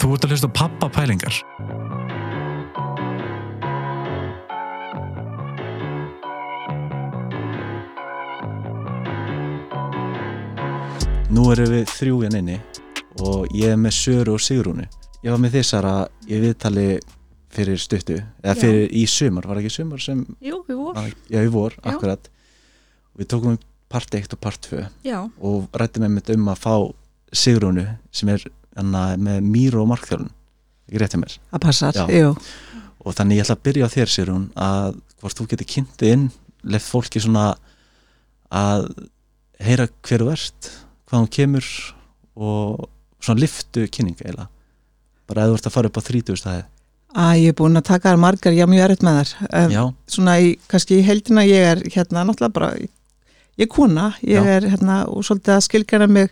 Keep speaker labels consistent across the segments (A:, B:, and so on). A: Þú ert að hlusta á pappa pælingar.
B: Nú erum við þrjú hérna inni og ég er með Söru og Sigrúnu. Ég var með þið Sara í viðtali fyrir stuttu, eða
C: Já.
B: fyrir í sumar, var ekki sumar sem,
C: Jú, við vorum.
B: já í vor,
C: Já.
B: akkurat. Við tókum upp part 1 og part 2
C: Já,
B: og rættum einmitt um að fá Sigrúnu sem er hana, með mýru og markþjálun, ekki rétti mér.
D: það passar,
B: Já.
D: jú.
B: Og þannig ég ætla að byrja á þér Sigrún að hvort þú getur kynntið inn, lef fólki svona að heyra hver þú ert, hvað hún kemur og svona liftu kynninga eiginlega. Bara að þú ert að fara upp á 30 stæði.
D: Æ, ég er búin að taka þar margar, ég er mjög erfitt með þar. Um,
B: Já,
D: svona í, kannski í heldina ég er hérna náttúrulega bara, ég er kona, ég
B: Já.
D: er hérna og svolítið að skilgjana mig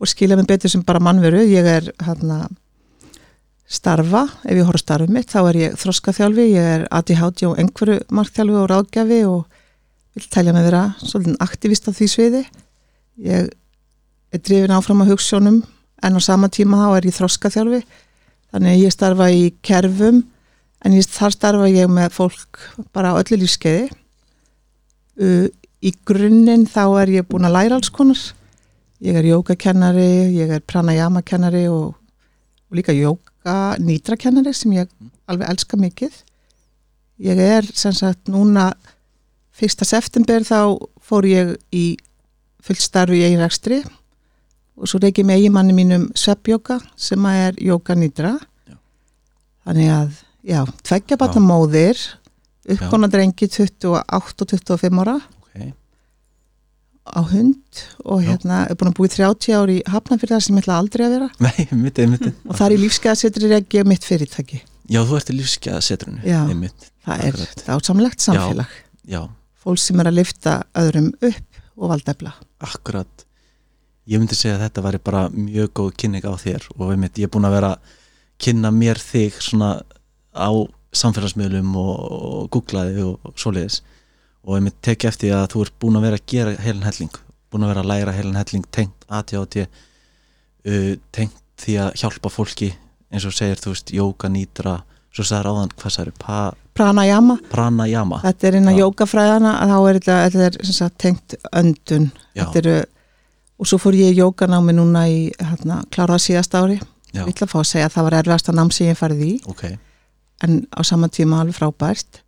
D: og skilja mig betur sem bara mannveru, ég er hérna starfa, ef ég horf starfið mitt, þá er ég þroskaþjálfi, ég er ADHD og einhverju markþjálfi og ráðgjafi og vil telja mig vera svolítið aktivist á því sviði. Ég er drifin áfram á hugssjónum en á sama tíma þá er ég þroskaþjálfi, þannig að ég starfa í kerfum en ég, þar starfa ég með fólk bara á öllu lífskeiði uh, í grunninn þá er ég búin að læra alls konar ég er jógakennari, ég er pranayama kennari og, og líka jóga nýtra kennari sem ég alveg elska mikið ég er sem sagt núna 1. september þá fór ég í fullt starfi í eigin rekstri og svo reykjum ég eiginmanni mínum sveppjóka sem að er jóga nýtra
B: Já.
D: þannig að já, tveggja batna móðir uppkona drengi 28 og 25 ára
B: ok.
D: á hund og
B: Já.
D: hérna er búin að búi 30 ár í hafnafyrðar sem ég ætla aldrei að vera
B: Nei, mittið, mittið.
D: og það er í lífskeiðasetri regi mitt fyrirtæki
B: Já, þú ert í lífskeiðasetrunu,
D: Já.
B: einmitt.
D: það er
B: Akkurat.
D: dásamlegt samfélag
B: Já,
D: fólk sem er að lifta öðrum upp og valdefla
B: akkurat. Ég myndi segja að þetta væri bara mjög góð kynning á þér og einmitt, ég er búin að vera að kynna mér þig svona á samfélagsmiðlum og, og googlaði og, og svoleiðis og einmitt teki eftir því að þú ert búin að vera að gera heilin helling, búin að vera að læra heilin helling tengt ATOT uh, tengt því að hjálpa fólki eins og segir, þú veist, jóka, nýtra svo sagði ráðan, hvað sagði, pa,
D: pranayama,
B: pranayama
D: þetta er innan
B: Já.
D: jókafræðana að þá er þetta, þetta er, sem sagt, tengt öndun
B: Já.
D: þetta eru og svo fór ég í jókanámi núna í hérna, klárað síðast ári,
B: Já,
D: ég ætla að fá að segja að það var erfiðasta nám sem ég farið í
B: ok,
D: en á sama tíma alveg frábært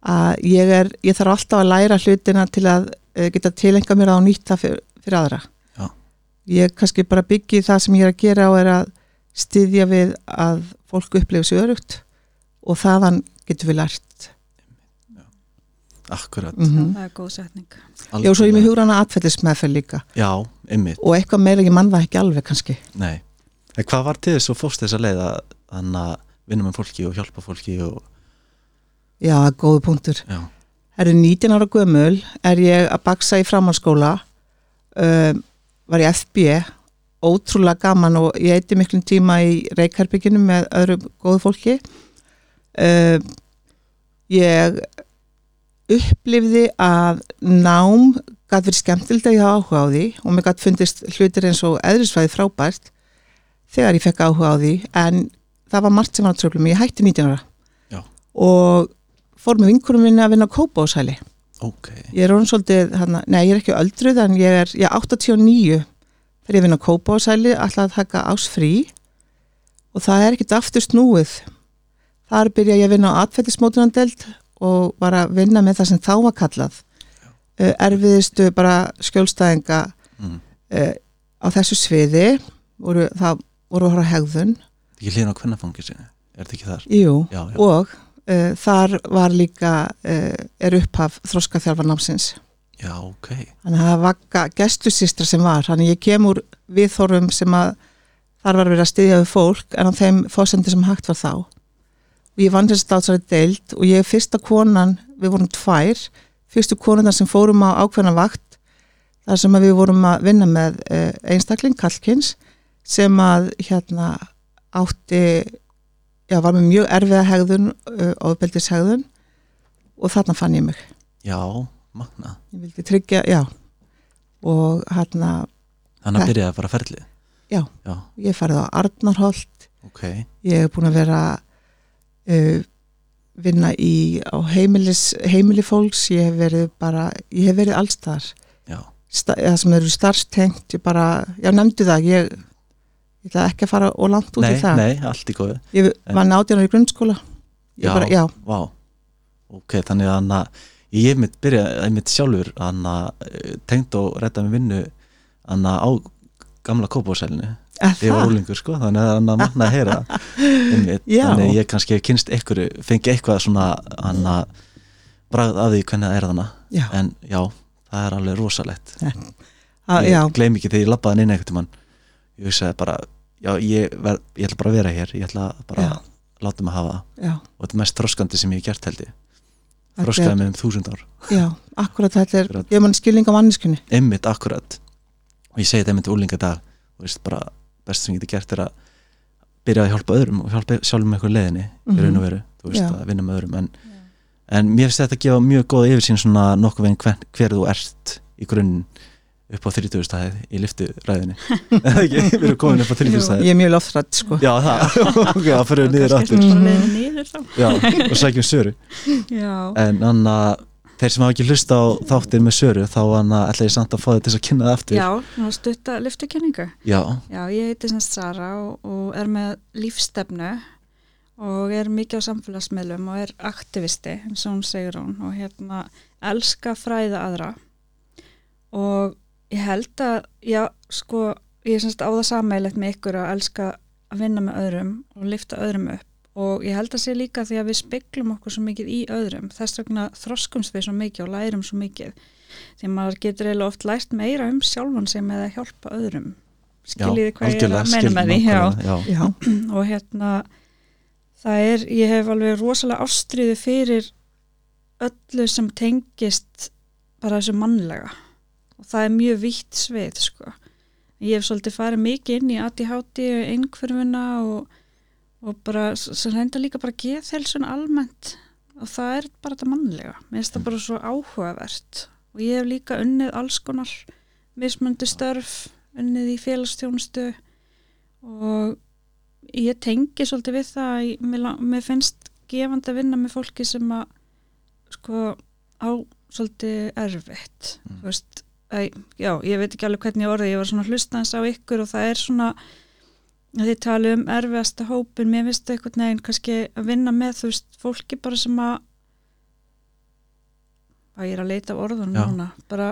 D: að ég er, ég þarf alltaf að læra hlutina til að eh, geta tilenga mér á nýta fyrir, fyrir aðra
B: Já.
D: ég kannski bara byggi það sem ég er að gera og er að styðja við að fólk upplifu sig örugt og þaðan getum við lært
B: akkurat
D: mm
A: Mhm.
D: -hmm.
C: það er góð setning.
D: Já, og svo ég er með hugrana atfellismeðferð líka
B: Já, einmitt,
D: og eitthvað meira ég mann það ekki alveg kannski
B: nei En hvað var til þess að fórst þess að leiða þannig að vinna með fólki og hjálpa fólki og
D: Já, góðu punktur
B: já,
D: Það eru 19 ára gömul, er ég að baksa í framhalskóla, um, var í FB, ótrúlega gaman og ég eitti miklum tíma í reikherbygginu með öðru góðu fólki. Um, ég upplifði að nám gæti verið skemmtild að ég hafa áhuga á því og mér gæti fundist hlutir eins og eðrisfæði frábært þegar ég fekk áhuga á því en það var margt sem var að tröfla mig, ég hætti 19 ára
B: Já.
D: og fór með vinkunum minni að vinna á Kópáshæli.
B: ok
D: Ég er orðin svolítið, hana, nei ég er ekki öldruð en ég er, ég er 89 þegar ég vinn á Kópáshæli alltaf að taka ás frí og það er ekkit aftur snúið. Þar byrja ég að vinna á atfættismótunandeld og var að vinna með það sem þá var kallað. Eh, Erfiðistu bara skjólstæðinga
B: mm.
D: eh, á þessu sviði voru, það voru að horfa á hegðun.
B: Ég hlýna á kvennafangir sinni, er þetta ekki þar?
D: Jú,
B: Já, já,
D: og uh, þar var líka uh, er upphaf þroskaþjálfarnámsins
B: já, ok
D: þannig að það var gestusýstra sem var þannig að ég kem úr viðþórum sem að þar var verið að styðja við fólk en á þeim fósendi sem hægt var þá og ég vann þess að þessari deild og ég er fyrsta konan, við vorum tvær fyrstu konuna sem fórum á ákveðna vakt þar sem að við vorum að vinna með uh, einstakling Kalkins sem að hérna átti já, var með mjög erfiða hegðun uh, ofbeldis hegðun og þarna fann ég mig
B: Já, magna
D: ég vildi tryggja, já og hérna,
B: Þannig
D: Nei.
B: að byrjaði bara ferlið
D: Já.
B: Já,
D: ég farið á Arnarholt
B: ok,
D: Ég hef búin að vera uh, vinna í á heimilis, heimili fólks, ég hef verið bara, ég hef verið allstar
B: já,
D: Sta, það sem eru starfstengt, ég bara já, nefndu það, ég ég ætla ekki að fara og langt út
B: nei,
D: í það
B: nei, allt í góðu
D: Ég var nátján ára í grunnskóla Ég
B: Já.
D: bara, já,
B: Vá, ok, þannig að hana, ég mitt byrja, ég mitt sjálfur hana, eh, tengd og redda með vinnu hana, á gamla kópásælinu,
D: er
B: ég var
D: það?
B: úlingur sko þannig að hann að manna að heyra einmitt,
D: Já.
B: þannig að ég kannski hef kynst einhverju, fengi eitthvað svona hann að bragð að því hvernig það er þarna
D: Já,
B: en já, það er alveg rosalegt
D: að, já,
B: ég gleym ekki þegar ég labbaði hann inn einhvern tímann ég hugsaði bara, já ég, ver, ég ætla bara að vera hér, ég ætla bara
D: Já.
B: að láta mig hafa það
D: já
B: og þetta er mest þroskandi sem ég hef gert held ég
D: Þetta
B: þroskaði mig um þúsund ár
D: Já, akkurat þetta er,
B: Akkurat.
D: ég mann skilning á manneskunni
B: einmitt akkurat og ég segi þetta einmitt úlinga dag og veist bara best sem ég geti gert er að byrja að hjálpa öðrum og hjálpa sjálfum með eitthvað leiðinni
D: Mhm.
B: í raun og veru, þú veist
D: Já.
B: að vinna með öðrum en, en mér finnst þetta að gefa mjög góða yfirsýn svona nokkuð veginn hver, hver þú ert í grunninn upp á 30 stæðið í liftu ræðinni við erum komin upp á 30
D: Ég
B: stæðið
D: er mjög loftrætt sko
B: já það, ok, það fyrir við niður aftur
A: kannski er bara leiðin niður þá
B: já, og sækjum Söru
A: já,
B: en anna, þeir sem hafa ekki hlusta á þáttir með Söru þá anna, ætla ég samt að fá þetta til þess að kynna það aftur
A: já svona stutta lyftukenningu
B: já,
A: já, ég heiti sem sagt Sara og, og er með lífstefnu og er mikið á samfélagsmiðlum og er aktivisti, eins og hún segir hún og hérna, elska fræða aðra og ég held að, já, sko ég er sem sagt á það sammeilegt með ykkur að elska að vinna með öðrum og lifta öðrum upp og ég held að sé líka því að við speglum okkur svo mikið í öðrum þess vegna þroskumst við svo mikið og lærum svo mikið því að maður getur eiginlega oft lært meira um sjálfan sig með að hjálpa öðrum skiljiði hvað ég er
B: algjörlega,
A: að menna
B: skil-
A: með því já,
B: nákvæmlega, já.
D: Já,
A: og hérna það er, ég hef alveg rosalega ástriðu fyrir öllu sem tengist bara þessu mannlega og það er mjög vitt svið sko. ég hef svolítið farið mikið inn í ADHD og einhverfuna og, og bara, sem reynda líka bara geðhelsun almennt og það er bara þetta mannlega mér finnst það bara svo áhugavert og ég hef líka unnið alls konar mismöndu störf, unnið í félagstjónustu og ég tengi svolítið við það að ég- mér, lang- mér finnst gefandi að vinna með fólki sem að sko á svolítið erfitt
B: Mm.
A: þú veist, æ, já, ég veit ekki alveg hvernig ég orði ég var svona hlustans á ykkur og það er svona að þið tala um erfiðasta hópin, mér finnst það einhvern veginn kannski að vinna með, þú veist, fólki bara sem að að ég er að leita af orðunum
B: Já.
A: núna bara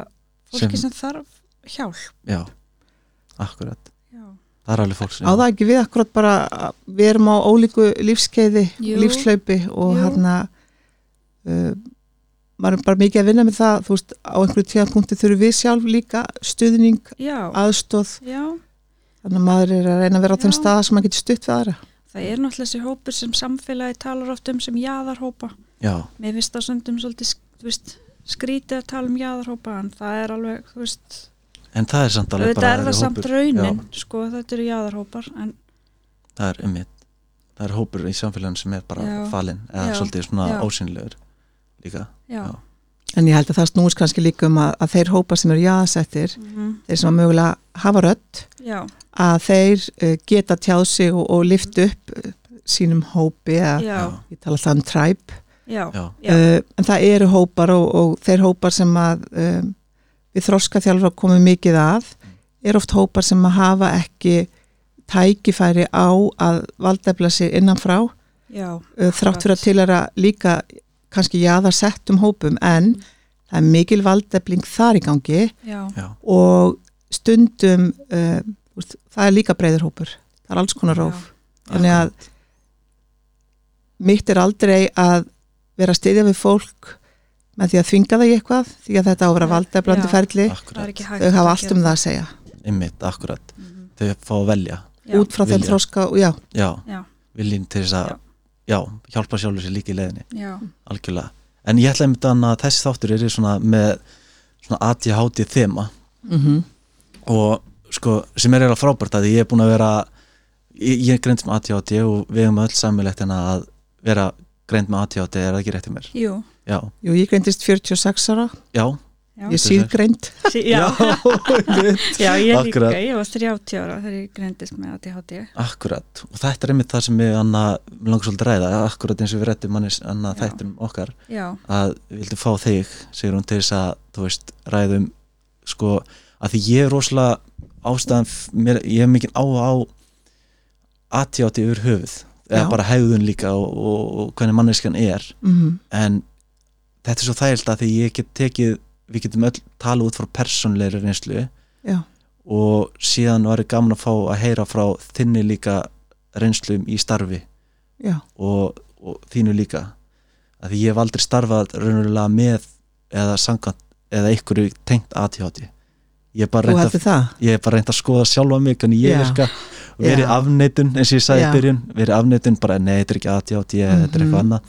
A: fólki sem, þarf hjálp
B: já, akkurat
A: já,
B: það er alveg fólk sem
D: á það ekki við akkurat bara við erum á ólíku lífskeiði
A: Jú.
D: lífslaupi og
A: Jú.
D: hérna uh, maður er bara mikið að vinna með það þú veist, á einhverju tíðanpunkti þurfum við sjálf líka stuðning,
A: já,
D: aðstóð
A: já.
D: þannig að maður er að reyna að vera á þeim
A: Já.
D: staða sem maður getur stutt við aðra
A: Það er náttúrulega þessi hópur sem samfélagi talar oft um sem jaðarhópa.
B: já,
A: Mér finnst það söndum svolítið sk- þú veist, skrítið að tala um jaðarhópa en það er alveg, þú veist,
B: en það er samt alveg
A: auðvitað
B: bara
A: er það
B: aðri
A: samt
B: hópur.
A: raunin, sko, þetta eru jaðarhópar en
B: já, það er ummitt það er hópur í samfélaginu sem er bara
A: Já.
B: falinn eða
A: Já.
B: svolítið svona
A: Já.
B: ósynlegur líka
A: já,
B: Já.
D: en ég held að það snúist kannski líka um að, að þeir hópa sem eru jaðasættir,
A: mhm,
D: þeir sem að mögulega hafa rödd
A: já,
D: að þeir uh, geta tjáð sig og, og lift upp uh, sínum hópi eða,
A: já,
D: ég tala það um træp
A: já,
B: já,
A: Já.
D: uh, en það eru hópar og, og þeir hópar sem að um, við þroska þjálfur komum mikið að eru oft hópar sem að hafa ekki tækifæri á að valdefla sig innanfrá uh,
A: já,
D: þrátt fyrir að tilera líka kannski jaðarsettum hópum en
A: Mm.
D: það er mikil valdefling þar í gangi
A: já,
B: já,
D: og stundum uh, úst, það er líka breyður hópur það er alls konar
A: Já.
D: róf þannig að mitt er aldrei að vera að styðja við fólk með því að þvinga það í eitthvað því að þetta á að vera
A: Já.
D: valdeflandi
A: Já.
D: ferli
A: það er
B: akkurat,
A: ekki hægt.
D: þau hafa allt um það að segja
B: ummitt, akkurat
A: það.
B: þau fá að velja,
D: út frá þeim
B: Vilja.
D: þroska og já,
B: já,
A: Já.
B: viljum til þess að já, hjálpa sjálfur sér líka í leiðinni
A: Já,
B: algjörlega, en ég ætla einmitt að að þessi þáttur eru svona með svona ADHD þema
D: mm -hmm.
B: og sko, sem er eiginlega frábært að ég er búin að vera ég, ég er greind með ADHD og við hefum öll samilegt en að vera greind með ADHD er það ekki rétt í mér
A: jú,
B: já,
D: jú, ég greindist 46 ára
B: já,
A: Já.
D: ég síð greint
A: Sí, já.
B: já.
A: já, ég
B: Akkurat.
A: líka, ég var 30 ára þegar ég greindist með ADHD
B: Akkurat, og þetta er einmitt það sem við anna, langar svolítið að ræða, akkurat eins og við rættum mannis annað
A: Já.
B: þættum okkar
A: Já,
B: að við vildum fá þig, segir hún til þess að þú veist, ræðum sko, að því ég er rosalega ástæðan, f- mér, ég hef mikið áhuga á aðtjátti yfir höfuð eða
D: Já.
B: bara hegðun líka og, og, og hvernig manneskan er
D: mm.
B: en þetta er svo þægilt að því ég get tekið við getum öll tala út frá persónleiri reynslu
D: Já.
B: og síðan var ég gaman að fá að heyra frá þinni líka reynslum í starfi
D: já,
B: og, og þínu líka að því ég hef aldrei starfað raunverulega með eða sangant eða einhverju tengt aðtjátti ég hef bara
D: þú
B: reynt að
D: hætti það
B: ég hef bara reynd að skoða sjálfa mig hvernig ég
D: Já.
B: virka og verið
D: Já.
B: afneitun eins og ég sagði í
D: Já.
B: byrjun verið afneitun bara nei, þetta er ekki ADHD, þetta er
D: Mhm.
B: eitthvað annað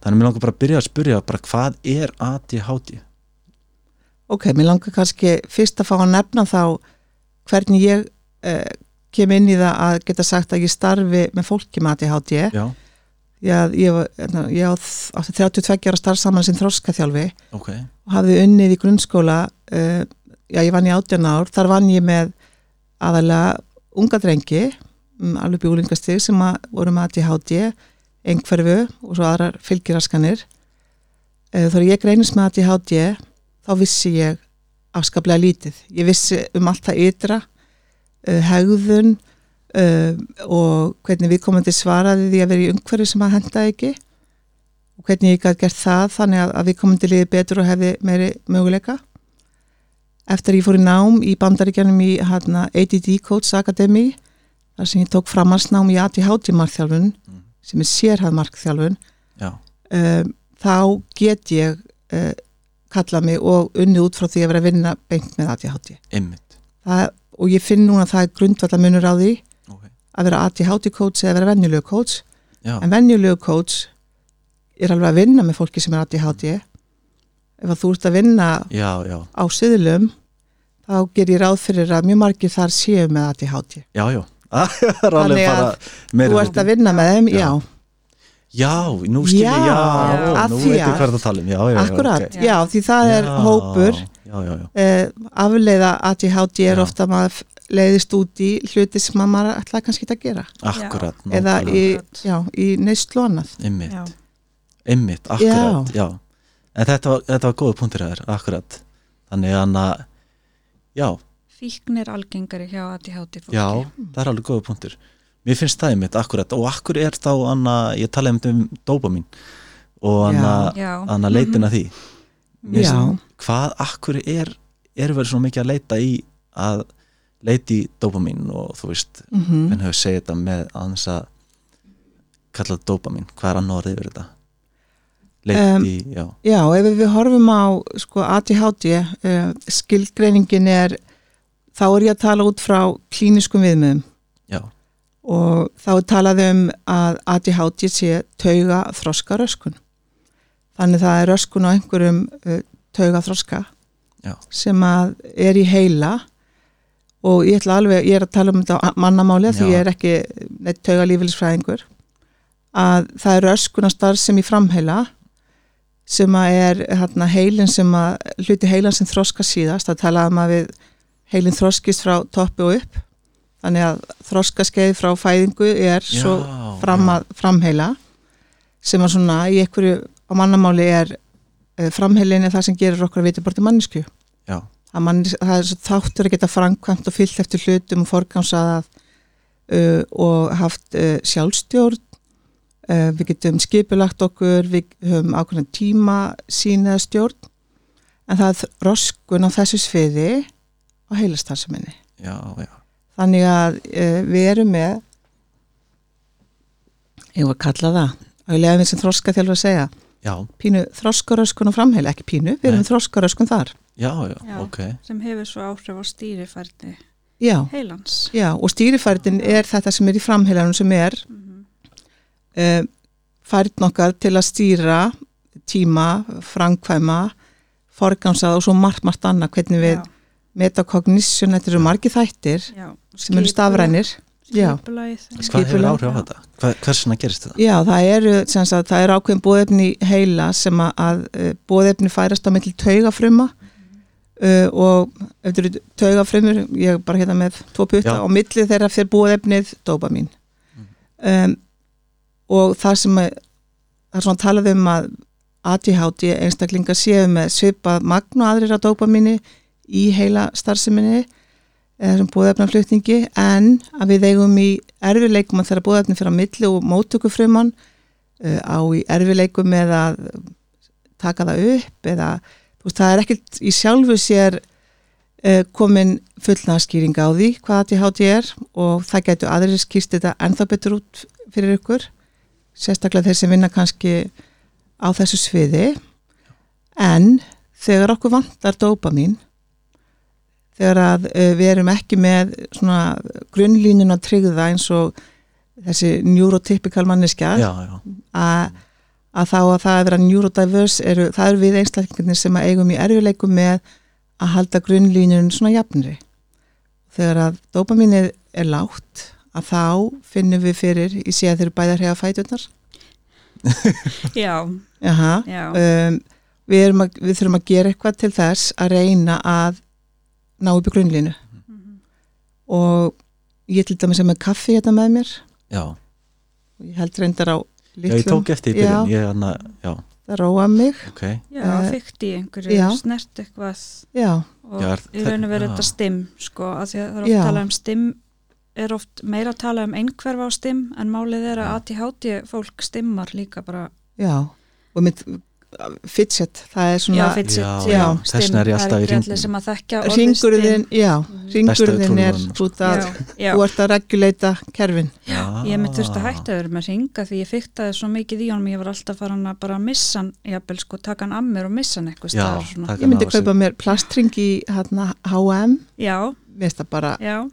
B: þannig að mér langar bara að byrja að spyrja bara hvað er ADHD?
D: Ok, mér langar kannski fyrst að fá að nefna þá hvernig ég eh, kem inn í það að geta sagt að ég starfi með fólki með ADHD.
B: Já,
D: Ég, ég, var- hérna, ég á þ- átti 32 ára starf saman sem þróskaþjálfi
B: ok
D: og hafði unnið í grunnskóla, eh, já ég vann í 18 ár, þar vann ég með aðalega unga drengi, mm, alveg bjúlingastig sem að voru með ADHD, einhverfu og svo aðrar fylgiraskanir. Eh, Þegar ég greinist með ADHD þá vissi ég afskaplega lítið. Ég vissi um allt það ytra, eh, hegðun eh, og hvernig viðkomandi svaraði því að vera í umhverju sem að henda ekki og hvernig ég gæti gert það þannig að, að við komum til liðið betur og hefði meiri möguleika. Eftir að ég fór í nám í bandaríkjanum í hérna, hana, ADD Coach Academy þar sem ég tók framhansnám í ADHD markþjálfun sem er sérhæð markþjálfun
B: Já,
D: um, þá get ég uh, kallað mig og unnið út frá því að vera að vinna beint með ADHD
B: ymmit
D: það, og ég finn núna að það er grundvallar munur á því
B: okay.
D: að vera ADHD coach eða vera venjulegu coach
B: Já,
D: En venjulegu coach er alveg að vinna með fólki sem er ADHD. Ef að þú ert að vinna
B: já, já,
D: á syðlum, þá ger ég ráð fyrir að mjög margir þar séu með ADHD.
B: já, já Það er alveg
D: Þannig að
B: bara meiri
D: Þú
B: hluti.
D: ert að vinna með þeim, já,
B: Já, nú skil ég, já,
D: Já,
B: já,
D: að
B: nú
D: því
B: veitum
D: að-
B: hvað það tala um Já, já, já,
D: akkurat,
B: ok.
A: ok.
D: já, því það er
B: Já,
D: hópur.
B: Já, já, já,
D: Eh, afleiða ADHD er
B: Já.
D: ofta að maður leiðist út í hluti sem að maður ætlaði kannski ekki að gera.
B: akkurat
D: Eða í,
B: nákvæmlega.
A: Akkurat.
D: já, í neyslu annað.
B: Einmitt.
A: já,
B: Einmitt, akkurat, já. En þetta var, þetta var góða punktur að þér, akkurat. Þannig að, hana- já,
A: fíkn er algengari hjá ADHD fólki
B: já, það er alveg góða punktur. Mér finnst það einmitt, akkurat. Og akkur er þá, anna, ég talaði einmitt um dópamin og anna,
A: Já. Mhm.
B: anna leitin að því. Mér
D: Já,
B: finnst- Hvað, akkur er, er verið svona mikið að leita í að leita í dópamin og þú veist,
D: mm
B: mm. henni hefur segið þetta með aðeins að kalla það dópamin. Hvað er annar orðið yfir þetta? Leiti,
D: Um,
B: já,
D: Já, ef við horfum á sko, ADHD, uh, skilgreiningin er, þá er ég að tala út frá klíniskum viðmiðum
B: já,
D: og þá er talað um að ADHD sé tauga þroska röskun. Þannig það er röskun á einhverjum uh, tauga þroska
B: Já.
D: sem að er í heila og ég ætla alveg, ég er að tala um þetta á mannamáli af því
B: Já.
D: ég er ekki neitt tauga lífélisfræðingur að það er röskun á starf sem í framheila sem að er hérna, heilin sem að hluti heilan sem þroska síðast það talaði um að við heilin þroskist frá toppi og upp þannig að þroskaskeið frá fæðingu er svo
B: Já,
D: fram
B: já.
D: að, framheila sem að svona í einhverju á mannamáli er eh, framheilin er það sem gerir okkur að vita borti mannesku
B: já.
D: að mann, það er svo þáttur að geta framkvæmt og fyllt eftir hlutum og forgámsað uh, og haft uh, sjálfstjórn uh, við getum skipulagt okkur við höfum ákveðna tíma sína eða stjórn en það er roskun á þessu sviði á heilastarsaminni
B: já, já,
D: þannig að uh, við erum með ég var að kalla það og ég leiði mér sem þroska þjálfur að segja
B: já,
D: pínu þroskaröskun og framheila, ekki pínu við erum
B: Nei.
D: með þroskaröskun þar
B: já, já,
A: Já.
B: ok
A: sem hefur svo áhrif á stýrifærni
D: já,
A: heilans
D: Já, og stýrifærdin er þetta sem er í framheilanum sem er
A: Mhm.
D: uh, færdin okkar til að stýra tíma, framkvæma, forgámsað og svo margt, margt annað, hvernig við
A: já,
D: metakognisjón, þetta eru margi þættir
A: já.
D: sem eru stafrænir. Já.
A: skipulæð
B: Hvað hefur
D: Skipulag,
B: áhrif á
A: já.
B: þetta? Hva, Hversuna gerist þetta?
D: Já, það eru, sem sagt, eh, það eru ákveðin bóðefni í heila sem að, að bóðefni færast á milli taugafruma uh, og ef þetta eru taugafrömmur ég er bara hérna með tvo putta
B: Já.
D: og milli þeirra fyrir búðefnið dopamin um, og það sem að, það er svona talað um að ADHD einstaklingar séu með svipað magn og aðrir á dopamini í heila starfseminni eða sem búðefnaflutningi en að við eigum í erfileikum að þeirra búðefni fyrir á milli og móttöku frumann uh, á í erfileikum með að taka það upp eða þú veist, það er ekkert í sjálfu sér uh, komin fullnaðskýring á því hvað ADHD er og það getur aðrir skýrst þetta ennþá betur út fyrir ykkur sérstaklega þeir sem vinna kannski á þessu sviði en þegar okkur vantar dopamin þegar að uh, við erum ekki með svona grunnlínuna tryggða eins og þessi neurotypikal manneskja
B: já, já,
D: að, að þá að það að vera neurodiverse eru, það eru við einstaklingarnir sem að eigum í erfileikum með að halda grunnlínunum svona jafnri þegar að dopaminnið er lágt að þá finnum við fyrir í sé að þeir eru bæði að hreyfa fæturnar
A: Já,
D: Jaha.
A: já,
D: um, við, erum að, við þurfum að gera eitthvað til þess að reyna að ná upp í grunnlínu og ég til dæmis er með kaffi hérna með mér
B: já.
D: og ég held reyndar á
B: já ég
D: litlum,
B: tók eftir í byrjun ég, anna, já,
D: það róa mig
B: ok,
A: já,
D: Eh,
A: fykti í einhverju,
D: já.
A: snert eitthvað
D: já,
A: og
B: Já, er
A: í
B: það-
A: raun og veru
B: já.
A: þetta stim sko, að því að það er
D: Já.
A: oft talað um stim er oft meira að tala um einhverfa á stim en málið er að ATHT fólk stimmar líka bara
D: Já, og mitt fidget, það er svona
A: já, fidget,
B: Já,
A: já,
D: já,
A: stim,
B: þess vegna er ég alltaf
A: það
B: í
A: ekki
B: hringnum.
A: allir sem að þekkja orðið
D: ringurðin, já, ringurðin er
B: trúnaðurinn, sko.
D: út að
A: stim. já, já,
D: þú ert að reguleita kerfin
B: já
A: ég hef mér
B: Ah.
A: þurft að hætta að vera með ringa því ég fyktaði svo mikið í honum ég var alltaf farin að bara missa hann jafnvel sko, taka hann að mér og missa hann eitthvað
B: já,
A: staðar og svona.
B: taka
D: ég myndi
B: hann af
D: kaupa mér plastring í hérna, H&M,
A: já,
D: mér finnst það bara
A: já,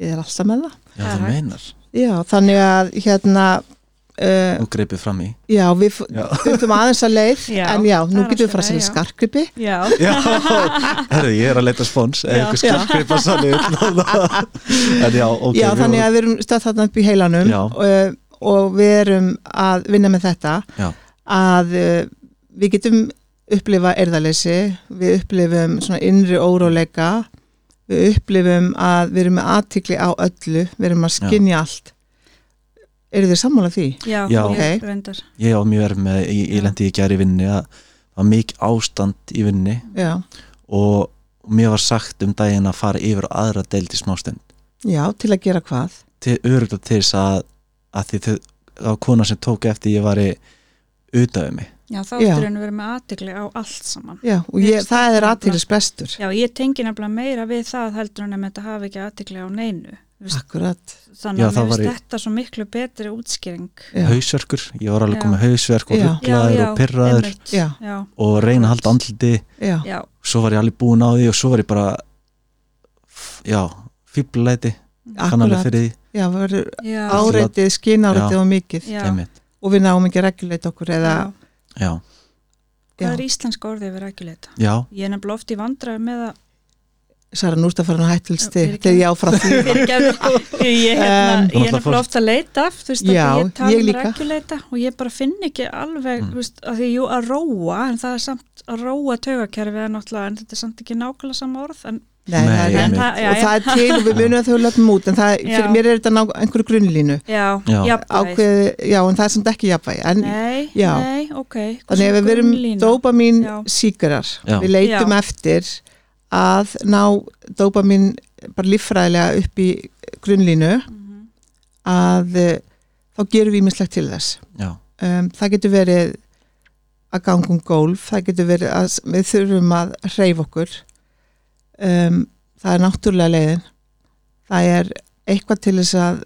D: ég er alltaf með það
B: sig. já, það
A: Það er
B: meinar,
D: já, þannig að hérna uh,
B: nú greipið fram í
D: já, við
B: já,
D: þurfum aðeins að leið
A: Já,
D: en já,
A: það
D: nú
A: er
D: getum við
A: allt í
D: fara að
A: lagi,
D: selja
A: já.
D: skarkripi
A: já,
B: já herru, ég er að leita spons eða
A: Já.
B: eitthvað skarkripa sannig en já, ok
D: já,
B: við
D: þannig
B: vorum-
D: að við erum stöð þarna upp í heilanum
B: Já.
D: uh, og við erum að vinna með þetta
B: já,
D: að uh, við getum upplifa erðaleysi, við upplifum svona innri óróleika við upplifum að við erum með aðtikli á öllu, við erum að skinja allt eru þið sammála því?
A: já,
B: Já.
A: ég
D: Ok.
A: reyndar
B: ég á mjög verið með, ég, ég lendi í gæri vinni að það var mikið ástand í vinni
D: Já,
B: og mér var sagt um daginn að fara yfir á aðra deild í smástund
D: já til að gera hvað?
B: til öruglega til þess að, að því þau, það var kona sem tók eftir ég var í utanvið mig
A: já, þá
D: Já.
A: þurfum við með aðtegli á allt saman
D: Já, og ég, það er aðtilis bestur
A: Já, ég tengi nefnilega meira við það heldur en að þetta hafi ekki aðtiklega á neinu. Þú veist,
D: Akkurat,
B: Já,
A: Þannig að
B: það
A: mér
B: var
A: finnst
B: í-
A: þetta svo miklu betri útskýring.
D: já,
B: hausverkur, ég var alveg
A: Já.
B: komið hausverk og
D: Já.
B: rugglaður og pirraður
A: einmitt.
D: Já.
A: já,
B: og reyna að halda andliti
D: já,
A: já,
B: svo var ég alveg búin á því og svo var ég bara f- já, fíblæti kannan alveg
D: akkurat
B: fyrir því,
D: Já, við verður
A: já.
D: áreitið, skináreitið
B: Já.
D: og mikið
A: já.
B: einmitt
D: og við náum ekki að reguleita okkur eða,
A: Já.
B: já,
A: Hvað
D: já,
A: er íslenska orðið yfir rækjuleita?
B: já,
A: Ég er nefnilega oft í vandræðu með að
D: Sara Núrsta farin að hættilst
A: Já,
D: þig þegar ég áfra því
A: fyrirgefðu, ég, hérna,
B: Þú
A: ég er
B: náttúrulega
A: nefnilega
B: fórst-
A: oft að leita þú veist,
D: Já,
A: að ég tala
D: ég
A: um
D: líka.
A: rækjuleita og ég bara finn ekki alveg
B: Mm.
A: mm. veist, að því jú að róa en það er samt að róa taugakerfi en, en þetta er samt ekki nákvæmlega sama orð en,
D: Nei,
B: Nei,
D: það er
A: en
B: einmitt.
A: það, já,
D: og
A: já,
D: það er til og við munum að þau löfum út en það, er- fyrir
A: Já.
D: mér er þetta ná einhverju grunnlínu
A: já,
B: Já.
A: jafnvægi.
D: ákveði, já en það er samt ekki jafnvægi en
A: Nei,
D: Já.
A: nei, ok
D: þannig ef við verum dopamin
A: Já.
D: síkarar
B: Já.
D: við leitum
A: Já.
D: eftir að ná dopamin bara líffræðilega upp í grunnlínu
A: Mhm.
D: að eh, þá gerum við ímislegt til þess
B: já,
D: um, það getur verið að ganga um gólf það getur verið að s- við þurfum að hreyfa okkur um, það er náttúrulega leiðin það er eitthvað til þess að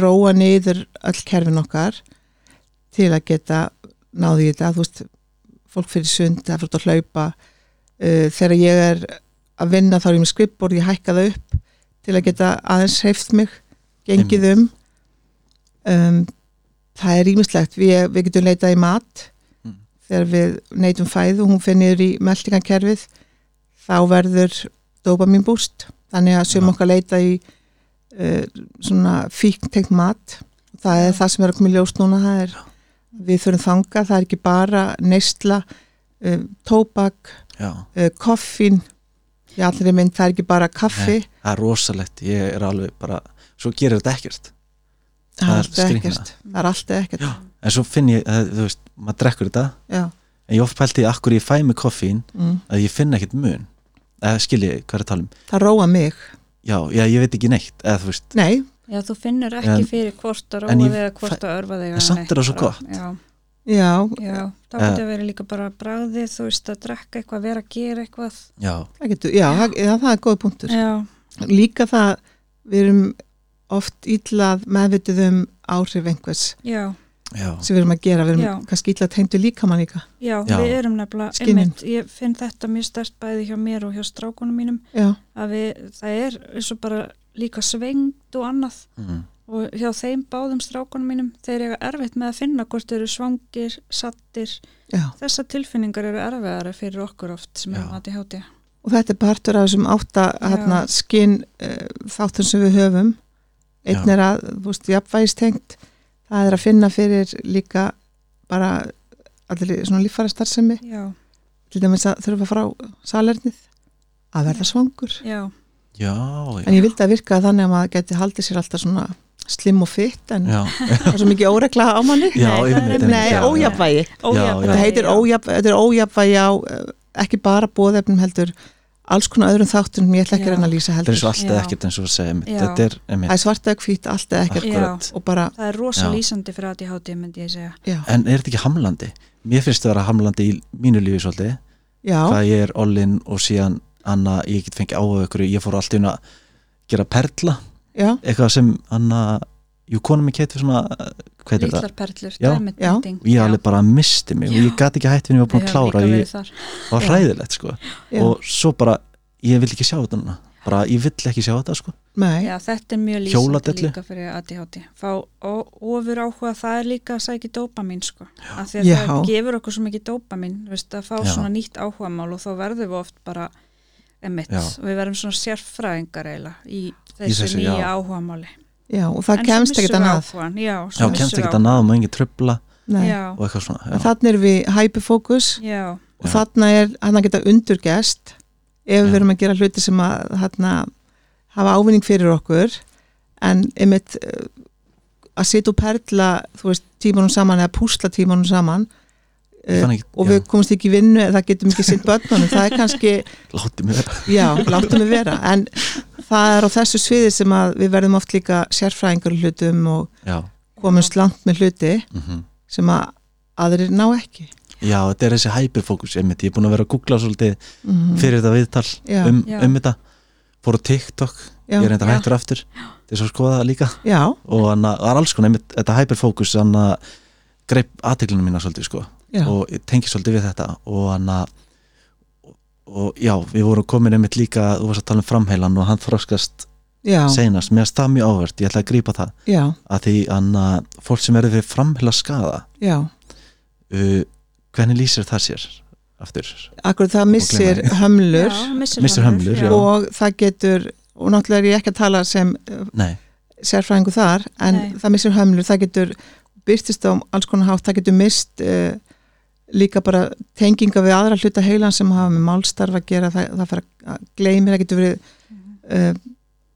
D: róa niður öll kerfin okkar til að geta náði í þetta þú veist, fólk fyrir sund það fyrir að hlaupa uh, þegar ég er að vinna þá er ég með skrippbór ég hækka það upp til að geta aðeins hreift mig, gengið um um það er ímislegt, við, við getum leitað í mat
B: Mm.
D: þegar við neytum fæðu og hún finnir í meldingakerfið þá verður dopamin búst, þannig að sögum
B: Já.
D: okkar leita í uh, svona fíktengt mat það er það sem er að koma í ljós núna það er, við þurfum þanga, það er ekki bara neysla, uh, eh, tóbak
B: já,
D: uh, koffín í allri mynd það er ekki bara kaffi
B: Nei, það er rosalegt, ég er alveg bara svo gerir þetta ekkert
D: það
B: það er
D: er alltaf
B: skrýtna.
D: ekkert það er alltaf ekkert
B: Já. en svo finn ég, að, þú veist, maður drekkur þetta
D: Já.
B: en ég oft pælti akkur ég fæ mig koffín
D: Mm.
B: að ég finn ekkert mun eða skilji hvað er að tala um
D: það róa mig
B: já, já, ég veit ekki neitt eða þú veist,
D: nei,
A: Já, þú finnur ekki
B: En-
A: fyrir hvort
B: en
A: að róa
B: ég-
A: þig eða hvort að örfa þig
B: en
A: eða
B: samt
A: neitt
B: er það svo
A: bara.
B: gott.
A: Já,
D: já,
A: já, það
B: Eh.
A: getur verið líka bara bragðið, þú veist, að drekka eitthvað, vera að gera eitthvað
B: já,
D: það getur já, það, já, það er góð punktur
A: Já,
D: líka það við erum oft ítlað meðvitið um áhrif einhvers
A: já,
B: já
D: sem við erum að gera, við erum
A: Já.
D: kannski ítlað tegndu líkamann líka
A: já,
B: Já.
A: við erum nefnilega
D: Skynjun.
A: einmitt, Ég finn þetta mjög stert bæði hjá mér og hjá strákunum mínum
D: já,
A: að við, það er eins og bara líka svengd og annað
B: mm.
A: og hjá þeim báðum strákunum mínum þeir eru erfitt með að finna hvort þeir eru svangir, sattir
D: já
A: þessar tilfinningar eru erfiðara fyrir okkur oft sem
B: Já.
A: erum aðið hátíð
D: og þetta er partur af þessum átta hérna, skinn uh, þáttum sem við höfum einn
B: Já.
D: er að, þú veist, jafnvægistengt það er að finna fyrir líka bara allir svona líffæra starfsemi
A: Já,
D: til dæmis að þurfa að fara á salernið að verða svangur
A: já,
B: já,
D: en ég vildi að virka þannig að maður geti haldið sér alltaf svona slim og fitt en
B: já,
D: það er svo mikið óregla á manni
B: já,
A: Nei, það er
B: einmitt,
A: einmitt-
B: einmitt,
D: nei,
B: já, já.
D: ójafnvægi
A: Ójafnvægi,
B: Já.
D: þetta heitir
A: já.
D: ójaf- þetta er ójafnvægi á eh, ekki bara bóðefnum heldur alls konar öðrum þáttunum ég ætla ekki
A: Já.
D: að reyna að lýsa
B: þetta
D: heldur
B: er svo allt eða
A: Já.
B: ekkert eins og að segja einmitt.
A: Já.
B: þetta er
D: það
B: einmitt,
D: er svart eða hvítt, allt eða ekkert
B: akkurat
D: og bara,
A: Það er rosa
B: Já.
A: lýsandi fyrir aðið hátíð myndi ég segja.
D: já,
B: en er þetta ekki hamlandi? mér finnst þetta að vera hamlandi í mínu lífi svolítið
D: já,
B: hvað ég er Ollin og síðan Anna, ég get fengið áhuga ykkur ég fór alltaf inn að gera perla
D: já,
B: eitthvað sem Anna jú, konum minn keitt við svona uh, hvað er það?
A: Lítlar perlur,
B: Já.
A: diamond
D: Já.
A: painting.
B: Ég alveg bara misti mig og ég gati ekki hætt fyrir ég var búin að klára ég
A: Við höfum líka verið þar.
B: það var
D: Já.
B: hræðilegt sko
D: já.
B: og svo bara, ég vil ekki sjá þetta núna bara, ég vil ekki sjá þetta sko
D: nei,
A: Já, þetta er mjög lýsandi
B: Hjóladellu.
A: líka fyrir aðið hátíð. Fá ó- ofur áhuga, það er líka að sækja dópamin sko. Af því
D: Já.
A: að það gefur okkur svo mikið dópamin, veist, að fá
B: Já.
A: svona nýtt áhugamál og þá verðum við oft bara emitt.
B: Já.
A: Við verðum svona sérfræðingar eiginlega í þessu,
B: þessu, já.
A: nýja áhugamáli.
D: já, og það
A: En svo
D: kemst ekki
A: missum við
D: annað
A: áhugann, Já,
B: já,
A: svo
B: kemst
A: missum
B: ekki
A: við
B: þetta náðum og engin tröfla
D: nei,
A: Já,
B: og eitthvað svona
D: en
B: já,
D: þannig er við hyperfókus
A: já,
D: og
B: Já.
D: þarna er, hann geta undurgest ef
B: Já.
D: við erum að gera hluti sem að þarna hafa ávinning fyrir okkur en einmitt eh, að sitja og perla þú veist, tímanum saman eða púsla tímanum saman eh,
B: ég fann ekki,
D: og við
B: já,
D: komumst ekki í vinnu eða það getum ekki sint börnunum, það er kannski
B: láti mig vera
D: Já, láttum við vera, en það er á þessu sviði sem að við verðum oft líka sérfræðingar í hlutum og
B: já,
D: komumst langt með hluti
B: mm
D: sem að aðrir ná ekki.
B: já, þetta er þessi hyperfókus einmitt, ég er búin að vera að googla svolítið
D: Mm.
B: fyrir þetta viðtal
D: já,
B: um,
A: Já.
B: um þetta fór á TikTok,
D: já,
B: ég er enda
A: Já.
B: hættur aftur til þess að skoða það líka
D: já,
B: og hann að- það er alls konar, einmitt, þetta hyperfókus hann að greip aðteglunum mína svolítið sko
D: já,
B: og ég tengi svolítið við þetta og hann að og já, við vorum komin einmitt líka þú varst að tala um framheilan og hann þroskast
D: já,
B: seinast, mér finnst það mjög áverð, ég ætla að grípa það
D: já,
B: að því hann að fólk sem verður fyrir framheila skada
D: já.
B: uh, hvernig lýsir það sér aftur,
D: Akkur það missir
B: gleyma því.
D: hömlur
A: já,
B: Missir hömlur, já.
D: og það getur, og náttúrulega er ég ekki að tala sem uh,
B: nei,
D: sérfræðingu þar, en
A: Nei.
D: það missir hömlur, það getur byrtist á alls konar hátt, það getur mist uh, líka bara tenginga við aðra hluta heilan sem hafa með málstarf að gera, það, það fer að gleymir, það getur verið uh,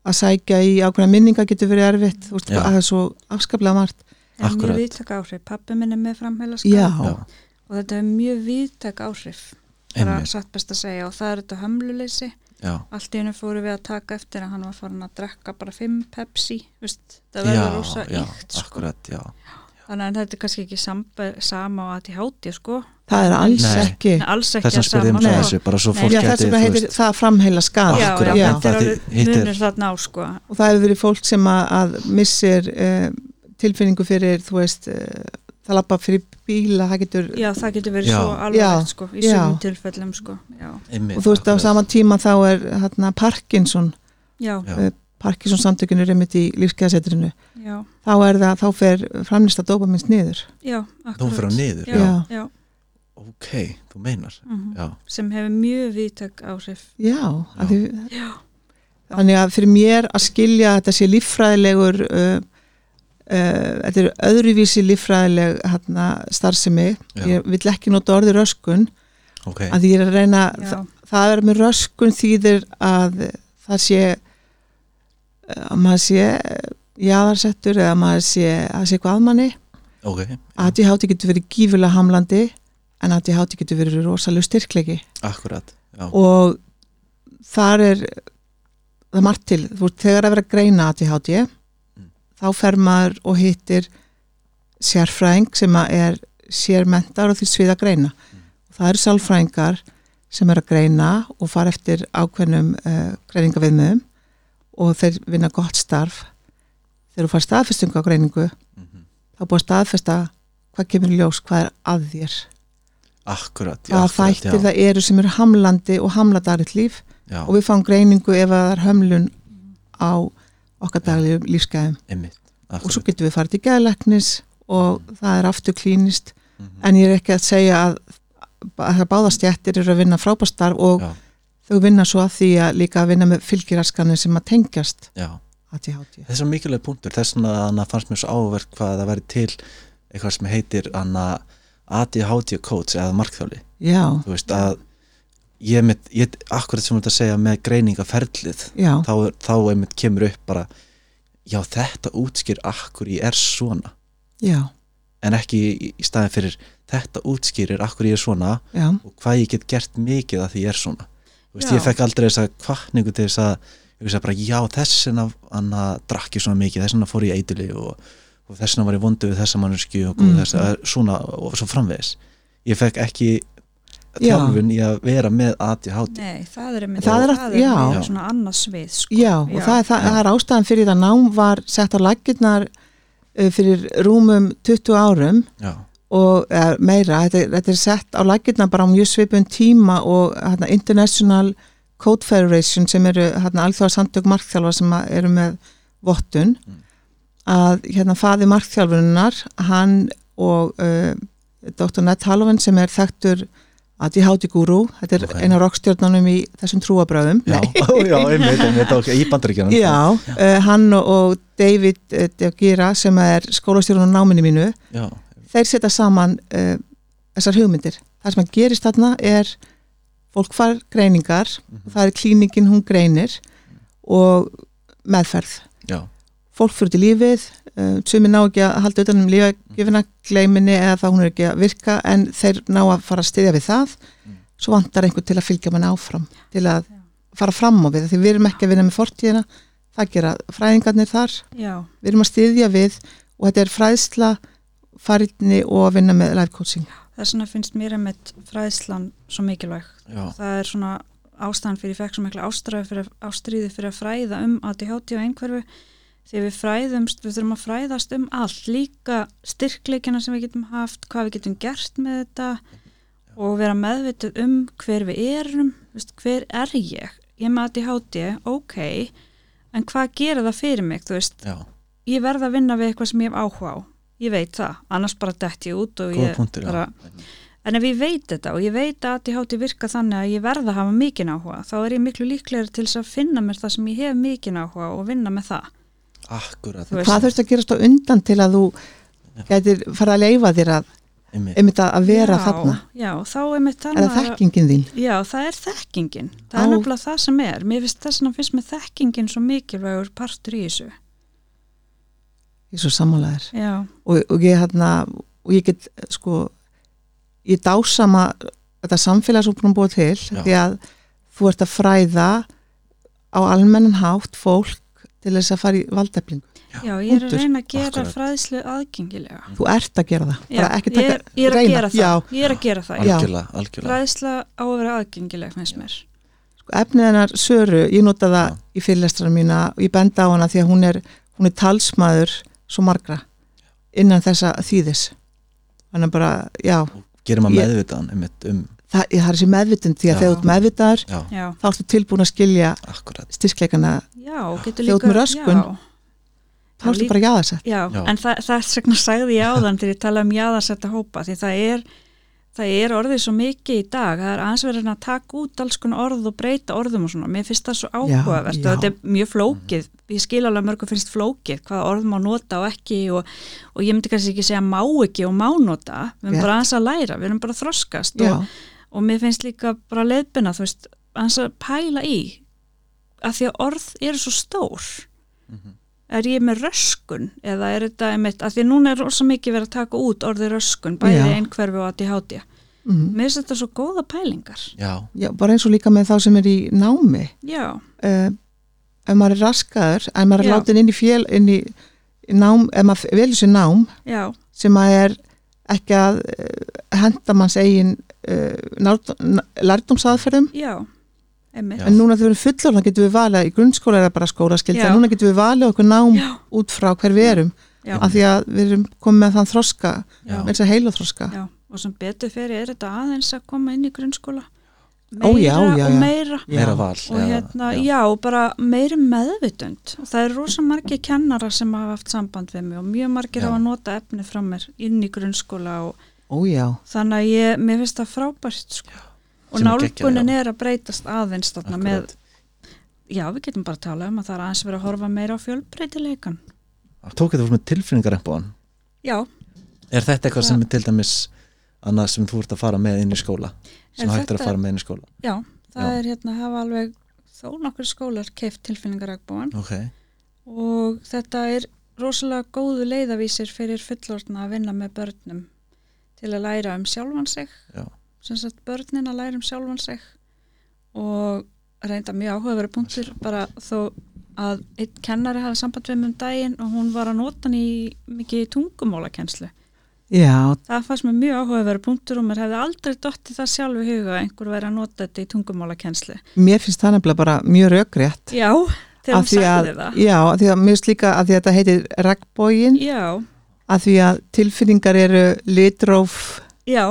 D: að sækja í ákveðna minninga getur verið erfitt, þú veist,
B: Já.
D: það er svo afskaplega margt.
A: Það er
B: Akkúrat.
A: mjög viðtak áhrif, pappi minn er með framheila
D: Já,
A: skap og þetta er mjög viðtak áhrif bara
B: einmitt,
A: satt best að segja og það er þetta hömluleysi
B: já
A: allt í hennu fóru við að taka eftir að hann var farin að drekka bara 5 Pepsi veist,
B: já,
A: það verður rosa
B: já,
A: ykt sko.
B: akkurat, já
A: þannig að þetta er kannski ekki samber, sama á að til hátíð sko
D: það er alls
B: Nei.
D: ekki.
A: en alls ekki
B: þess að
A: að
B: spyrja um
A: sama
D: Nei.
B: þessu, bara svo
A: Nei.
B: fólk
D: Já, þess
B: geti,
D: vegna
B: þú
D: heitir
B: veist,
D: það framheila
A: Já,
D: skad
A: já,
B: Akkurat,
D: já.
A: þetta er
B: Það
A: alveg
B: hittir-
A: munur þarna á sko
D: og það hefur verið fólk sem að, að missir uh, tilfinningu fyrir, þú veist, uh, það lappa fyrir bíla, það getur
A: Já, það getur verið
B: Já.
A: svo alvarlegt sko í
D: Já.
A: sumum tilfellum sko Já,
B: einmitt,
D: og þú veist á
B: akkurat.
D: sama tíma þá er hérna, Parkinson,
A: já,
B: Já.
D: eh, Parkinson samtökinu reymitt í lífskeiðasetrinu,
A: já,
D: þá er það þá fer framlista dópamins niður
A: já
B: Þú fyrir á
A: akkurat.
B: niður,
A: Já,
B: já.
D: Já.
A: já,
B: Ok, þú meinar,
A: mhm.
B: já,
A: sem hefur mjög viðtak áhrif
D: já,
B: Já.
D: já. Því,
A: Já.
D: þannig að fyrir mér að skilja að þetta sé líffræðilegur uh, uh, þetta er öðruvísi líffræðileg hérna, starfsemi
B: Já.
D: ég vill ekki nota orði röskun
B: ok
D: að því ég er að reyna,
A: Já.
D: það, það er með röskun þýðir að það sé að maður sé eh, jaðarsettur eða maður sé að sé eitthvað að manni
B: ok,
D: ADHD getur verið gífulega hamlandi en ADHD getur verið rosalega styrklegi
B: akkurat já,
D: og þar er það er margt til, þú veist, þegar að vera að greina ADHD þá fer maður og hittir sérfræðing sem að er sérmentar og því svið að greina það eru sálfræðingar sem er að greina og fara eftir ákveðnum uh, greiningaviðmiðum og þeir vinna gott starf þegar þú fara staðfestingu á greiningu
B: Mhm,
D: þá er búið að staðfesta hvað kemur í ljós, hvað er að þér
B: akkurat, já,
D: hvaða
B: akkurat,
D: þættir
B: já,
D: það eru sem eru hamlandi og hamla daglegt líf
B: já,
D: og við fáum greiningu ef að það er hömlun á okkar daglegum lífsgæðum
B: einmitt
D: og svo
B: akkurat,
D: getum við farið til geðleknis og það er aftur klínist
B: Mhm.
D: en ég er ekki að segja að, að það báðastjættir eru að vinna frábastarf og
B: Já.
D: þau vinna svo að því að líka að vinna með fylgiraskanir sem að tengjast
B: já
D: ADHD.
B: þessar mikilvæg punktur, þess vegna hana fannst mér svo áverk hvað það væri til eitthvað sem heitir hana ADHD coach eða markþjóli
D: Já,
B: þú veist að ég, mitt, ég akkurat sem þú ert að segja með greiningaferlið
D: já,
B: þá, er- þá einmitt kemur upp bara já þetta útskýr akkur ég er svona
D: já,
B: en ekki í, í staðin fyrir þetta útskýrir akkur ég er svona
D: já,
B: og hvað ég get gert mikið að því ég er svona þú veist
A: Já.
B: ég fekk aldrei þessa kvartningu til þess að ég veist að bara já þessina hann að drakk ég svona mikið þessina fór ég eitili og, og þessina var ég vondu við þessa mannsku og mm.
D: Mm.
B: þessa, svona og svo framvegis ég fekk ekki
D: Já.
B: þjálfun í að vera með ADHD
A: Nei, það er einmitt
D: Það er að- já.
A: einmitt svona annarsvið sko.
D: já og það er,
B: Já.
D: það, það er ástæðan fyrir að nám var sett á laggirnar eh, fyrir rúmum 20 árum
B: já,
D: og eða, meira, þetta, er- þetta er sett á laggirna bara á mjög svipun tíma og hérna, International Code Federation sem eru hérna, alþjóða samtök markþjálfa sem að eru með vottun
B: Mm.
D: að hérna faði markþjálfunar hann og uh, Dr. Nett Halovan sem er þekktur ADHD guru, þetta er
B: Ok.
D: okay. eina rockstjórnunum í þessum trúabröðum
B: já, já, einmitt, einmitt ok, í bandaríkjana
D: Já, uh, hann og, og David uh, Deagira sem er skólastjórun á náminni mínu
B: já,
D: þeir setja saman uh, þessar hugmyndir. Það sem að gerist þarna er fólk far greiningar, það er klíningin hún greinir og meðferð.
B: já,
D: Fólk fyrir til lífið, uh, sumi ná ekki að halda utan um lífagjöfina, gleiminni eða það hún er ekki að virka en þeir ná að fara að styðja við það
B: Mm.
D: svo vantar einhver til að fylgja mann áfram til að
A: Já.
D: fara fram á við því við erum ekki að vinna með fortíðina það gera fræðingarnir þar
A: Já,
D: við erum að styðja við og þetta er fræðsla farinni og að vinna með life coaching
A: þess vegna finnst mér einmitt fræðslan svo mikilvæg
B: já,
A: það er svona ástæðan fyrir ég fekk svo mikla ástræði fyrir, ástríði fyrir að fræða um ADHD og einhverfu því við fræðumst, við þurfum að fræðast um allt líka styrkleikina sem við getum haft, hvað við getum gert með þetta og vera meðvituð um hver við erum Vist, hver er ég? Ég er með ADHD, ok en hvað gera það fyrir mig? Þú veist,
B: já,
A: ég verð að vinna við eitthvað sem ég hef áhuga á ég veit það, annars bara dett ég út og
B: góða
A: ég
B: punktur já.
A: bara En ef ég veit þetta og ég veit að ADHD virka þannig að ég verða að hafa mikinn áhuga, þá er ég miklu líklegri til þess að finna mér það sem ég hef mikinn áhuga og vinna með það.
B: akkurat,
A: Þú veist.
D: hvað þurft að gerast á undan til að þú getur fara að leifa þér að,
B: einmitt,
D: einmitt að- að vera þarna
A: Já, þá er mitt
D: er
A: þannig
D: það þekkingin þín
A: Já, það er þekkingin. Það er
D: Á.
A: nefnilega það sem er. Mér finnst þess að finnst mér þekkingin svo mikilvægur partur í þessu.
D: í svo sammálaðir
A: Já,
D: og, og ég hérna og ég get sko ég dásama þetta samfélag sem búin búið til
B: Já.
D: því að þú ert að fræða á almennan hátt fólk til þess að fara í valdeflingu
A: já, ég er
D: Punktur.
A: að reyna að gera
B: Akkurat.
A: fræðslu aðgengilega.
D: þú ert að gera það,
A: Já,
D: bara ekki
A: ég
D: taka
A: er, ég er að
D: reyna.
A: gera það.
D: Já,
A: Ég er að gera það.
D: Já.
B: algjörlega, algjörlega
A: Fræðsla á að vera aðgengileg, finnst mér.
D: efnið hennar Söru, ég nota það
B: Já.
D: í fyrirlestrar mína og ég benda á hana því að hún er, hún er talsmaður svo margra innan þessa þýðis þannig að bara, já,
B: gerir maður
D: Ég-
B: meðvitaðan einmitt um,
D: það, það er þessi meðvitund því að
B: Já.
D: þegar þú ert meðvitaður
B: já,
A: Já,
D: þá ertu tilbúin að skilja
B: akkurat
D: styrkleikana
A: já, getur
D: Þú ert
A: líka...
D: með röskun.
A: Já.
D: þá ertu bara jáðarsett
A: Já,
B: Já.
A: en það, það er segna sagði ég áðan þegar ég talaði um jáðarsetta hópa því það er, það er orðið svo mikið í dag, það er aðeins verið að taka út alls konar orð og breyta orðum og svona mér finnst það svo áhugavert
D: já.
A: og þetta er mjög flókið, ég skil alveg að mörgum finnst flókið hvaða orð má nota og ekki og, og ég myndi kannski ekki segja má ekki og má nota, við erum
D: Rétt.
A: bara aðeins að læra við erum bara að þroskast
D: já,
A: og, og mér finnst líka bara leiðbina, þú veist hans að pæla í að því að orð eru svo stór er ég með röskun eða er þetta einmitt, að því að núna er rosa mikið verið að taka út orði röskun bæði
D: Já.
A: einhverfi og að ég hátja
D: Mm.
A: mér finnst þetta svo góða pælingar
B: já,
D: Já, bara eins og líka með þá sem er í námi.
A: já,
D: Uh, ef maður er raskaður, ef maður er
A: Já.
D: látin inn í fél, inn í nám, ef maður velur sér nám
A: já,
D: sem maður er ekki að uh, henda manns eigin uh, lærdomsaðferðum.
A: já einmitt,
B: Já.
D: En núna þegar við erum fullorðan getum við valið, í grunnskóla er það bara skólaskylda,
A: Já.
D: núna getum við valið okkur nám
A: Já.
D: út frá hver við erum,
A: já,
D: af því að við erum komið með þann þroska,
B: já,
D: með þess að heila þroska.
A: já og sem betur fyrir er þetta aðeins að koma inn í grunnskóla meira
D: Ó, já, já, já.
A: og meira
B: meira val
A: og
B: eða-
A: hérna, já, bara meiri meðvitund og það eru rosa margir kennara sem hafa haft samband við mig og mjög margir
B: Já.
A: hafa nota efni frá mér inn í grunnskóla og
D: Ó já,
A: þannig að ég, mér finnst það frábært sko. og
B: Sem er geggjað,
A: nálgunin
B: já.
A: er að breytast aðeins þarna með,
B: Akkurat.
A: já, við getum bara að tala um að það er aðeins verið að horfa meira á fjölbreytileikan
B: tók þetta fólk með tilfinningar á hann
A: já,
B: er þetta eitthvað
A: Það-
B: sem er til dæmis annað sem þú ert að fara með inn í skóla sem
A: Er
B: hægt er að
A: þetta-
B: fara með inn í skóla
A: já, það
B: Já.
A: er hérna hafa alveg þó nokkur skólar keift tilfinningarækbúan
B: ok,
A: og þetta er rosalega góðu leiðavísir fyrir fullorðna að vinna með börnum til að læra um sjálfan sig
B: Já.
A: sem sagt börnin að læra um sjálfan sig og reynda mjög áhugaveru punktur bara þó að einn kennari hafði samband við mig um daginn og hún var að nota hann í mikið tungumólakenslu
D: já,
A: það fannst mér mjög áhugaveru punktur og mér hefði aldrei dotti það sjálfu huga að einhver væri að nota þetta í tungumólakenslu
D: mér finnst það nefnilega bara mjög rökrétt.
A: já, þegar
D: Af
A: hún
D: því að,
A: sagði það
D: já, af því að mér finnst líka að því að þetta heitir regnbógin,
A: já,
D: að því að tilfinningar eru litróf
A: já,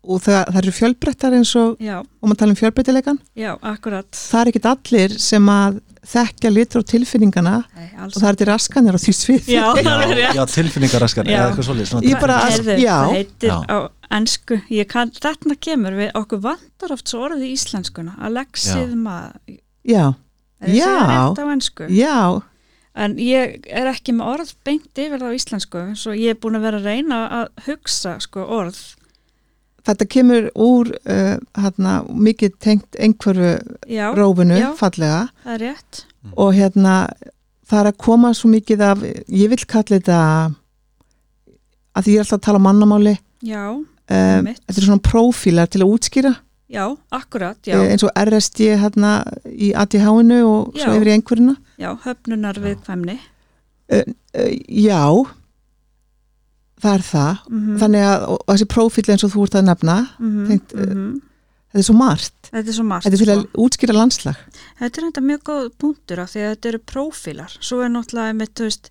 D: og það, það eru fjölbrettar eins og,
A: já,
D: og maður tala um fjölbrettilegan,
A: já, akkurat
D: það er ekkit allir sem að þekkja litróf tilfinningana
A: Nei,
D: og það er til raskanir á því sviði.
A: Já, það
B: já,
A: er rétt.
B: já tilfinningar raskar
A: Já.
B: eða eitthvað svolítið svona
D: Ég bara-
A: Heyrðu,
D: já.
A: það heitir
B: Já.
A: á ennsku, ég kann, þarna kemur við okkur vantar oft svo orðið í íslenskuna Alexið maður
D: Já,
A: er ég að segja
D: Já.
A: rétt á ennsku
D: já,
A: en ég er ekki með orð beint yfir það á íslensku svo ég er búin að vera að reyna að hugsa sko, orð
D: þetta kemur úr uh, hana, mikið tengt einhverju
A: já,
D: rófinu
A: já.
D: fallega
A: það er rétt
D: og hérna það er að koma svo mikið af ég vil kalla þetta að því ég er alltaf að tala um mannamáli
A: já,
D: uh,
A: Einmitt.
D: þetta er svona prófílar til að útskýra
A: já, akkurat, já,
D: uh, eins og RSD hérna í ADH-inu og
A: Já.
D: svo yfir í einhverjuna
A: já höfnunar viðkvæmni
D: uh, já það er það
A: Mhm,
D: þannig að og, og þessi prófíl eins og þú ert að nefna
A: mhm,
D: tengt, eh,
A: mhm.
D: þetta er svo margt
A: Þetta er svo margt
D: þetta er til
A: sko.
D: að útskýra landslag
A: Þetta er þetta mjög góð punktur af því að þetta eru prófílar. Svo er náttúrulega með, þú veist,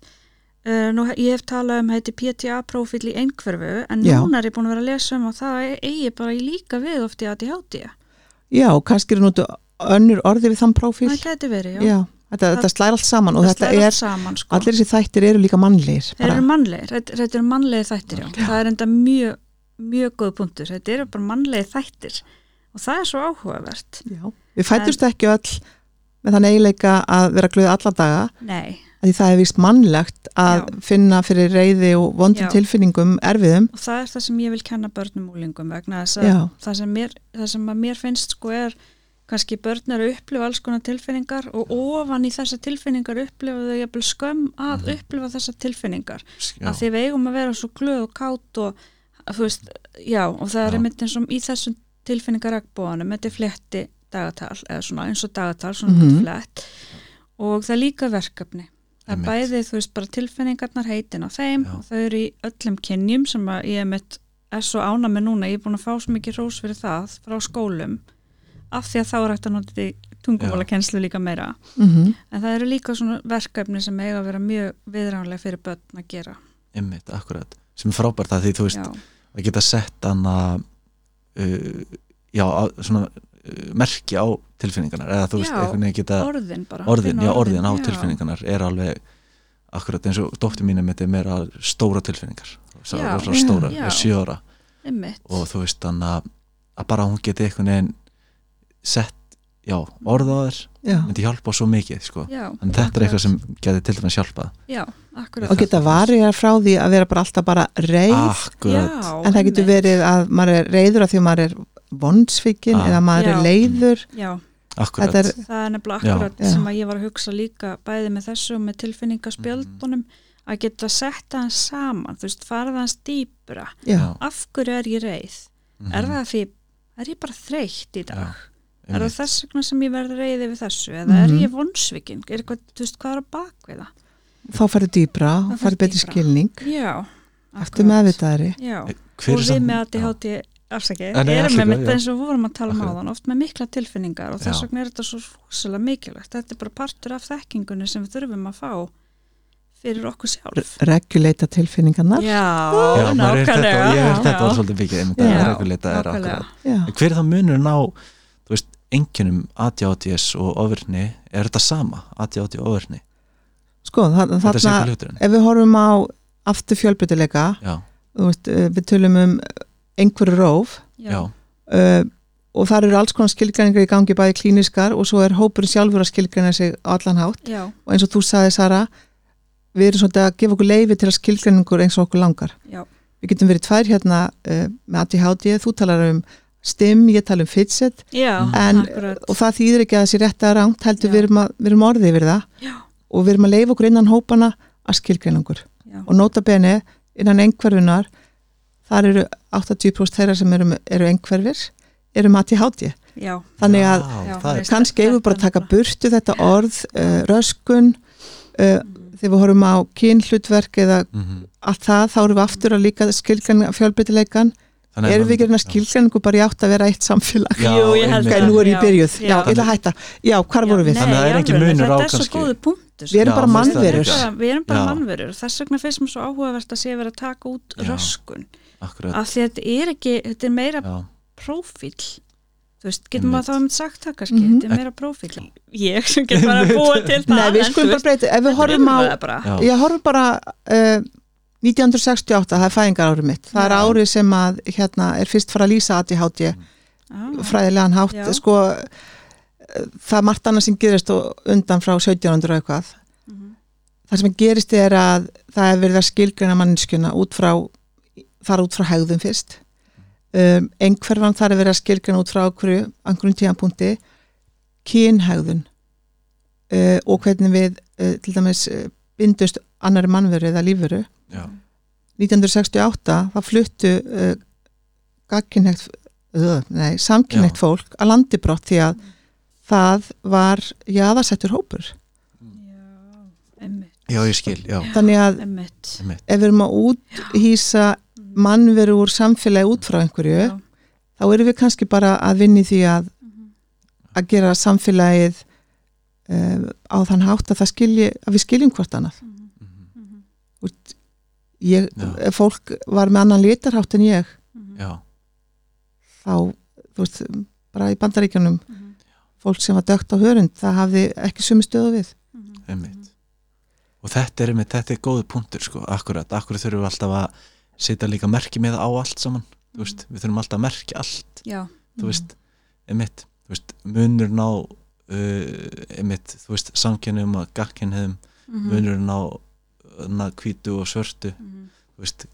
A: uh, nú, he- ég hef talað um heiti PTA-prófíl í einhverfu en
D: Já.
A: núna er ég búin að vera að lesa um að það e- eigi bara í líka við oft í ADHD.
D: já, og kannski er nút önnur orði við þann prófíl
A: Það gæti verið, já.
D: já, þetta, þetta slæðir allt saman og
A: það
D: þetta
A: slær
D: er
A: allt saman, sko.
D: allir þessi þættir eru líka mannlegir
A: Þeir
D: bara.
A: eru mannlegir, þetta, þetta eru mannlegir þættir, já. Það er enda mjög, mjög góð punktur. Þetta eru bara mannlegir þættir og það er svo áhugavert.
D: Já. Við fættumst ekki öll með þann eiginleika að vera glöð alla daga
A: Nei,
D: af því það er vist mannlegt að
A: Já.
D: finna fyrir reyði og vondum
A: Já.
D: tilfinningum erfiðum.
A: og það er það sem ég vil kenna börnum úlingum vegna þess að
D: Já,
A: það sem, mér, það sem að mér finnst sko er kannski börn eru að upplifa alls konar tilfinningar og ofan í þessar tilfinningar upplifa þau jafnvel skömm að upplifa þessar tilfinningar
B: já,
A: að því við eigum að vera svo glöð og kátt og þú veist, já og það
B: Já.
A: er einmitt eins og í þessum tilfinningaragbóðanum þetta er fletti dagatal eða svona eins og dagatal, svona mm
D: Mhm.
A: flett og það er líka verkefni það er
B: Einmitt.
A: bæði, þú veist, bara tilfinningarnar heitin á þeim
B: Já.
A: og þau eru í öllum kynjum sem að ég er mitt er svo ána með núna, ég er búin að fá svo mikið rós fyrir það frá skólum af því að þá er hægt að nota þetta tungumálakenslu líka meira
D: mm
A: en það eru líka svona verkefni sem eiga að vera mjög viðránlega fyrir börn að gera
B: ymmit, akkurat sem er frábært að því þú veist
A: Já.
B: að geta sett hana uh, já, á- svona uh, merki á tilfinningarnar eða þú veist,
A: Já,
B: einhvern veginn geta
A: orðin bara
B: orðin,
A: finna
B: já, orðin á
A: já.
B: tilfinningarnar er alveg akkurat eins og dóttir mínum þetta er meira stóra tilfinningar Sá-
A: Já,
B: rosalega stóra,
A: já.
B: sjö ára
A: Einmitt.
B: og þú veist hann að, að bara hún geti einhvern veginn sett, já, orð á þér
D: já.
B: myndi hjálpa svo mikið, sko
A: já,
B: en þetta er eitthvað sem geti til dæmis hjálpað
A: já, akkurat
D: Og geta varið að frá því að vera bara alltaf bara reyð
B: Akkurat,
A: já,
D: en það getur
A: einmitt.
D: verið að maður er reyður að því að maður er vondsvikin
B: Ah.
D: eða maður
A: Já.
D: er leiður
A: Já,
B: akkurat
D: Þetta er,
A: það er nefnilega
B: Já.
A: akkurat
D: Já.
A: sem að ég var að hugsa líka bæði með þessu og með
B: Mhm.
A: tilfinningaspjöldunum að geta sett hans saman, þú veist, farið hans dýpra.
D: já,
B: Já.
A: Af hverju er ég reið?
B: Mhm.
A: Er það því, er ég bara þreytt í dag?
B: Já,
A: Er það
B: einmitt.
A: þess vegna sem ég verð reyði við þessu? Eða
D: Mhm.
A: er ég vonsvikinn? Er eitthvað, þú veist, hvað er að bak við það?
D: þá færðu dýbra
A: Þá
D: færðu
A: ferðu
D: betri
A: dýpra.
D: skilning
A: Já,
D: eftir meðvitaðari
A: Já,
B: Hver
A: og
B: er
A: við
B: samt-
A: með
B: Já.
A: ADHD afsakið,
B: Nei, nei,
A: erum
B: afsakið,
A: með mitt
B: já.
A: eins og við vorum að tala um
B: Akkurat.
A: áðan, oft með mikla tilfinningar og þess
B: Já.
A: vegna er þetta svo rúsilega mikilvægt þetta er bara partur af þekkingunni sem við þurfum að fá fyrir okkur sjálf
D: reguleita tilfinningarnar já,
A: Já,
B: Já, maður er þetta,
A: nákvæmlega
B: ég held
A: Já.
B: þetta var svolítið mikið einmitt
D: Já,
B: að reguleita er
A: nákvæmlega.
B: akkurat En hver er það munurinn á þú veist, engjunum ADHDS og ofurni, er þetta sama ADHD og ofurni?
D: sko þa-
B: Þetta er
D: þarna
B: sengur hluturinn
D: ef við horfum á aftur fjölbrytileika
B: Já,
D: þú veist, eh, við tölum um einhverju róf
B: já, já,
D: uh, og þar eru alls konar skilgreiningar í gangi bæði klíniskar og svo er hópurinn sjálfur að skilgreina sig á allan hátt
A: Já,
D: og eins og þú sagði Sara við erum svolítið að gefa okkur leifi til að skilgreiningur eins og okkur langar
A: já,
D: við getum verið tvær hérna uh, með ADHD, þú talar um STEM, ég tala um FIDSET
A: já,
D: En-
A: akkurat
D: og það þýðir ekki að það sé rétt að rangt heldur
A: Já.
D: við erum, að, við erum orðið yfir það
A: Já.
D: og við erum að leifa okkur innan hópana að skilgreiningur
A: já,
D: og nota bene innan einhverfunar þar eru 80% þeirra sem eru, eru einhverfir eru með ADHD
A: já,
D: þannig að
A: Já,
B: það
A: veist.
B: er,
D: kannski eigum við bara að taka burtu þetta orð, uh, röskun uh,
A: Mm.
D: þegar við horfum á kynhlutverk eða
B: mhm.
D: allt það, þá erum við aftur að líka skilgræna fjölbreytileikan
B: Þannig
D: erum við ekki að
B: Já.
D: skilgræningu bara í átt að vera eitt samfélag
B: Já,
A: Jú, ég
B: einmitt.
A: held
D: ok,
A: það.
D: nú er
A: Já,
D: ég byrjuð, já,
A: já.
D: ég ætla að hætta já, hvar
A: Já,
D: vorum við?
A: nei,
B: Þannig að það er
A: í
B: engin
A: alvöru,
B: munur á
A: Þetta er
B: kannski.
A: svo góðu punktur
D: Við erum
B: Já,
D: bara
B: þú veist það
A: Við erum
D: mannverur
B: líka.
A: bara- Við erum bara
B: Já.
A: mannverur, þess vegna finnst mér svo áhugavert að sé verið að taka út
B: Já.
A: röskun
B: Akkurat,
A: af því að þetta er ekki, þetta er meira
B: já,
A: prófíl þú veist, getur
B: Einmitt.
A: maður þá um sagt það kannski
D: Mhm.
A: þetta er meira prófíl ég sem get bara að búa til það
D: nei, við
A: en
D: skulum
A: þú
D: bara breyta, ef við
A: veist,
D: horfum á
A: rimlaði bara.
B: já, já,
D: ég horfum bara uh, 1968, það er fæðingar árið mitt það er
A: Já.
D: árið sem að, hérna, er fyrst fara að lýsa ADHD
A: Ah,
D: fræðilegan hátt
A: Já.
D: sko eh, það er margt annað sem gerist og undan frá 1700 og eitthvað
A: mhm.
D: það sem gerist er að það er verið að skilgrina mannskjuna út frá þar út frá hegðum fyrst um, einhverfan þar er verið að skilgrina út frá okkur, einhverjum tíðanpunkti kynhegðun uh, og hvernig við uh, til dæmis uh, bindust annari mannveru eða lífveru
B: já,
D: 1968 það fluttu uh, gagkinnhegt uh, nei, samkinnhegt fólk að landi brott því að það var jaðarsettur hópur
A: já, emmitt
B: já, ég skil, já,
D: þannig að
A: emmitt
B: einmitt,
D: ef við erum að úthýsa mannveru úr samfélagi út frá einhverju
A: Já.
D: þá erum við kannski bara að vinni því að, að gera samfélagið uh, á þann hátt að, það skilji, að við skiljum hvort annað
B: mhm,
D: ég, eh,
B: Já.
D: fólk var með annan litarhátt en ég
B: já,
D: þá, þú veist, bara í bandaríkjunum fólk sem var dögt á hörund, það hafði ekki sumu stöðu við. mhm.
B: einmitt og þetta er einmitt, þetta er góðu punktur sko, akkurat, akkurat þurfum við alltaf að setja líka merki með á allt saman
D: Mm.
B: þú veist, við þurfum alltaf að merkja allt
A: já,
B: þú veist, emitt þú veist, munur ná uh, emitt, þú veist, um samkennum og gagkinnum,
D: Mm.
A: mhm,
B: munur ná na, hvítu og svörtu
A: mhm.
B: þú veist,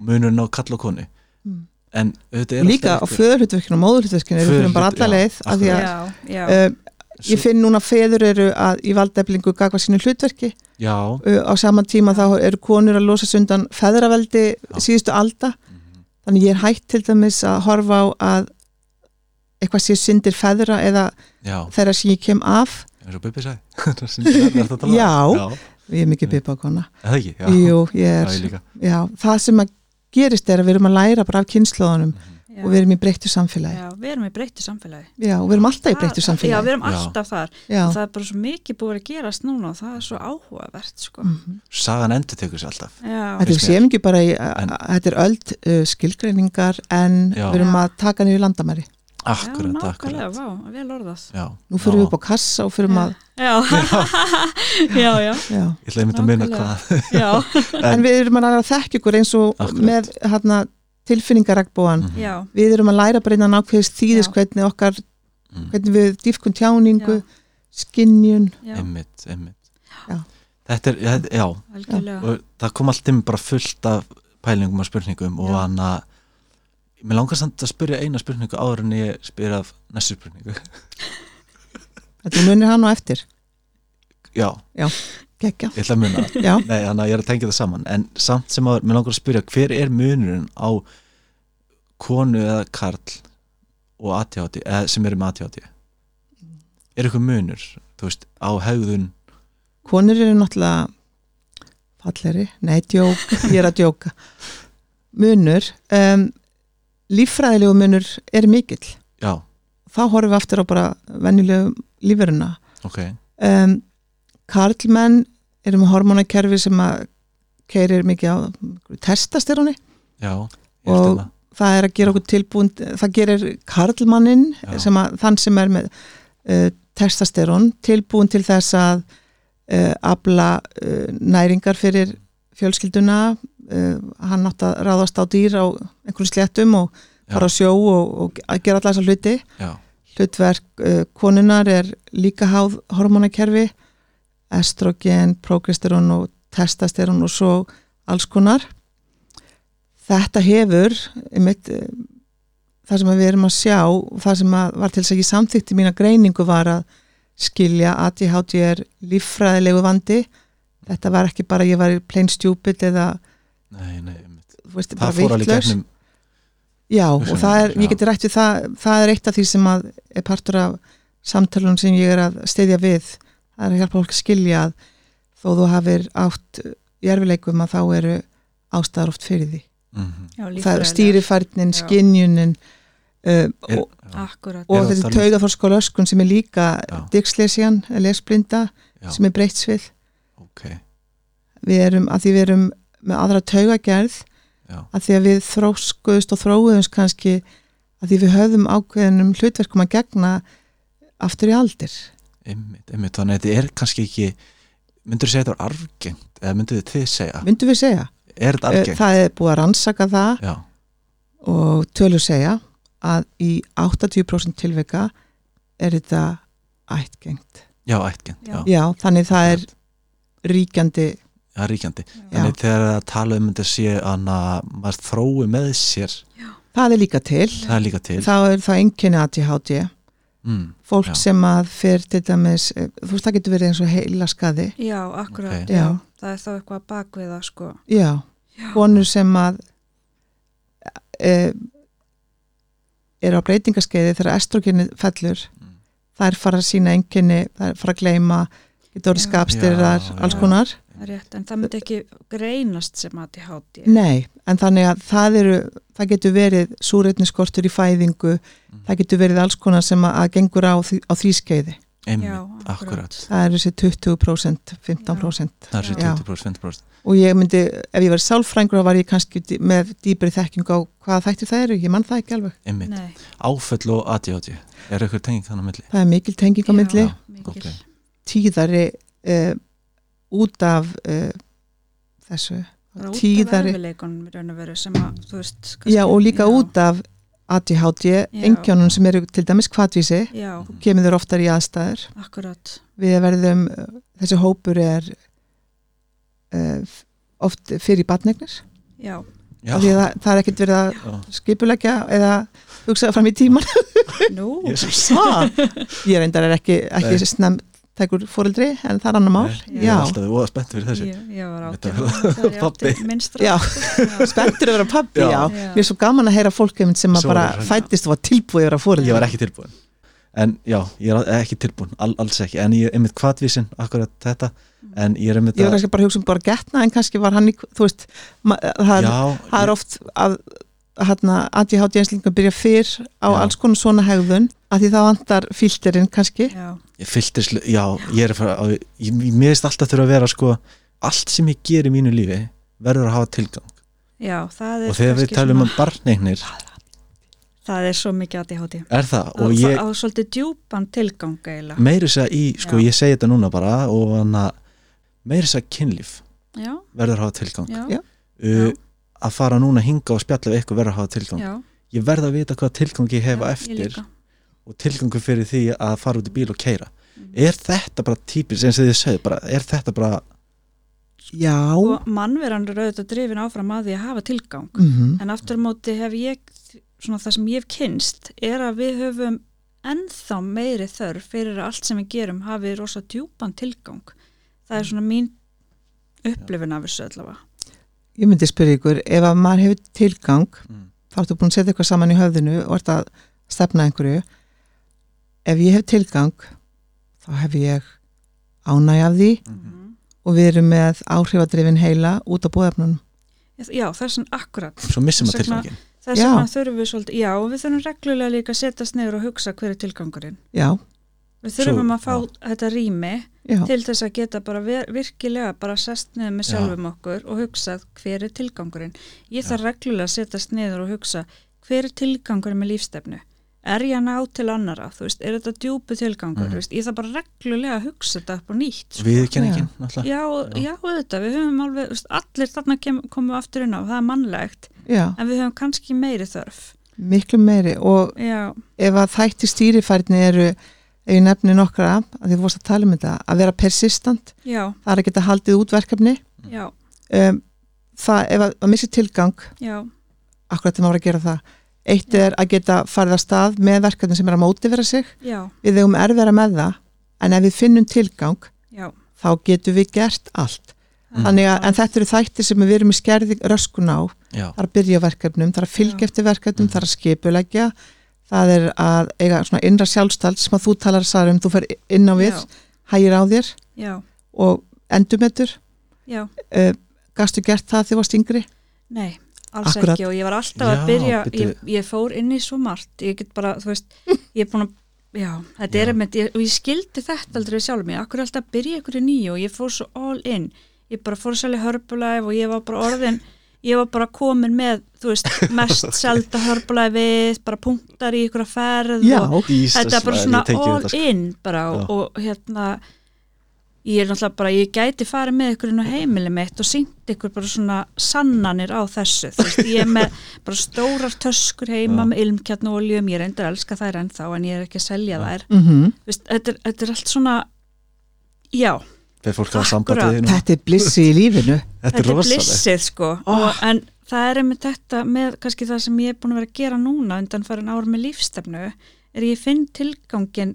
B: munur ná kall og konu
D: Mm.
B: en auðvitað
D: Og
B: er
D: líka á
B: alltaf
D: föðurhutverkinu og móðurhutverkinu erum við fyrir bara
B: Föðurhlut-
D: alla
B: já,
D: leið af því að
A: já, já,
D: uh, ég
B: svo,
D: finn núna feður eru að í valdeflingu gagva sínu hlutverki
B: já,
D: uh, á saman tíma þá eru konur að losa sundan feðraveldi síðustu alda
B: mhm,
D: þannig ég er hægt til dæmis að horfa á að eitthvað sé syndir feðra eða
B: já
D: þeirra sem ég kem af
B: eins og Bibi sagði Það er sem þetta er að tala um.
D: Já.
B: já,
D: ég er mikið bipa á kona
B: er það ekki, já,
D: Jú, ég
B: já,
D: er,
B: ég líka
D: já, það sem að gerist er að við erum að læra bara af kynnslóðunum
B: Mhm.
A: já.
D: og við erum í breyttu samfélagi
A: já, við erum í breyttu samfélagi
D: Já, og við erum alltaf í breyttu
A: Það- já, við
D: samfélagi.
A: erum
B: Já.
A: alltaf þar
D: Já,
A: það er bara svo mikið búið að gerast núna og það er svo áhugavert sko.
D: Mhm.
B: sagan endur tekur sér alltaf
A: já,
D: Þetta
B: Finnst
D: við séum ekki bara í,
B: En-
D: en, þetta er öld uh, skilgreiningar en
B: Já.
D: við erum að taka niður landamæri.
B: akkurat,
A: já, nákvæmlega,
B: akkurat
A: vá, vel orðað
B: já,
D: Nú
B: já.
D: fyrir við upp á kassa og fyrir við að,
A: já, já, já,
D: já.
B: ég ætla einmitt að minna
A: Nákvæmlega.
B: hvað
A: já,
B: En-
D: En við erum að læra að þekka ykkur eins og
B: Akkurat.
D: með hana, tilfinningaragbóan.
B: Mhm,
A: já,
D: Við erum að læra bara innan ákveðis þýðis
A: Já.
D: hvernig okkar,
B: mhm.
D: hvernig við dýfkun tjáningu, skinnjun.
A: já,
B: einmitt, einmitt
D: Já.
B: þetta er, þetta, já,
A: algjörlega
B: og það kom allt inn bara fullt af pælingum og spurningum og
A: Já.
B: hann að Mér langar samt að spyrja eina spurningu áður en ég spyr af næstu spurningu.
D: Þetta munir hann á eftir,
B: Já,
D: gekkja.
B: ég ætla að muna. það.
D: Já,
B: Nei, þannig að ég er að tengja það saman. En samt sem áður, mér langar að spyrja, hver er munurinn á konu eða karl og ATHT, eða sem eru með ATHT? Er eitthvað munur, þú veist, á hegðun?
D: konur eru náttúrulega falleri, nei, djók, ég er að djóka. Munur, um, líffræðilegu munur er mikill.
B: Já,
D: Þá horfum við aftur á bara venjulegu lífurina.
B: ok,
D: um, karlmenn eru með hormonakerfi sem að keirir mikið á testasteróni
B: já, ég er
D: Og-
B: stilla.
D: það er að gera okkur tilbúin það gerir karlmannin
B: Já.
D: sem að, þann sem er með uh, testasterón tilbúin til þess að uh, afla uh, næringar fyrir fjölskylduna uh, hann átt að ráðast á dýr á einhverjum sléttum og
B: Já.
D: fara á sjó og, og að gera allar þessa hluti
B: Já,
D: hlutverk uh, konunar er líka háð hormonakerfi estrogen, progesterón og testosterón og svo alls konar þetta hefur einmitt, uh, það sem við erum að sjá og það sem að var til þess að ég samþykti mína greiningu var að skilja ADHD er líffræðilegu vandi þetta var ekki bara ég var plain stupid eða
B: nei, nei, einmitt.
D: þú veist, bara
B: það fór alveg
D: vitlaus.
B: gegnum,
D: Já, og
B: Hugsanir,
D: það er,
B: já.
D: ég geti rætt við það, það er eitt af því sem að er partur af samtalunum sem ég er að steyðja við, það er að hjálpa fólk að skilja að þó þú hafir átt í erfileikum að þá eru ástæðar oft fyrir því.
B: mm
A: Já,
D: Það er
A: líffræðilega.
D: stýrifærnin,
A: Já.
D: skynjunin uh,
B: er,
D: og,
B: já,
A: Akkurat.
B: Erum
D: og
B: við að
D: þessi
B: tala um-
D: taugaforskóla öskun sem er líka
B: Já.
D: dykslesian, lesblinda,
B: Já.
D: sem er breytt svið.
B: ok,
D: Við erum, að því við erum með aðra taugagerð
B: já,
D: að því að við þróskuðust og þróuðumst kannski að því við höfðum ákveðinum hlutverkum að gegna aftur í aldir.
B: einmitt, einmitt, þannig að þetta er kannski ekki, myndur þú segja þetta var arfgengt, eða myndur þið segja,
D: Myndum við segja?
B: er þetta
D: Eh,
B: arfgengt?
D: Það er búið að rannsaka það
B: já,
D: og tölur segja að í 80% tilvika er þetta ættgengt.
B: já, ættgengt, já,
A: Já.
D: Já, þannig það er ríkjandi
B: það er ríkjandi,
A: Já.
B: þannig þegar það tala um þetta sé að maður þrói með sér,
D: það er líka til.
B: það er líka til,
D: Þá er það enginni ADHD.
B: mm,
D: Fólk
B: Já.
D: sem að fer til dæmis, eh, þú veist það getur verið eins og heila skadi.
A: Já, akkurat.
B: Ok.
A: Já.
D: Já.
A: Það er þá eitthvað bak við það, sko.
D: Já, konur sem að e, eru á breytingaskeiði þegar estrogenið fellur
B: Mm.
D: þær fara að sína enginni þær fara að gleyma, getur orðið
A: Já.
D: skapstyrar
B: Já,
D: alls
A: já.
D: konar,
A: Það er Rétt, en það myndi ekki greinast sem ADHD.
D: nei en þannig að það eru, það getur verið súreitniskortur í fæðingu
B: Mm.
D: það getur verið alls konar sem að, að gengur á því, á því skeiði,
A: Já,
B: einmitt,
A: akkurat.
B: akkurat,
D: það eru þessi 20% 15%
B: það er sér
D: Já.
B: 20%, 20%,
D: og ég myndi, ef ég var sálfrængur þá var ég kannski dý- með dýpri þekkingu á hvað þættir það eru, ég mann það ekki alveg
B: einmitt,
A: Nei,
B: áföll og ADHD, er eitthvað tengið þannig að milli?
D: Það er mikil tenging á
A: Já.
D: milli,
B: Já.
A: mikil.
B: Ok.
D: tíðari uh, út af uh, þessu.
A: Það er út af
D: Tíðari.
A: erfiðleikunum í raun og veru sem að, þú veist, kannski-
D: Já, og líka út af ADHD, engjónum sem eru til dæmis kvatvísi,
A: Já,
D: kemur þurr oftar í aðstæður.
A: akkurat.
D: Við verðum, eh, þessi hópur er uh, oft fyrir batnegnir,
A: Já,
B: Já,
D: af því að það, það er ekkert verið að
B: já,
D: skipulegja eða hugsa fram í tíman.
A: nú,
B: Jesus,
D: Ha! Ég reyndar er ekki, ekki snemt tekur fóreldri, en það er annar mál.
B: Nei, ég er
D: Já,
B: alltaf voða spennt fyrir þessu,
A: ég, ég var
B: Þetta
A: átján
B: var-
A: ára þegar ég
B: Pabbi.
A: átti minnstra.
D: Já.
A: Já.
D: spenntur að vera pappi,
B: Já.
D: já.
A: Já.
D: Mér er svo gaman að heyra fólk einmitt sem að
B: Svo
D: bara
B: er það.
D: fættist og var tilbúið að vera fórið.
B: ég var ekki tilbúin en já, ég er ekki tilbúin all, alls ekki, en ég er einmitt kvatvísin akkurat þetta, en ég er einmitt
D: Mm. Ég var
B: að-
D: kannski bara að hugsa um bara að getna en kannski var hann, í, þú veist, ma- það,
B: já,
D: það
B: ég,
D: er oft að hérna, ADHD einslingum byrja fyrr á
B: Já.
D: alls konar svona hegðun að því það vantar filterinn kannski.
A: Já,
B: ég fylltir já, ég er að fara, á- ég, ég miðist alltaf þurfa að vera sko, allt sem ég ger í mínu lífi verður að hafa tilgang
A: já, það er
B: og þegar við
A: kannski
B: talum
A: svona-
B: um barneignir
A: Það er svo mikið ADHD.
B: er það,
A: Og
B: og ég
A: Á svolítið djúpan tilgang eiginlega.
B: meiri þess að í, sko,
A: Já.
B: ég segi þetta núna bara og hann að meiri þess að kynlíf
A: Já,
B: verður að hafa tilgang
A: já,
D: Já.
B: uh, að fara núna hinga og spjalla við eitthvað verður að hafa tilgang
A: já.
B: ég verð að vita hvað tilgang ég hefa
A: já,
B: eftir
A: Ég líka.
B: og tilgangu fyrir því að fara út í bíl og keira
A: Mm.
B: er þetta bara típis eins og þið segðu bara, er þetta bara
D: Já.
A: Og mannveran er auðvitað drifin áfram að því að hafa tilgang.
D: Mhm.
A: En aftur á móti hef ég svona það sem ég hef kynst er að við höfum ennþá meiri þörf fyrir að allt sem við gerum hafi rosa djúpan tilgang það er svona mín upplifin af þessu allavega
D: Ég myndi spyrja ykkur, ef að maður hefur tilgang,
B: Mm.
D: þá ertu búin að setja eitthvað saman í höfðinu og ert að stefna einhverju. Ef ég hef tilgang, þá hef ég ánæg af því og við erum með áhrifadrifin heila út á búðefnunum.
A: Já, það er svona akkurat
B: Svo missum við
A: Þess vegna-
B: tilfangin
A: þess að
D: Já.
A: maður þurfum við svolítið, já, og við þurfum reglulega líka að setjast neyður og hugsa hver er tilgangurinn
D: Já,
A: við þurfum
B: Svo-
A: að fá þetta rými
D: já,
A: til þess að geta bara ver, virkilega bara sest niður með
B: Já.
A: sjálfum okkur og hugsað hver er tilgangurinn ég þarf reglulega að setjast niður og hugsa hver er tilgangurinn með lífstefnu er ég að ná til annara, þú veist, er þetta djúpu tilgangur,
B: Mhm.
A: þú veist, ég þarf bara reglulega að hugsa þetta upp og nýtt sko.
B: Viðkenningin, náttúrulega
A: já, og- já, auðvitað, við höfum alveg þú veist, allir þarna kem, komum aftur inn á, það er mannlegt
D: já,
A: en við höfum kannski meiri þörf
D: miklu meiri og
A: já,
D: ef að þætti stýrifærni eru ef ég nefni nokkra, að því þú vorst að tala um þetta að vera persistant,
A: já,
D: það er að geta haldið út verkefni
A: já,
D: um, það, ef að, að missi tilgang
A: já
D: akkurat þegar maður er að gera það eitt er að geta farið að stað með verkefni sem er að móti vera sig,
A: já,
D: við eigum erfera með það en ef við finnum tilgang
A: já
D: þá getum við gert allt
B: Mm.
D: þannig að en þetta eru þætti sem við erum í skerði röskun á,
B: Já,
D: það er að byrja á verkefnum það er að fylgja
A: Já.
D: eftir verkefnum,
B: Mhm.
D: það er að skipulegja það er að eiga svona innra sjálfstald sem að þú talar sær um, þú fer inn á við
A: já,
D: hægir á þér
A: já,
D: og endumetur
A: já,
D: gastu gert það þegar þú varst yngri
A: nei alls
D: Akkurat.
A: ekki og ég var alltaf
B: Já,
A: að byrja
B: bíddu.
A: ég, ég fór inn í svo margt ég get bara, þú veist, ég er búin að já, þetta
B: Já.
A: er einmitt, ég, og ég skildi þetta aldrei sjálf mig, akkur er alltaf að byrja ykkur í nýju og ég fór svo all in ég bara fór að selja hörpulæf og ég var bara orðin ég var bara komin með, þú veist, mest selda hörpulæfið, bara punktar í ykkur að ferð og
B: Jesus,
A: þetta er bara
B: maður,
A: svona
B: ég tengi við
A: all
B: þetta, sko.
A: in bara og,
B: Já.
A: og hérna ég er náttúrulega bara, ég gæti farið með ykkur inn á heimili mitt og sínt ykkur bara svona sannanir á þessu þú veist, ég er með bara stórar töskur heima
B: Já.
A: með ilmkjarn og oljum, ég reyndar að elska þær ennþá en ég er ekki að selja þær
D: mm -hmm.
A: Þú veist, þetta, er, þetta er allt svona já,
B: Þegar fólk hafa
A: Akkurat.
B: sambandið þínu
D: þetta er blissi í lífinu
B: Þetta er rosalegt
A: blissið sko og, en það er einmitt þetta með kannski það sem ég er búin að vera að gera núna undan farin ára með lífstefnu er ég finn tilgangin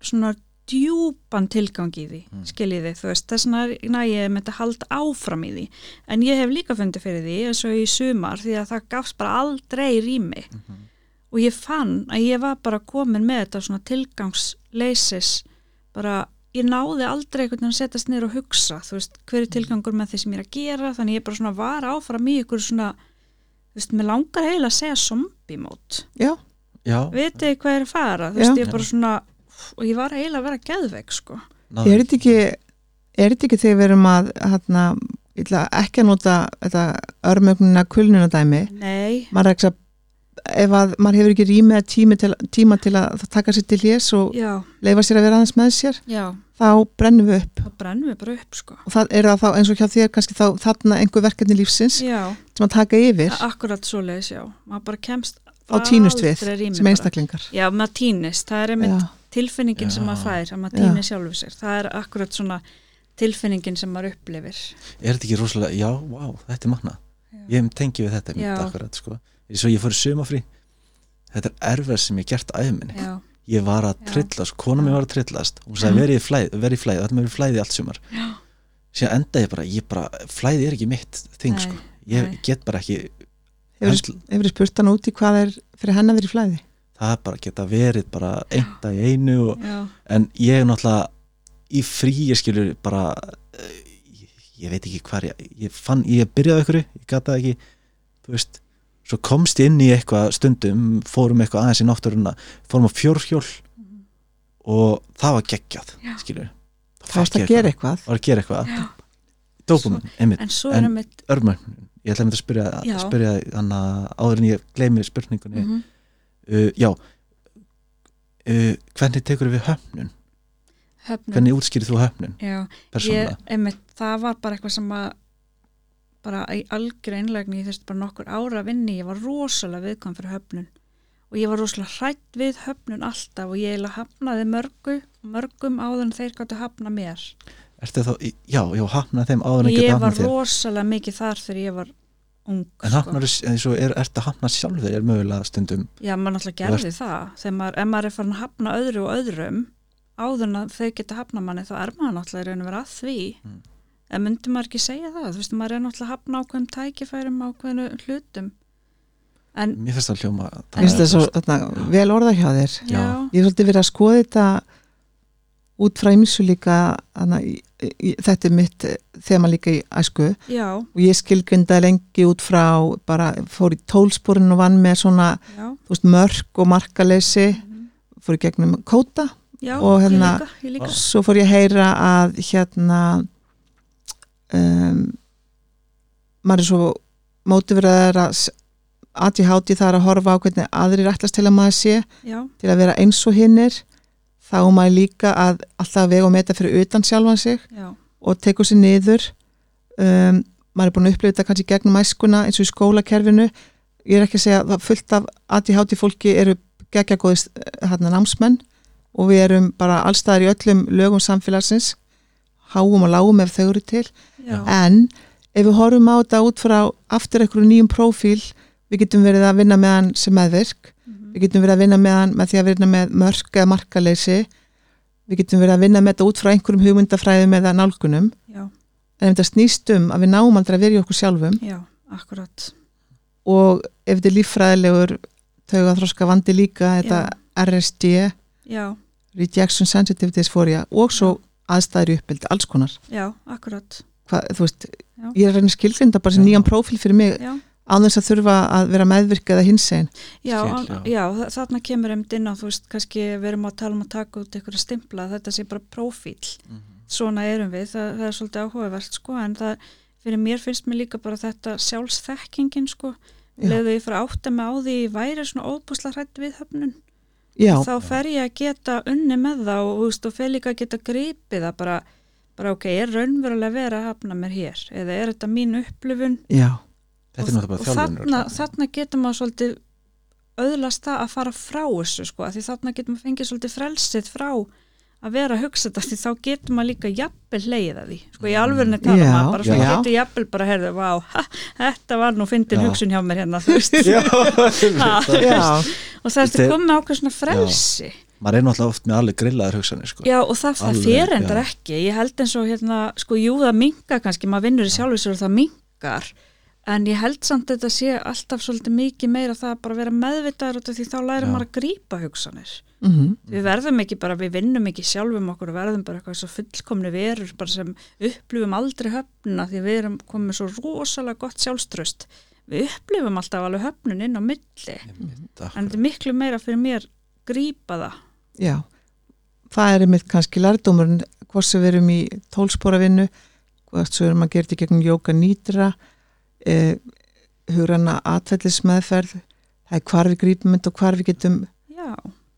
A: svona djúpan tilgang í því mm. skiljiði, þú veist, þess vegna næ ég með þetta halda áfram í því en ég hef líka fundið fyrir því eins og í sumar því að það gafst bara aldrei rými
B: Mhm.
A: og ég fann að ég var bara komin með þetta svona tilgangsleysis bara ég náði aldrei einhvern veginn að setjast niður og hugsa þú veist, hver
D: Mm.
A: er tilgangur með því sem ég er að gera þannig ég bara svona var áfram í ykkur svona þú veist, mér langar heila að segja zombimót,
D: já,
B: Já,
A: vitið þið hvað ég er að fara þú
D: Já.
A: veist, ég bara svona og ég var heila að vera geðveik sko
B: náður.
D: er þetta ekki er þetta ekki þegar við erum að hérna, ég ætla ekki að nota þetta örmögnina kulnunadæmi
A: nei,
D: maður er ekki að ef að maður hefur ekki rými eða tíma til, tíma til að taka sér til hés og
A: já,
D: leifa sér að vera aðeins með sér
A: já
D: þá brennum við upp
A: það brennum við bara upp sko
D: og það er það þá eins og hjá þér kannski þá þarna einhver verkefni lífsins
A: já,
D: sem að taka yfir
A: akkurat svoleiðis, já maður bara kemst
D: á tínust við
A: aldrei rými
D: sem
A: bara.
D: einstaklingar
A: já, maður tínist, það er einmitt
D: já,
B: Já.
A: tilfinningin sem maður fær að maður
D: Já.
A: týnir sjálfu sér, það er akkurat svona tilfinningin sem maður upplifir
B: Er þetta ekki rosalega, já, vá, þetta er magna Ég tengi við þetta
A: Já.
B: mitt akkurat sko. Svo ég fór í sumafrí Þetta er erfið sem ég gert æfuminni
A: já,
B: Ég var að
A: Já.
B: trillast, kona mér var að trillast Hún sagði,
D: Já.
B: verið í flæði, verið í flæði, þetta verið í flæði allt sumar
A: já,
B: Síðan endaði ég bara, ég bara, flæði er ekki mitt þing
A: Nei,
B: sko Ég
A: nei.
B: get bara ekki
D: hefur, hefur spurt hann úti hvað er fyrir henn að vera í flæði
B: Það er bara geta verið bara einn dag í einu og,
A: já,
B: en ég er náttúrulega í frí, ég skilur bara eh, ég, ég veit ekki hvar ég, ég fann, ég byrjaði ykkur ég gata ekki, þú veist svo komst ég inn í eitthvað stundum fórum eitthvað aðeins í náttúruna fórum á fjórhjól
A: Mhm.
B: og það var geggjað,
A: Já.
B: skilur
D: þá varst að gera eitthvað
B: var að gera eitthvað,
A: já.
B: dópum einmitt,
A: en svo er
B: En-
A: einmitt
B: örmörn ég ætla að mynda að spyrja,
A: Já.
B: spyrja hann að áður en ég gleymi spurningunni
A: mhm.
B: uh, já uh, hvernig tekur við höfnun
A: höfnun
B: hvernig útskýrið þú höfnun
A: já, ég,
B: persónulega
A: einmitt, það var bara eitthvað sem að bara í algjör einlægni ég þurfti bara nokkur ára að vinni ég var rosalega viðkvæm fyrir höfnun og ég var rosalega hrætt við höfnun alltaf og ég eiginlega hafnaði mörgu mörgum áður en þeir gáttu hafna mér
B: Ertu þá, í- já, já, hafna þeim áður en
A: ég
B: geta
A: var
B: hafna þér
A: rosalega mikið þar þegar ég var ung
B: en hafnar, eins og er, ertu að hafna sjálfur er mögulega stundum
A: Já, maður náttúrulega
B: Þú
A: gerði það þegar maður, ef maður er farin að hafna öðru og öðrum áður en að þau geta hafna manni þá er maður náttúrulega í raun og vera að því
B: Mm.
A: en myndi maður ekki segja það þú veist, maður er náttúrulega að hafna ákveðum tækifærum ákveðinu hlutum en
B: mér finnst það hljóma
D: Mér finnst það svo þarna, vel orða hjá þér
A: já,
B: Já.
D: ég er svolítið verið að skoða þetta út frá ymsu líka hana, í, í, þetta er mitt eh, þema líka í æsku
A: já,
D: og ég skilgrindaði lengi út frá bara fór í tólsporin og vann með svona
A: já,
D: þú veist, mörk og markaleysi fór í gegnum kóta
A: já
D: Og hérna-
A: ég líka, ég líka.
D: svo fór ég að heyra að hérna um, maður er svo mótiverðar að aðti háti það er að horfa á hvernig aðrir ætlast til að maður sé
A: já,
D: til að vera eins og hinnir þá á maður líka að alltaf vega og meta fyrir utan sjálfan sig
A: já,
D: og tekur sér niður um, maður er búin að upplifa þetta kannski gegnum æskuna eins og í skólakerfinu ég er ekki að segja að það fullt af ADHD fólki eru geggja góðist hérna, námsmenn og við erum bara allstaðar í öllum lögum samfélagsins háum og lágum ef þau eru til
A: já,
D: en ef við horfum á þetta út frá aftur einhverju nýjum prófíl við getum verið að vinna með hann sem meðvirk
A: mhm,
D: við getum verið að vinna með hann með því að vinna með mörk eða markaleysi við getum verið að vinna með þetta út frá einhverjum hugmyndafræðum eða nálgunum
A: já,
D: en ef þetta snýst um að við náum aldrei að vera í okkur sjálfum
A: já, akkurat
D: og ef þetta er líffræðilegur tauga þroska vandi líka þetta RSD,
A: já,
D: Rejection Sensitivity Dysphoria og svo aðstæður í uppbyldi, alls konar
A: já, akkurat
D: Hva, þú veist,
A: Já.
D: ég er að reyna skilgrinda bara sem
B: Já.
D: nýjan prófíl fyrir mig
A: já,
D: án þess að þurfa að vera meðvirkað að hinsegin
A: Já,
B: Skil,
A: án-
B: já.
A: já, þa- þarna kemur einmitt inn á, þú veist, kannski við erum að tala um að taka út ykkur að stimpla, þetta sé bara prófíl, svona erum við, það, það er svolítið áhugavert, sko, en það, fyrir mér finnst mér líka bara þetta sjálfsþekkingin, sko,
D: Já.
A: leðu ég fyrir átta mig á því ég væri svona óbúsla hrætt við höfnun,
D: já,
A: þá fer ég að geta unni með það og, þú veist, og fer líka að geta gripið það bara, bara ok, er raunverulega verið að hafna mér hér, eða er þetta mín upplifun
D: já,
B: þetta er náttúrulega bara sko.
A: og þarna,
B: þjálfunur
A: þarna getur maður svolítið öðlast það að fara frá þessu sko, af því þarna getur maður fengið svolítið frelsið frá að vera að hugsa þetta af því þá getur maður líka jafnvel leiða því sko
B: Mm.
A: í alvörinu tala
D: Já,
A: maður bara svona
D: já.
A: getur jafnvel bara að herðu, vá, ha, þetta var nú fyndin
B: Já.
A: hugsun hjá mér hérna þú veist.
D: já,
A: og það er
B: Þetta
A: að
B: er-
A: koma með ákveð svona frelsi
B: maður er náttúrulega oft með alveg grillaðar hugsanir sko.
A: Já og það, það
B: Alveg,
A: fer endar
B: já.
A: ekki ég held eins og hérna, sko jú það mingar kannski, maður vinnur í sjálfur sér og það mingar en ég held samt að þetta sé alltaf svolítið mikið meira það að bara vera meðvitaður út af því þá lærir
B: Já. Mhm.
A: maður að grípa hugsanir
D: mm
A: við verðum ekki bara, við vinnum ekki sjálfum okkur og verðum bara eitthvað svo fullkomni verur bara sem upplifum aldrei höfnuna því við erum komið svo rosalega gott sjálfströst við upplifum alltaf alveg höfnun inn á milli en þetta er miklu meira fyrir mér grípa það
D: já það er einmitt kannski lærdómurinn hvort sem við erum í tólsporavinnu hvort sem við erum að gera þetta í gegnum jóka nýtra eh, hugranna atfellismeðferð það er hvar við grípum þetta og hvar við getum
A: já,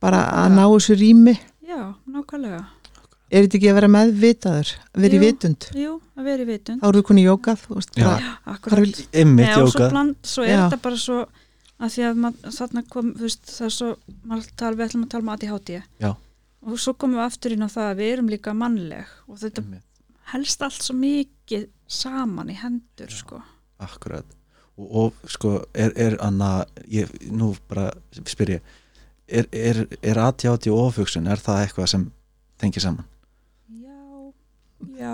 D: bara að
A: Já.
D: ná þessu rými
A: já, nákvæmlega
D: er þetta ekki að vera meðvitaður að vera í
A: Jú.
D: vitund
A: Jú, að vera í vitund
D: þá eru við konu í jóka þú veist,
B: Já.
D: bara,
A: Akkurat.
D: vil-
B: ymmið
A: Nei, og svo,
B: jóka
A: bland, svo er
D: Já.
A: þetta bara svo að því að mað, þarna kom þú veist, það er svo, maður tala, við ætlum að tala um ADHD
B: Já.
A: og svo komum við aftur inn á það að við erum líka mannleg og þetta
B: Einmitt,
A: helst allt svo mikið saman í hendur sko.
B: akkurat og, og sko er, er anna ég, nú bara spyr ég er, er, er aðjáti og ofhugsun er það eitthvað sem tengir saman
A: já, já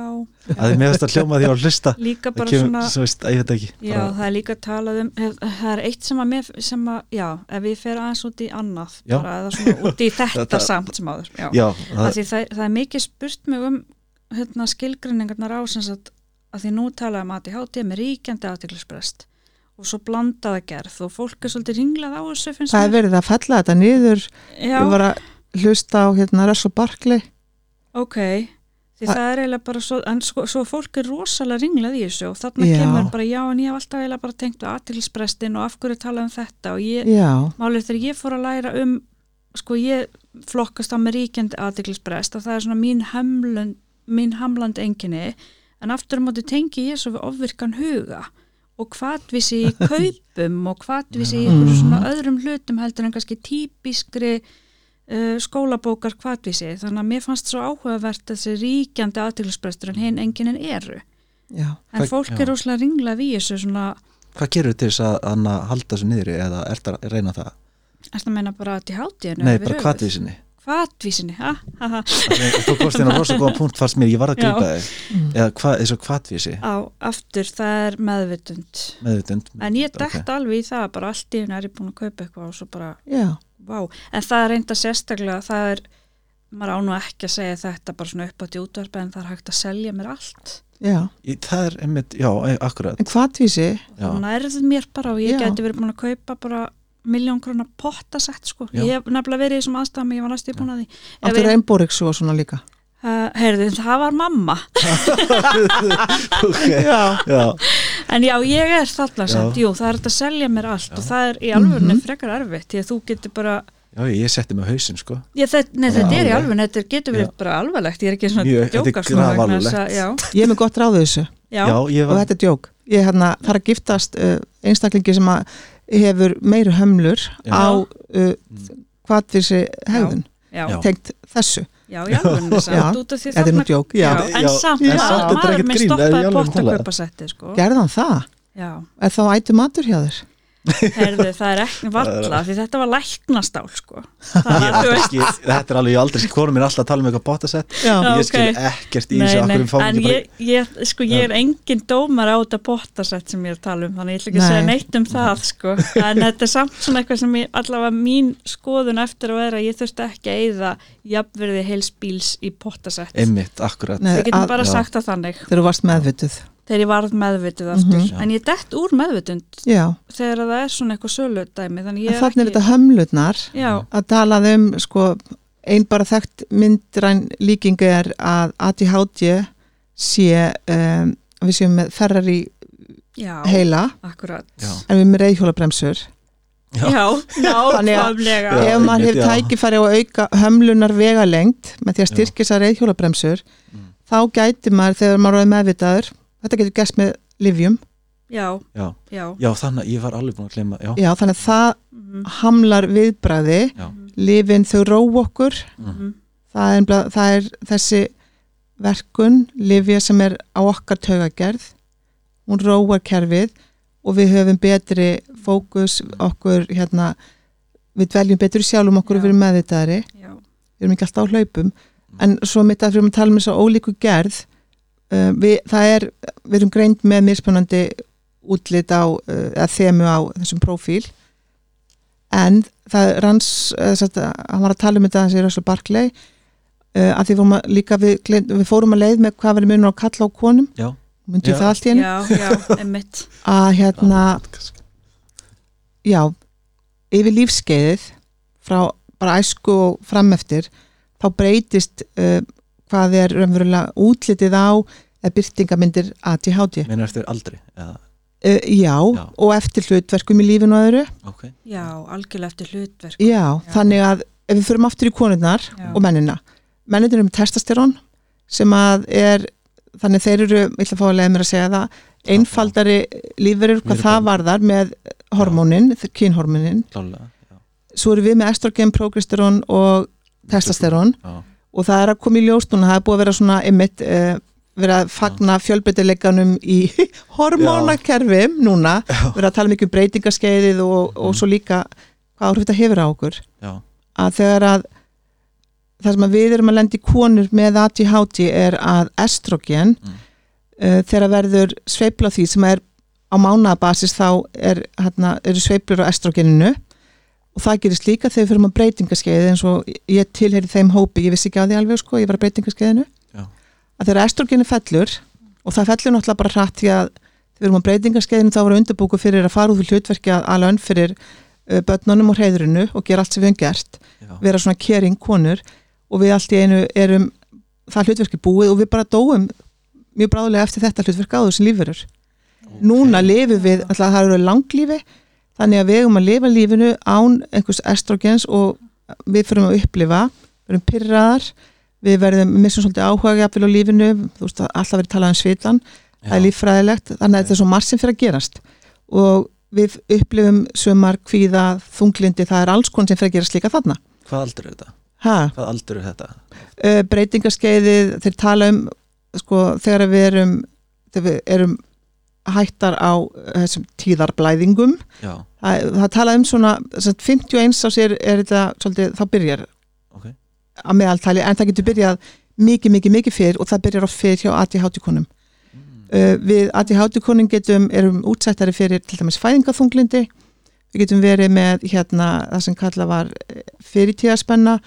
B: að þið meðast að hljóma því á að hlusta
A: líka
B: það
A: bara
B: kemur,
A: svona
B: svo veist, að ég veit ekki
A: Já, það er líka talað um, hef- það er eitt sem að mér, sem að, já, ef ég fer aðeins út í annað,
B: Já.
A: bara eða svona út í þetta,
B: Þetta-
A: samt sem áður, já.
B: já,
A: að
B: það,
A: því það, það er mikið spurt mig um hérna, skilgrinningarnar á sem sagt, að því nú talaði um ADHD með ríkjandi aðtiklisbrest og svo blandaða gerð og fólk er svolítið ringlað á þessu finnst
D: það er verið að fella þetta niður
A: Já,
D: ég var að hlusta á hérna Russell Barkley
A: ok því
D: Það-
A: það, er eiginlega bara svo, en sko, svo fólk er rosalega ringlað í þessu og þarna
D: Já.
A: kemur bara já en ég hef alltaf eiginlega bara tengt við aðtiklisbrestin og af hverju talaði um þetta og ég,
D: já,
A: málið þegar ég fór að læra um sko ég flokkast á með ríkjandi aðdeglisbrest að það er svona mín hamlund, mín hamland enginni en aftur á móti tengi ég svo við ofvirkan huga og hvatvísi í kaupum og hvatvísi í einhverju
B: Mhm.
A: svona öðrum hlutum heldur en kannski típiskri uh, skólabókar hvatvísi þannig að mér fannst svo áhugavert þessi ríkjandi aðdeglisbrestur en hinn enginin eru
D: já
A: en
B: Það-
A: fólk
B: já.
A: er óslega ringlað í þessu svona
B: hvað gerur til þess að, að halda þessu niðri eða ert að reyna það?
A: Er það að meina bara til hátíðinu?
B: Nei, bara kvatvísinni.
A: Hvatvísinni, ha? ha, ha.
B: Þú komst inn á rosa góðan punkt fannst mér, ég var að
A: Já.
B: grípa þig. Eða hva, þessu kvatvísi,
A: Á, aftur, það er meðvitund.
B: meðutund.
A: En ég dætt alveg í það, bara allt í henni er ég búin að kaupa eitthvað og svo bara,
D: Já,
A: vá. En það er reynda sérstaklega, það er, maður án og ekki að segja þetta bara svona upp á því útvarpa en það er hægt að selja mér allt.
D: já.
B: Ég, það er einmitt, já, e- akkurat.
D: En hvatvísi,
B: Já.
A: Það nærð mér bara og ég
D: Já.
A: geti verið búin að kaupa bara miljón krona pottasett sko.
B: Já.
A: Ég hef nefnilega verið í þessum aðstæðum, ég var næstu búin að því. Ef
D: áttur
A: ég-
D: einbóriks og svona líka.
A: Uh, heyrðu, það var mamma
B: okay.
D: Já.
B: Já,
A: en já, ég er
B: Já.
A: þarna
B: Mhm.
A: samt, jú, það er þetta að selja mér allt og það er í alvörinu frekar erfitt því að þú getur bara,
B: já, ég setti mig á hausinn, sko.
A: ég, það, nei,
B: Já,
A: þetta er í
B: alveg.
A: alvörinu þetta getur verið
B: Já.
A: bara alvarlegt ég er ekki svona
B: Mjög,
A: að
B: þetta er
A: djóka sko, vegna þess
B: grafalvarlegt.
A: að- já,
D: Ég er með gott ráðu þessu
A: já,
B: já ég
D: og
B: var,
D: þetta er djók. Ég hérna, þarf að giftast uh, einstaklingi sem að hefur meiri hömlur
B: Já. Mm.
D: á uh, hvatvísi hegðun,
A: já, já,
B: Já.
D: tengt þessu.
A: já, í alvörinu
D: Já.
A: samt út af því
D: Þetta er nú djók, já.
A: já, en
B: Já,
A: samt,
D: en
A: já,
D: samt, þetta er
A: maður
B: ekkert
A: minn
B: grín, það er í
A: stoppaði
B: alvörinu talað.
A: pottakaupasetti sko,
D: Gerðan það?
A: já,
D: Er þá ætti matur hjá þér?
A: heyrðu, það er ekki valla því þetta var læknastál sko
B: ég var ekki, þetta er alveg, ég aldrei, konum minn er alltaf að tala um eitthvað bóttasett.
D: Já.
B: Ég skil
A: ok.
B: ekkert í þessu, akkur við fáum
A: en
B: ekki bara
A: ég, ég, sko, ég er engin dómar á þetta bóttasett sem ég er að tala um þannig ég ætla ekki að
D: Nei.
A: segja neitt um það sko. en þetta er samt svona eitthvað sem ég, allavega mín skoðun eftir að vera að ég þurfti ekki að eyða jafnverði heils bíls í bóttasett við
B: einmitt, akkurat.
D: Nei,
A: getum
D: að-
A: bara
B: já.
A: sagt það þannig
D: Þegar þú varst meðvituð.
A: þegar ég varð meðvitið aftur
D: Mhm.
B: Já.
A: en ég dett úr meðvitund
D: Já.
A: þegar það er svona eitthvað söludæmi þannig
D: En
A: ég er
D: þannig er
A: ekki
D: þetta hömlurnar
A: já,
D: að talað um sko, einn bara þekkt myndræn líking er að ADHD sé um, við séum með ferrar í
A: já,
D: heila
A: akkurat
B: Já.
D: en við erum með reyðhjólabremsur
B: Já.
A: já, nákvæmlega
B: Já,
D: ef
B: einmitt,
D: maður hefur
B: já.
D: tækifæri á að auka hömlunar vegalengt með því að styrkja þessar reyðhjólabremsur
B: Mm.
D: þá gæti maður þegar maður er meðvitaður þetta getur gæst með livjum
A: já,
B: Já.
A: já,
B: Já, þannig að ég var alveg búin að glemma, já.
D: Já, þannig að það
A: mhm,
D: hamlar viðbræði
B: Já.
D: livin þau ró okkur
A: mhm,
D: það er, nefnilega- það er þessi verkun, lifja sem er á okkar taugagerð hún róar kerfið og við höfum betri fókus okkur hérna, við dveljum betri sjálfum okkur
A: Já.
D: og við erum meðvitaðari
A: já,
D: við erum ekki alltaf á hlaupum en svo mitt að við erum að tala um þess að ólíku gerð uh, við, það er við erum greind með mismunandi útlit á, uh, eða þemu á þessum prófíl en það er ranns uh, satt, hann var að tala um þetta þessi Rössal Barkley uh, að því vorum að líka við, gleymd- við fórum að leið með hvað verið munur á kalla á konum
B: Já.
D: myndi
B: Já.
D: það allt í henni
A: já, já, emmitt
D: að hérna, já yfir lífskeiðið frá bara æsku og frameftir þá breytist uh, hvað er raunverulega útlitið á eða byrtingamindir ADHD uh,
B: Meina eftir aldri, eða,
D: já,
B: Já.
D: og eftir hlutverkum í lífinu og öðru
B: ok.
A: Já, algjörlega eftir hlutverk
D: já, þannig að ef við förum aftur í konurnar
A: Já.
D: og mennina mennina um testosterón sem að er, þannig þeir eru ég ætla að fá að leiða mér að segja það einfaldari lífverur hvað
B: Meiri
D: það
B: bara-
D: varðar með hormónin, kynhormónin
B: Klálega, já.
D: svo erum við með estrogen, progesterón og testosterón
B: Já,
D: og það er að koma í ljós núna, það er búið að vera svona einmitt, uh, vera að fagna fjölbreytileikanum í hormónakerfum núna, vera að tala mikið um breytingaskeiðið og, og svo líka hvað áhrif þetta hefur á okkur
B: já,
D: að þegar að það sem að við erum að lendi konur með ADHD er að estrogen
B: Mm.
D: uh, þegar verður sveifla því sem er á mánabasis þá er, hérna, eru sveiflur á estrogeninu og það gerist líka þegar við fyrir að breytingaskeiði eins og ég tilheyri þeim hópi, ég vissi ekki á því alveg sko, ég var að breytingaskeiðinu
B: já,
D: að þegar estrogenu fellur og það fellur náttúrulega bara hratt því að þegar við erum á breytingaskeiðinu þá voru undirbúku fyrir að fara út úr hlutverki að ala önn fyrir uh, börnunum og hreðrunu og gera allt sem við höfum gert
B: já.
D: vera svona kering konur og við allt í einu erum það hlutverki búið og við bara dóum mjög bráðulega eftir þetta hlutverk áður sem lífverur. Núna lifum við, alltaf það eru langlífi, þannig að við erum að lifa lífinu án einhvers estrogens og við förum að upplifa, við erum pyrraðar, við verðum, missum svolítið áhuga jafnvel á lífinu, þú veist að alltaf verið talað um svitan,
B: Já.
D: það er líffræðilegt, þannig að þetta er svo margt sem fyrir að gerast og við upplifum sumar, kvíða, þunglindi, það er alls konar sem fyrir að gerast líka þarna.
B: Hvað aldur er þetta?
D: Ha?
B: Hvað aldur er þetta?
D: uh, breytingaskeiðið þeir tala um sko, þegar við erum þegar við erum hættar á eh, þessum tíðarblæðingum
B: já,
D: það, það tala um svona sem sagt, 51 ás er, er þetta svolítið, þá byrjar
B: ok
D: að meðaltali en það getur byrjað mikið, mikið, mikið fyrr og það byrjar oft fyrr hjá ADHD konum uh, við ADHD konum getum erum útsættari fyrir til dæmis fæðingaþunglindi við getum verið með hérna það sem kalla var eh, fyrirtíðaspenna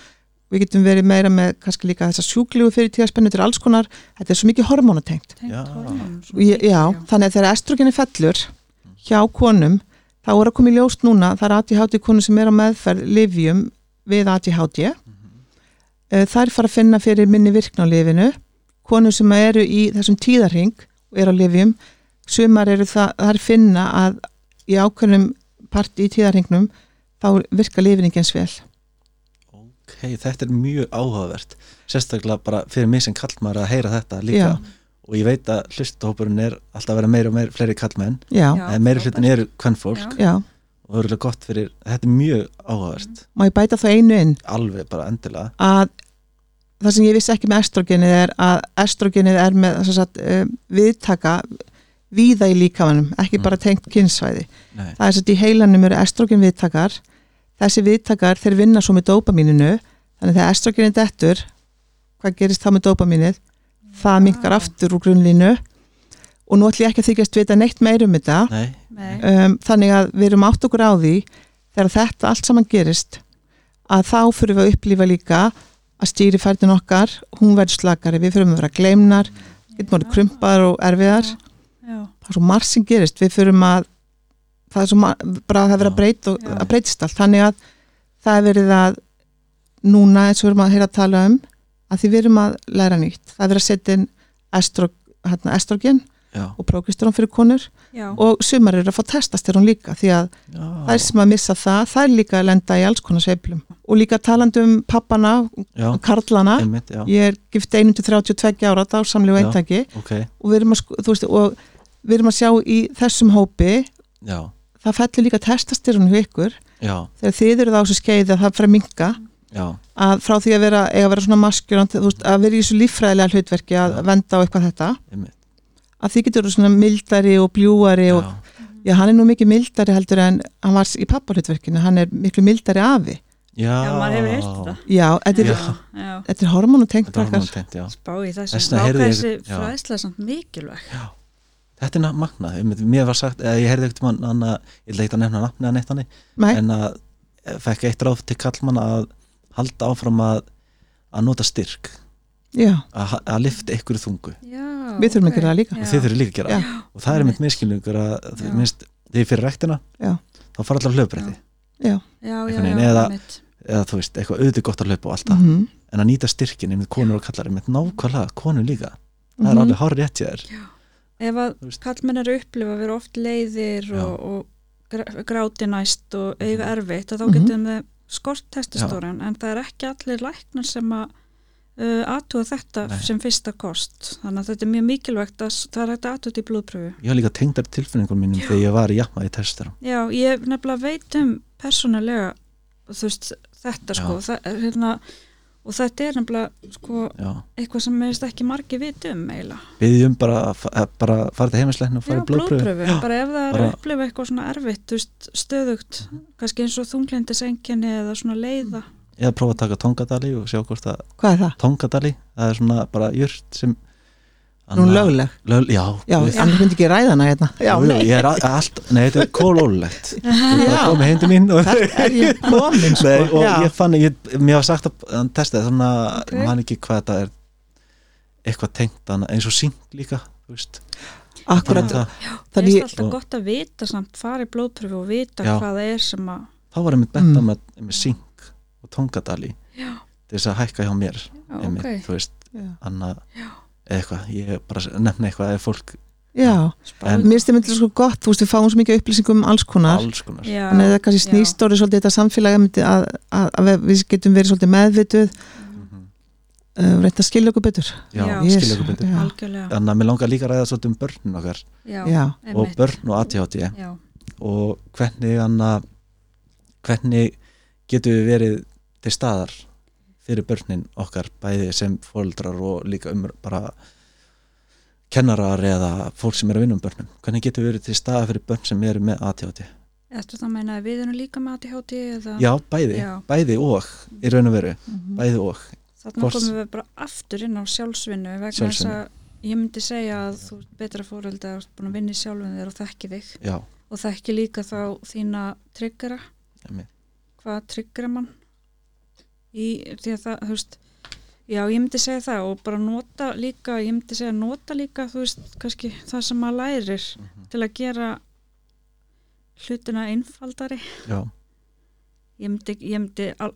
D: við getum verið meira með kannski líka þessa sjúklugu fyrirtíðaspennu þetta er alls konar, þetta er svo mikið hormónatengt
A: tengt
B: Já.
A: hormónum svo
D: Ég,
A: mikið,
D: já, þannig að þegar estrogeni fellur hjá konum, þá er að koma í ljóst núna, það er ADHD konum sem er á meðferð livjum við ADHD mm. þær fara að finna fyrir minni virkn á lifinu konum sem eru í þessum tíðarhing og eru á livjum, sumar eru það, þær finna að í ákveðnum part í tíðarhingnum þá virka lifin ekki eins vel
B: ok, þetta er mjög áhugavert sérstaklega bara fyrir mig sem kallmar að heyra þetta líka
D: Já.
B: og ég veit að hlustahópurinn er alltaf að vera meira og meira fleiri kallmenn
D: já, já,
A: Já,
B: en meira hlutin
A: frábært.
B: eru kvennfólk og það eru gott fyrir, þetta er mjög áhugavert
D: má ég bæta þá einu inn
B: alveg bara endilega
D: að það sem ég vissi ekki með estrogenið er að estrogenið er með sem sagt, eh, viðtaka víða í líkamanum, ekki bara tengt kynnsvæði.
B: Nei.
D: Það er satt í heilanum eru estrogen viðtakar, þessi viðtakar þeir vinna svo með dópamíninu þannig að þegar estrogenið dettur hvað gerist þá með dópamínið það minkar aftur úr grunnlínu og nú ætlum ég ekki að þykjast vita neitt meir um þetta
B: Nei.
A: Nei,
D: um, þannig að við erum átt okkur á því þegar þetta allt saman gerist að þá fyrir við að upplifa líka að stýri færdin okkar hún verður slakari, við fyrir að vera gleimnar getum orðið krumpaðar og erfiðar
A: já,
D: það er svo marg sem gerist, við fyrir að það er svo marg, bara að það verður að, breyta og,
A: Já.
D: að breytist allt, þannig að það er verið að núna eins og við erum að heyra að tala um að því við erum að læra nýtt, það er verið að setja inn estrog, hérna, estrogen
B: já,
D: og prókistrón fyrir konur
A: já,
D: og sumar eru að fá testast þér hún líka því að
B: já,
D: þær sem að missa það, þær líka að lenda í alls konar sveiflum og líka talandi um pappana
B: já.
D: og karlana
B: Einmitt, já.
D: ég er gift 1-32 ára dársamlegu
B: Já.
D: eintaki
B: ok,
D: og við, erum að, sko- þú veist, og við erum að sjá í þessum hópi
B: já,
D: það fellur líka testastyrun hjá ykkur
B: já,
D: þegar þið eru það á þessu skeiði að það fyrir að minka
B: já
D: að frá því að vera, eiga að vera svona maskjur að vera í þessu líffræðilega hlutverki að
B: Já.
D: venda á eitthvað þetta
B: einmitt,
D: að þið getur verið svona mildari og bljúari og
B: já,
D: Já, hann er nú mikið mildari heldur en hann var í papparhutverkinu, hann er miklu mildari afi.
B: já
A: já, maður hefur heilt þetta
D: Já, þetta er,
B: Já.
A: já, já.
D: þetta er hormonutengt
B: þetta var
D: krakkar.
B: mjög tengt, já
A: spá í þessu,
B: Þessna
A: Vá, hvað
B: heyrði ég-
A: þessi
B: já.
A: fræðsla er samt mikilvæg
B: Þetta er na- magnað, einmitt, mér var sagt eða ég heyrði ekkert mann annað, ég ætla ekki að nefna nafni að neitt hannig,
D: Nei,
B: en að eh, fekk eitt ráð til kallmann að halda áfram að, að nota styrk
D: já,
B: að, ha- að lifta ykkur þungu
A: já,
D: við þurfum að
A: ok.
D: gera það líka.
A: Já.
B: og þið þurfið líka að gera
D: Já.
B: og það er einmitt miskilningur að þú
A: Já.
B: minnst, þegar ég fyrir rektina
D: Já.
B: þá fara allar hlöfbreytti
A: já, já,
B: einhvern veginn,
A: já,
B: eða-
A: einmitt.
B: eða þú veist, eitthvað auðvitað gott að hlaupa og allt það
D: Mhm,
B: en að nýta styrkin, einmitt konur og kallar einmitt nákvæmlega, konur líka, það er
D: mhm.
B: alveg hár rétt ég þér Þú
A: ef að
B: veist.
A: kallmenn eru að upplifa að vera oft leiðir
B: Já.
A: og, og gra- gráti næst og eiga erfitt að þá
D: Mhm.
A: getum við skort testostóran en það er ekki allir læknar sem að uh, aðtúa þetta
B: Nei.
A: sem fyrsta kost þannig að þetta er mjög mikilvægt að s- það er hægt að aðtúa þetta í blóðpröfu
B: ég var líka tengdar tilfinningum mínum þegar ég var í jafnvæði testurum
A: já, ég nefnilega veit um persónulega þú veist, þetta sko það, er hérna, og þetta er nefnilega sko,
B: já,
A: eitthvað sem meðist ekki margi vit um eiginlega.
B: byggjum bara að fa- að bara fara til heimislegin og
A: Já,
B: fara í blóðpröfu
A: blóðpröfu, bara ef það er
B: bara-
A: að upplifa eitthvað svona erfitt, þú veist, stöðugt kannski eins og þunglindisenginni eða svona leiða
B: eða prófa að taka tongadali og sjá hvort að
D: Hvað er það?
B: tongadali, það er svona bara jurt sem
D: Nú er lögleg.
B: lög, já,
D: Já,
B: guð.
D: hann myndi ekki ræða hana hérna. Já,
B: Jú, jú,
D: nei,
B: ég er a- allt, nei, þetta er kólólegt ég bara
D: Já.
B: komið heimdi mín og,
D: það er ég komin sko.
B: nei, og
D: já.
B: ég fann, ég, mér var sagt að hann testaði þannig að
A: Ok.
B: okay. hann ekki hvað þetta er eitthvað tengt hann eins og síng líka þú veist,
D: Akkurat,
B: það,
A: það er
D: þannig ég,
A: alltaf
B: og-
A: gott að vita samt, fara í blóðpröfu og vita
B: Já.
A: hvað það er sem að
B: þá var ég mitt bent
D: Mm.
B: mm. með, með síng og tongadali
A: Já.
B: til þess að hækka hjá mér
A: já,
B: einmitt,
A: ok,
B: þú veist,
D: já.
B: annað eða eitthvað, ég bara nefna eitthvað eða fólk
D: já,
A: spáði
D: mér stið myndið svo gott, þú veist, við fáum svo mikið upplýsingum um alls konar.
B: alls konar
A: já,
D: Þannig að það kannski snýst orðið svolítið þetta samfélagi myndi að, að, að við getum verið svolítið meðvituð,
B: Mhm.
D: uh, reynda að skilja okkur betur.
B: já,
A: Já.
B: já. skilja okkur betur
D: Já.
A: algjörlega,
B: þannig að mér langar líka að ræða svolítið um börnin okkar
A: já,
D: Já,
B: og
A: einmitt
B: börn og ATHT
A: já,
B: og hvernig hann að hvernig getum við verið til staðar fyrir börnin okkar bæði sem fóldrar og líka um bara kennarar eða fólk sem er að vinna um börnum hvernig getur við verið til staða fyrir börn sem eru með ATHT?
A: Þetta það meina að við erum líka með ADHD eða
B: Já, bæði,
A: Já. Mm.
B: bæði og í raun og veru, bæði og
A: þarna
B: hvort-
A: komum við bara aftur inn á sjálfsvinnu vegna þess
B: Sjálfsvinnu.
A: að ég myndi segja að þú ert betra fóröld að þú ert búin að vinna í sjálfinu þér og þekki þig
B: Já,
A: og þekki líka þá þína tryggara
B: Einmitt.
A: hvað tryggara mann í því að það, þú veist já, ég myndi segja það og bara nota líka, ég myndi segja nota líka þú veist, kannski það sem maður lærir til að gera hlutina einfaldari
B: já,
A: ég myndi, ég myndi al,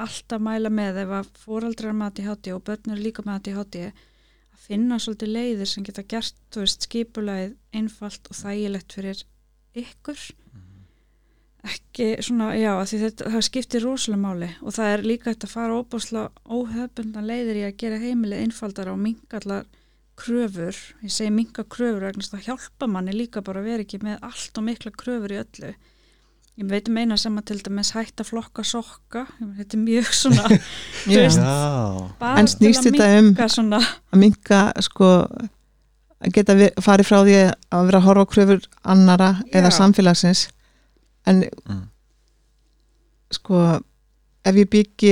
A: alltaf mæla með ef að fóraldrar með ADHD og börn eru líka með ADHD að finna svolítið leiðir sem geta gert þú veist, skipulagið einfalt og þægilegt fyrir ykkur ekki svona, já, af því þetta það skiptir rosalega máli og það er líka þetta að fara óbúslega óhöfbundan leiðir í að gera heimilið einfaldara og mingallar kröfur, ég segi minga kröfur vegna þess að það hjálpa manni líka bara að vera ekki með allt og mikla kröfur í öllu Ég veit um eina sem að til dæmis hætta flokka sokka, Ég- þetta er mjög svona
D: Já.
A: veist-
B: já.
A: bara
D: En
A: til
D: snýst
A: að
D: þetta um-
A: minnka svona,
D: að minka sko að geta vi- farið frá því að vera að horfa á kröfur annara eða
A: Já.
D: samfélagsins en
B: Mm.
D: sko ef ég byggi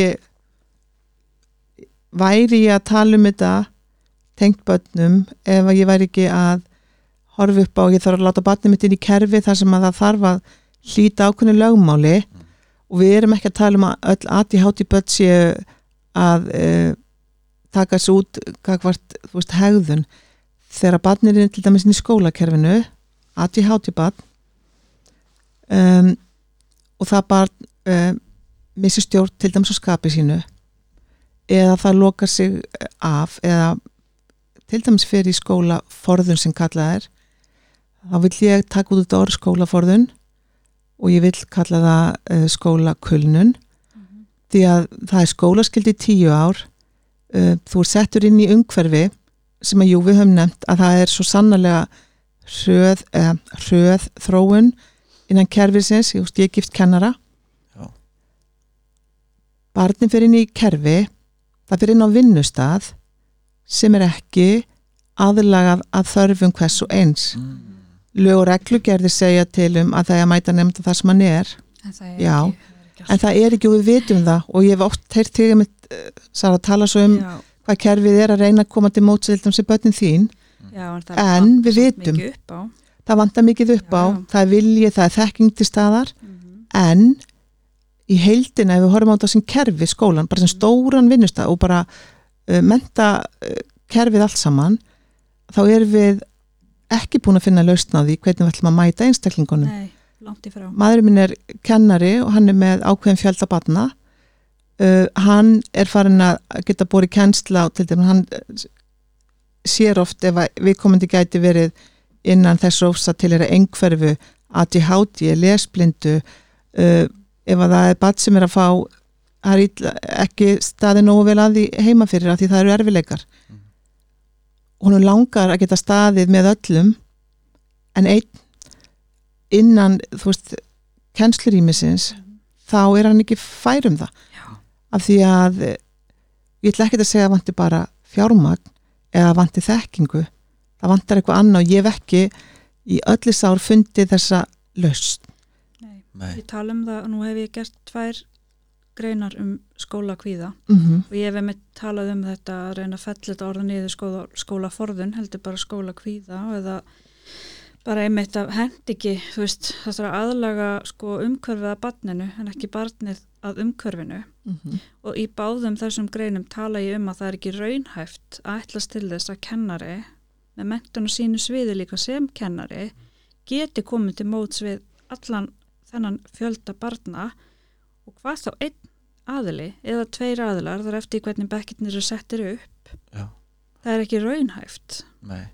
D: væri ég að tala um þetta tengt börnum ef að ég væri ekki að horfa upp á ég þarf að láta barnið mitt inn í kerfi þar sem að það þarf að hlýta ákveðni lögmáli og við erum ekki að tala um að öll ADHD börn séu að e, taka sér út gagvart, þú veist, hegðun þegar barnir er til dæmis inn í skólakerfinu ADHD barn um, og það barn um, missi stjórn til dæmis á skapi sínu eða það lokar sig af eða til dæmis fyrir í skóla forðun sem kallað er þá vill ég taka út þetta orð skólaforðun og ég vill kalla það uh, skólakulnun því að það er skólaskildi í tíu ár uh, þú er settur inn í umhverfi sem að jú við höfum nefnt að það er svo sannlega hröð, eh, hröð þróun innan kerfisins, ég, veist, ég er gift kennara
B: Já.
D: barnin fyrir inn í kerfi það fyrir inn á vinnustað sem er ekki aðlagað að þörfum hvers og eins
B: Mm.
D: lög og reglugerði segja til um að það er að mæta nefnda það sem hann er
A: en það er
D: Já.
A: ekki, það er ekki
D: en það er ekki og við vitum það og ég hef oft heyrt þig um Sara tala svo um
A: já,
D: hvað kerfið er að reyna að koma til mótsildum sem börnin þín
A: já, en, það
D: en
A: vantar
D: við
A: samt
D: vitum.
A: mikið upp á
D: það vantar mikið upp á,
A: Já, já.
D: það er vilji, það er þekking til staðar
A: Mhm.
D: en í heildina ef við horfum á þetta sem kerfi skólan, bara
A: Mhm.
D: sem stóran vinnusta og bara uh, menta uh, kerfið allt saman þá erum við ekki búin að finna lausna á því hvernig við ætlum að mæta einstaklingunum
A: nei, langt í frá
D: maðurinn minn er kennari og hann er með ákveðin fjölda batna uh, hann er farin að geta búið kennsla á til dæmis hann eh, sér oft ef að viðkomandi gæti verið innan þess rófsa til er að einhverfu ADHD, lesblindu uh, ef að það er bat sem er að fá það er illa, ekki staði nógu vel að því heima fyrir af því það eru erfileikar
B: Mhm.
D: og hún langar að geta staðið með öllum en einn innan, þú veist, kennslurýmisins,
B: Mm.
D: þá er hann ekki fær um það.
A: Já.
D: Af því að eh, ég ætla ekki að segja að vanti bara fjármagn eða vanti þekkingu. Það vantar eitthvað annað og ég hef ekki í öllis ár fundið þessa löst.
A: nei.
B: Nei,
A: ég tala um það, nú hef ég gert tvær greinar um skólakvíða
D: Mm
B: Mhm,
A: og ég hef einmitt talað um þetta að reyna að fella þetta orða niður skóla, skólaforðun heldur bara skólakvíða eða bara einmitt að hend ekki þú veist, það þarf að aðlaga sko umhverfið að barninu en ekki barnið að umhverfinu
D: Mhm.
B: mhm.
A: og í báðum þessum greinum tala ég um að það er ekki raunhæft að ætlast til þess að kennari með menntun og sínu sviði líka sem kennari geti komið til móts við allan þennan fjölda barna og hvað þá einn aðili eða tveir aðilar þar eftir hvernig bekkirnir eru settir upp
B: já,
A: það er ekki raunhæft
B: nei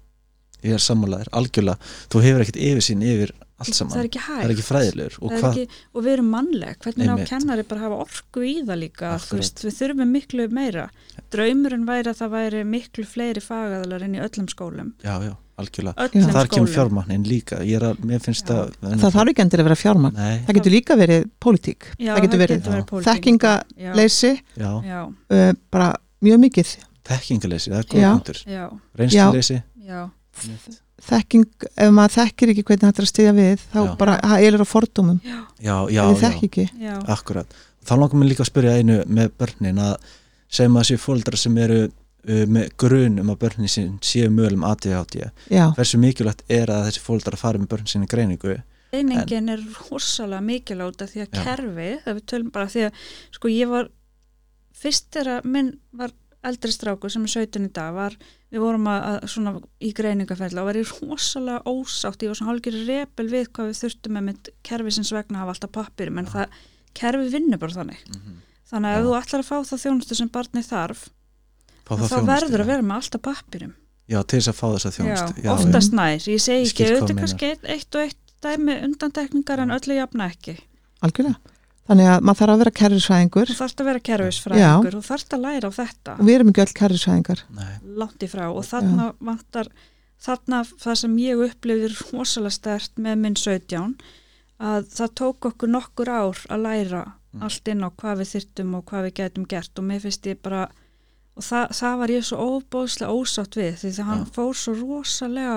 B: Ég er sammálaðir, algjörlega Þú hefur ekkert yfirsýn yfir allt
A: það er
B: saman
A: ekki
B: Það er
A: hægt
B: ekki fræðilegur og
A: Það er
B: hvað
A: ekki, og við erum mannleg, hvernig á
B: Einmitt.
A: kennari bara að hafa orku í það líka þú
B: Akkurat.
A: veist, við þurfum miklu meira draumurinn væri að það væri miklu fleiri fagaðalar inn í öllum skólum
B: Já, já, algjörlega
A: öllum
B: Þar kemur
A: skólum
B: fjármagnin líka Ég er að, mér finnst
A: Já.
B: að
D: Það þarf ekki endur að vera fjármagn.
B: Nei,
D: Það getur líka verið pólitík.
A: Já,
D: það getur verið
B: getur verið
A: pólitík. Já,
D: þekkingaleysi,
B: já,
A: já,
D: uh, bara mjög mikið.
B: þekkingaleysi, það er góða
D: Já.
B: punktur
A: já,
B: Reynsluleysi,
A: já
B: Einmitt.
D: þekking, ef maður þekkir ekki hvernig hægt er að stiðja við, þá
B: Já.
D: bara það elur á fordómum,
A: já,
B: já, já,
D: ef
B: já,
D: við þekki ekki
A: já,
B: akkurat þá langar mér líka að spyrja einu með börnin að segjum að séu fóldrar sem eru uh, með grun um að börnin sín séu um mögulum ADHD
D: já,
B: hversu mikilvægt er að þessi fóldrar fari með börnin sín í greiningu
A: einingin er rosalega mikiláta því að
B: Já.
A: kerfi, það við tölum bara því að sko ég var fyrst þegar minn var eldri stráku sem er 17 í dag var, við vorum að, að svona í greiningaferðla og var ég rosalega ósátt, ég var svona hálfgjör repel við hvað við þurftum með mitt kerfi sinns vegna að hafa alltaf pappirum en það kerfi vinnur bara þannig
B: mm -hmm.
A: þannig að
B: Já.
A: ef þú ætlar að fá það þjónustu sem barnið þarf þá verður að vera með alltaf pappirum
B: já, til þess að fá þess að þjónust
A: já, oftast nær, ég segi
B: Ég
A: ekki
B: skil hvað
A: auðvitað
B: þú
A: kannski eitt, eitt og eitt dæmi undantekningar en öllu jafna ekki
D: algjörlega þannig að maður þarf að vera kerrisfræðingur
A: þú þarft að vera kerfisfræðingur, þú þarft að læra á þetta
D: og við erum ekki öll kerrisfræðingar
B: Nei,
A: langt í frá og þarna vantar þarna það sem ég upplifir rosalega stert með minn 17 að það tók okkur nokkur ár að læra
B: Mm.
A: allt inn á hvað við þyrtum og hvað við getum gert og mér finnst ég bara og það, það var ég svo óbóðslega ósátt við því að hann
B: Já.
A: fór svo rosalega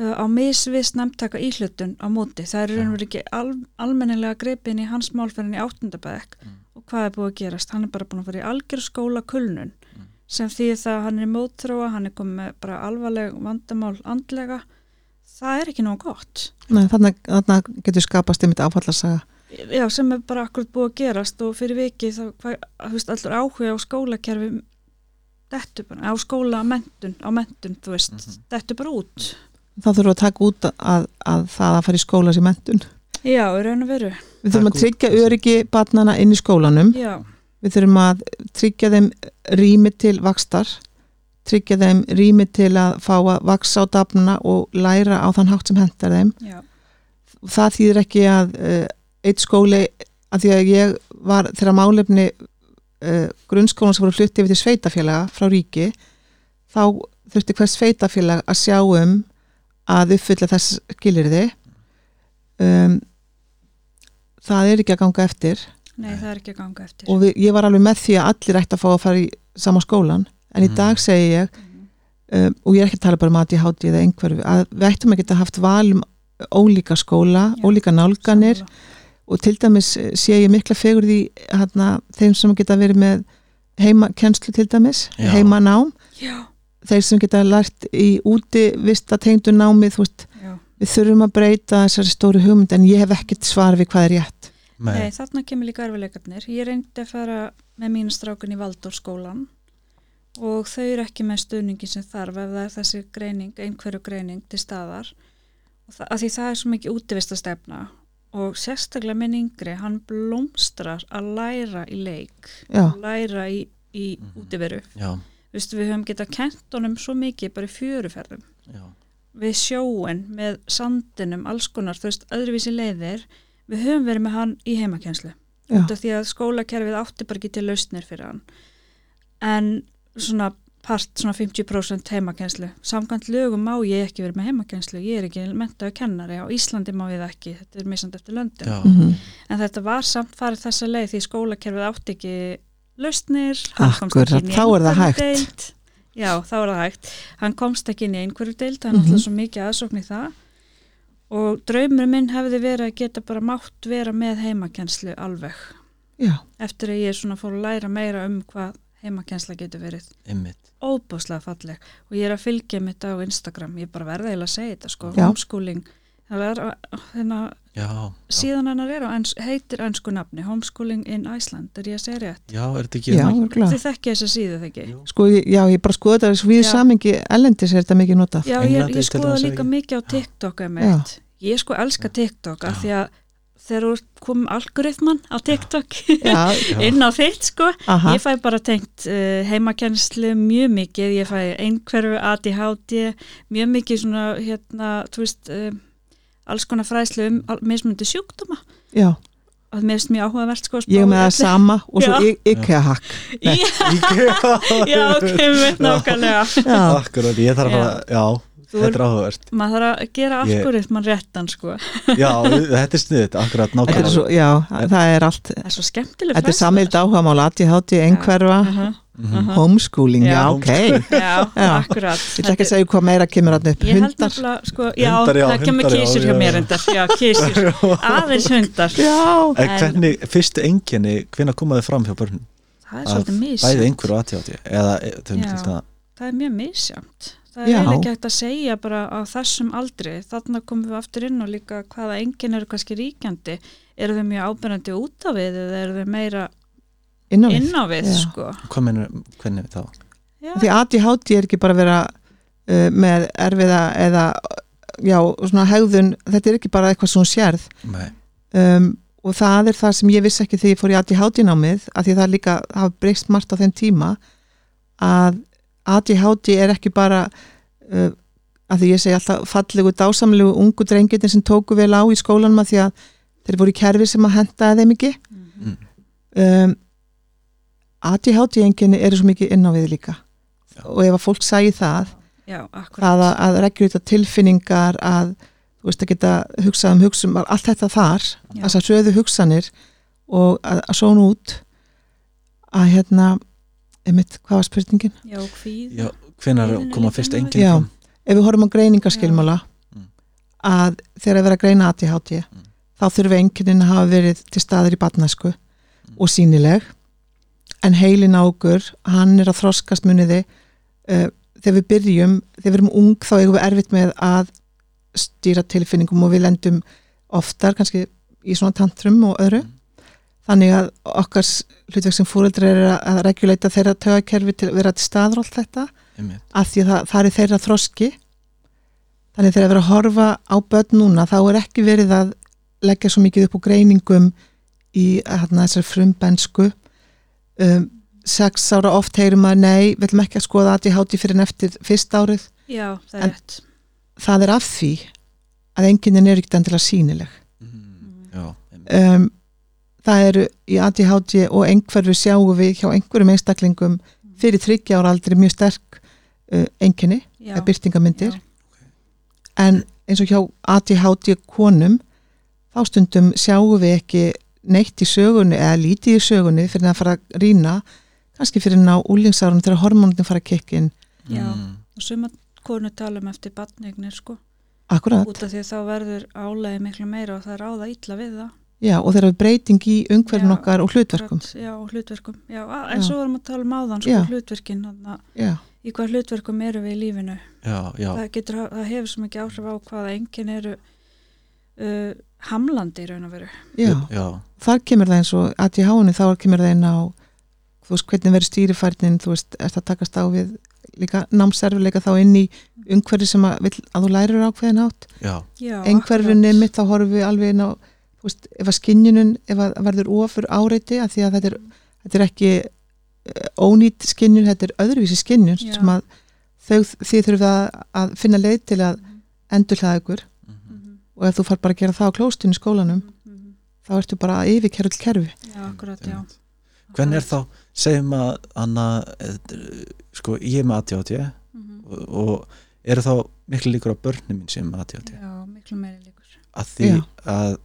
A: uh, á misvist nefntaka íhlutun á móti það er raunverð ekki al, almennilega greipin í hans málferðin í áttundabæk
B: Mm.
A: og hvað er búið að gerast, hann er bara búin að fara í algjör skóla kulnun sem því það að hann er mótróa, hann er komið með bara alvarleg vandamál andlega það er ekki nóg gott
D: Nei, þannig, þannig getur skapast einmitt áfallasaga
A: Já, sem er bara akkurat búið að gerast og fyrir vikið þá, hvað, þú veist, allur áhuga á skólakerfi dettu bara, á skóla mentun, á mentun, þú veist, dettu bara út.
D: þá þurfum við að taka út að, að það að fara í skóla sem mentun
A: Já, í raun og veru.
D: við þurfum
B: Taka
D: að
B: út
D: tryggja
B: þessi-
D: öryggi barnana inn í skólanum
A: Já,
D: við þurfum að tryggja þeim rými til vakstar tryggja þeim rými til að fá að vaksa á dafnuna og læra á þann hátt sem hendar þeim
A: já,
D: það þýðir ekki að uh, eitt skóli, að því að ég var þegar málefni uh, grunnskólan sem voru flutti yfir til sveitafélaga frá ríki, þá þurfti hvers sveitafélag að sjá um að uppfylla þess skilirði um, það er ekki að ganga eftir
A: nei, það er ekki að ganga eftir.
D: og við, ég var alveg með því að allir ætti að fá að fara í sama skólan en í
B: Mhm.
D: dag segi ég um, og ég er ekki að tala bara um að ég háti eða einhverju að við ættum að geta haft val um ólíka skóla,
A: Já,
D: ólíka nálganir
A: Sammála.
D: og til dæmis eh, sé ég mikla fegur því hana, þeim sem geta verið með heimakenslu til dæmis,
B: Já.
D: heimanám
A: Já,
D: þeir sem geta lært í úti vista tengdu námið, þú veist,
A: já.
D: við þurfum að breyta þessari stóru hugmynd en ég hef ekkert svar við hvað er rétt
A: Nei, þarna kemur líka erfileikarnir. Ég reyndi að fara með mínu strákun í Valdórskólan og þau eru ekki með stuðningi sem þarf ef það er þessi greining, einhverju greining til staðar. Og það, að því það er svo mikið útivist að stefna og sérstaklega minn yngri, hann blómstrar að læra í leik,
D: Já.
A: læra í, í útiveru.
B: já,
A: Vistu, við höfum getað kent honum svo mikið bara í fjöruferðum
B: já,
A: við sjóin, með sandinum, alls konar, þú veist, öðruvísi leiðir, við höfum verið með hann í heimakenslu.
D: Já.
A: Þetta því að skólakerfið átti bara ekki til lausnir fyrir hann. En svona part, svona 50% heimakenslu. Samkvæmt lögum má ég ekki verið með heimakenslu, ég er ekki mentaðu kennari, á Íslandi má ég það ekki, þetta er misand eftir löndum.
B: já.
D: mm -hmm.
A: En þetta var samt farið þessa leið því skólakerfið átti ekki lausnir,
D: Akkurat, þá er það hægt.
A: deild. Já, þá er það hægt. Hann komst ekki inn í einhverju deild, það er
D: Mhm.
A: náttúrulega svo mikið aðsókn í það. Og draumur minn hefði verið að geta bara mátt vera með heimakenslu alveg.
D: Já,
A: Eftir að ég svona fór að læra meira um hvað heimakensla getur verið.
B: einmitt
A: Óbúslega falleg. Og ég er að fylgja mitt á Instagram, ég er bara verða eiginlega að segja þetta sko,
D: Já.
A: homeschooling. Það er hérna
B: já, já,
A: síðan hennar er á ens, heitir ennsku nafni Homeschooling in Iceland, er ég að segja rétt
B: já, er þetta ekki
D: já,
B: hérna?
D: örgulega
A: þið þekki þess að síðu þekki
B: Jú.
D: Sko, ég- já, ég bara skoða þetta, við
A: Já.
D: samingi ellendis er þetta mikið notað.
A: já, ég,
B: Englandi
A: ég
B: til
A: skoða
B: dæmis,
A: líka
B: ekki?
A: mikið á TikTok emitt. ég sko elska TikTok af því að þegar þú kom algoritman á TikTok
D: Já,
A: inn á þitt sko
D: aha,
A: ég fæ bara tengt uh, heimakennslu mjög mikið, ég fæ einhverfu ADHD, mjög mikið svona hérna, þú veist uh, alls konar fræðslu um al- mismunandi sjúkdóma
D: já,
A: og það meðist mjög áhugavert sko að
D: ég er
A: spá
D: með
A: í
D: það
A: öllu.
D: sama og svo
A: Já.
D: ik- IKEA-hakk. Nei.
B: Ekki-
A: Já, ok, með nákvæmlega
D: Já,
B: akkurat, ég þarf að já,
A: Þú
B: þetta er áhugavert
A: maður þarf að gera
B: Ég-
A: algoritman réttan sko.
B: já, þetta er sniðut, akkurat
D: þetta er
B: nákvæmlega
D: svo, já, það er allt,
A: það er svo skemmtileg
D: þetta er samild áhugamál, aðið hátti, einhverfa
A: uh
B: Mhm.
A: Aha.
D: Homeschooling, já,
A: Já.
D: ok. Ég
A: Já,
D: Já.
A: akkurat
D: ætla ekki að segja hvað meira kemur hann upp.
A: Ég held
D: Hundar.
A: nefnilega, sko, já,
B: Hundar, já,
A: það kemur
B: hundar, já,
A: kísur hjá
B: já,
A: mér
B: já.
A: endar, já, kísur, aðeins hundar
D: Já.
B: En
A: En-
B: hvernig, fyrstu enginni, hvenær komaði fram hjá börnum?
A: Það er svolítið
B: Bæði
A: misjönd,
B: einhverju aðtjátti eða e, þau
A: Já.
B: myndist að
A: það er mjög misjönd Það
D: Já.
A: er eiginlega ekki hægt að segja bara á þessum aldri, þarna komum við aftur inn og líka hvaða enginn eru kannski ríkjandi eru þau mjög ábyrjandi út á við eða eru þau meira
D: Inn á við.
A: inn á við,
D: Já.
A: sko
B: hvað mennur, hvernig þá?
A: Já,
D: Því ADHD er ekki bara að vera uh, með erfiða eða, já, svona hegðun, þetta er ekki bara eitthvað sem hún sérð.
B: Nei,
D: um, og það er það sem ég vissi ekki þegar ég fór í ADHD námið af því það er líka, það hafa breyst margt á þeim tíma að ADHD er ekki bara uh, að því ég segi alltaf fallegu dásamlegu ungu drengirnir sem tóku vel á í skólanum að því að þeir voru í kerfi sem að hentaði þeim ekki
A: Mhm.
B: mm.
D: um, ADHD enginni eru svo mikið inn á við líka
B: Já.
D: og ef að fólk sægi það
A: já
D: það að,
A: akkurat
D: að regljuta tilfinningar að þú veist að geta hugsað um hugsun allt þetta þar,
A: Já.
D: þessar söðu hugsanir og að, að svona út að hérna einmitt, hvað var spurningin?
A: Já, kvíð
B: Já, hvenær
A: Hvenær
B: koma
A: líka
B: fyrst
A: náði?
B: enginni
D: Já.
B: fram?
D: Ef við horfum á greiningaskilmála
B: Mm.
D: að þegar að vera að greina ADHD
B: Mm.
D: þá þurfa einkennin að hafa verið til staðir í batnasku
B: Mm.
D: og sínileg en heilin á okkur hann er að þroskast muniði uh, þegar við byrjum, þegar við erum ung þá eigum við erfitt með að stýra tilfinningum og við lendum oftar kannski í svona tantrum og öðru
B: Mm.
D: þannig að okkar s- hlutverk sem fúreldri er að- að reguleita þeirra tögakerfi til að vera til staðar og allt þetta
B: Einmitt.
D: af því að það, það er þeirra þroski þannig þegar að vera að horfa á börn núna þá er ekki verið að leggja svo mikið upp úr greiningum í hérna, þessari frumbensku um, sex ára oft heyrum að nei, við ætlum ekki að skoða að ég háti fyrir en eftir fyrst árið
A: Já, það er
D: En-
A: rétt
D: það er af því að enginn er ekkert endilega sínileg
B: Mm. Já, einmitt.
D: um, það eru í ADHD og einhverju sjáum við hjá einhverjum einstaklingum fyrir 30 ára aldrei mjög sterk uh, enginni,
A: Já,
D: eða byrtingamyndir
A: já.
D: en eins og hjá ADHD konum þá stundum sjáum við ekki neitt í sögunni eða lítið í sögunni fyrir að fara að rýna kannski fyrir ná úlingsárunum þegar hormónin fara að kikka inn
A: Já.
B: Mm.
A: og suma konu tala um eftir batneignir sko,
D: akkurat,
A: út af því að þá verður álega miklu meira og það ráða illa við það
D: já og þegar við breyting í umhverfin
A: Já,
D: okkar og hlutverkum
A: Akkurat, Já, og hlutverkum, já, a-
D: Já.
A: en svo varum að tala um áðan sko,
D: Já.
A: hlutverkin, þannig að
D: já,
A: í hvað hlutverkum eru við í lífinu
B: já, já,
A: það, getur, ha- það hefur svo mikið áhrif á hvaða enginn eru uh, hamlandi í raun og veru
D: já,
B: já,
D: þar kemur það eins og ADHD-inu þá kemur það inn á þú veist hvernig verður stýrifærnin þú veist, ert að takast á við líka námserfileika þá inn í umhverfi sem að, vill, að þú lærir á ákveðin átt
B: já,
A: já,
D: einhverfunni
A: akkurat.
D: mitt þá horfum við alveg inn á þú veist, ef að skinnjunum, ef að verður ofur áreiti að því að þetta er, þetta er ekki eh, ónýt skinnjun, þetta er öðruvísi skinnjun
A: Já.
D: sem að þau, þið þurfum að, að finna leið til
A: Mm.
D: að endurhlaða ykkur
B: Mhm.
A: Mhm,
D: og ef þú far bara að gera það á klóstinu í skólanum
A: mhm.
D: þá ertu bara að yfirkerra all kerfi
A: já, akkurat, já
B: Einmitt. Hvernig er þá, segjum að Anna, eh, sko, ég er með ADHD
A: Mhm.
B: og, og eru þá miklu líkur á börnum mín sem er með ADHD
A: já, miklu meira líkur
B: að því
D: Já.
B: að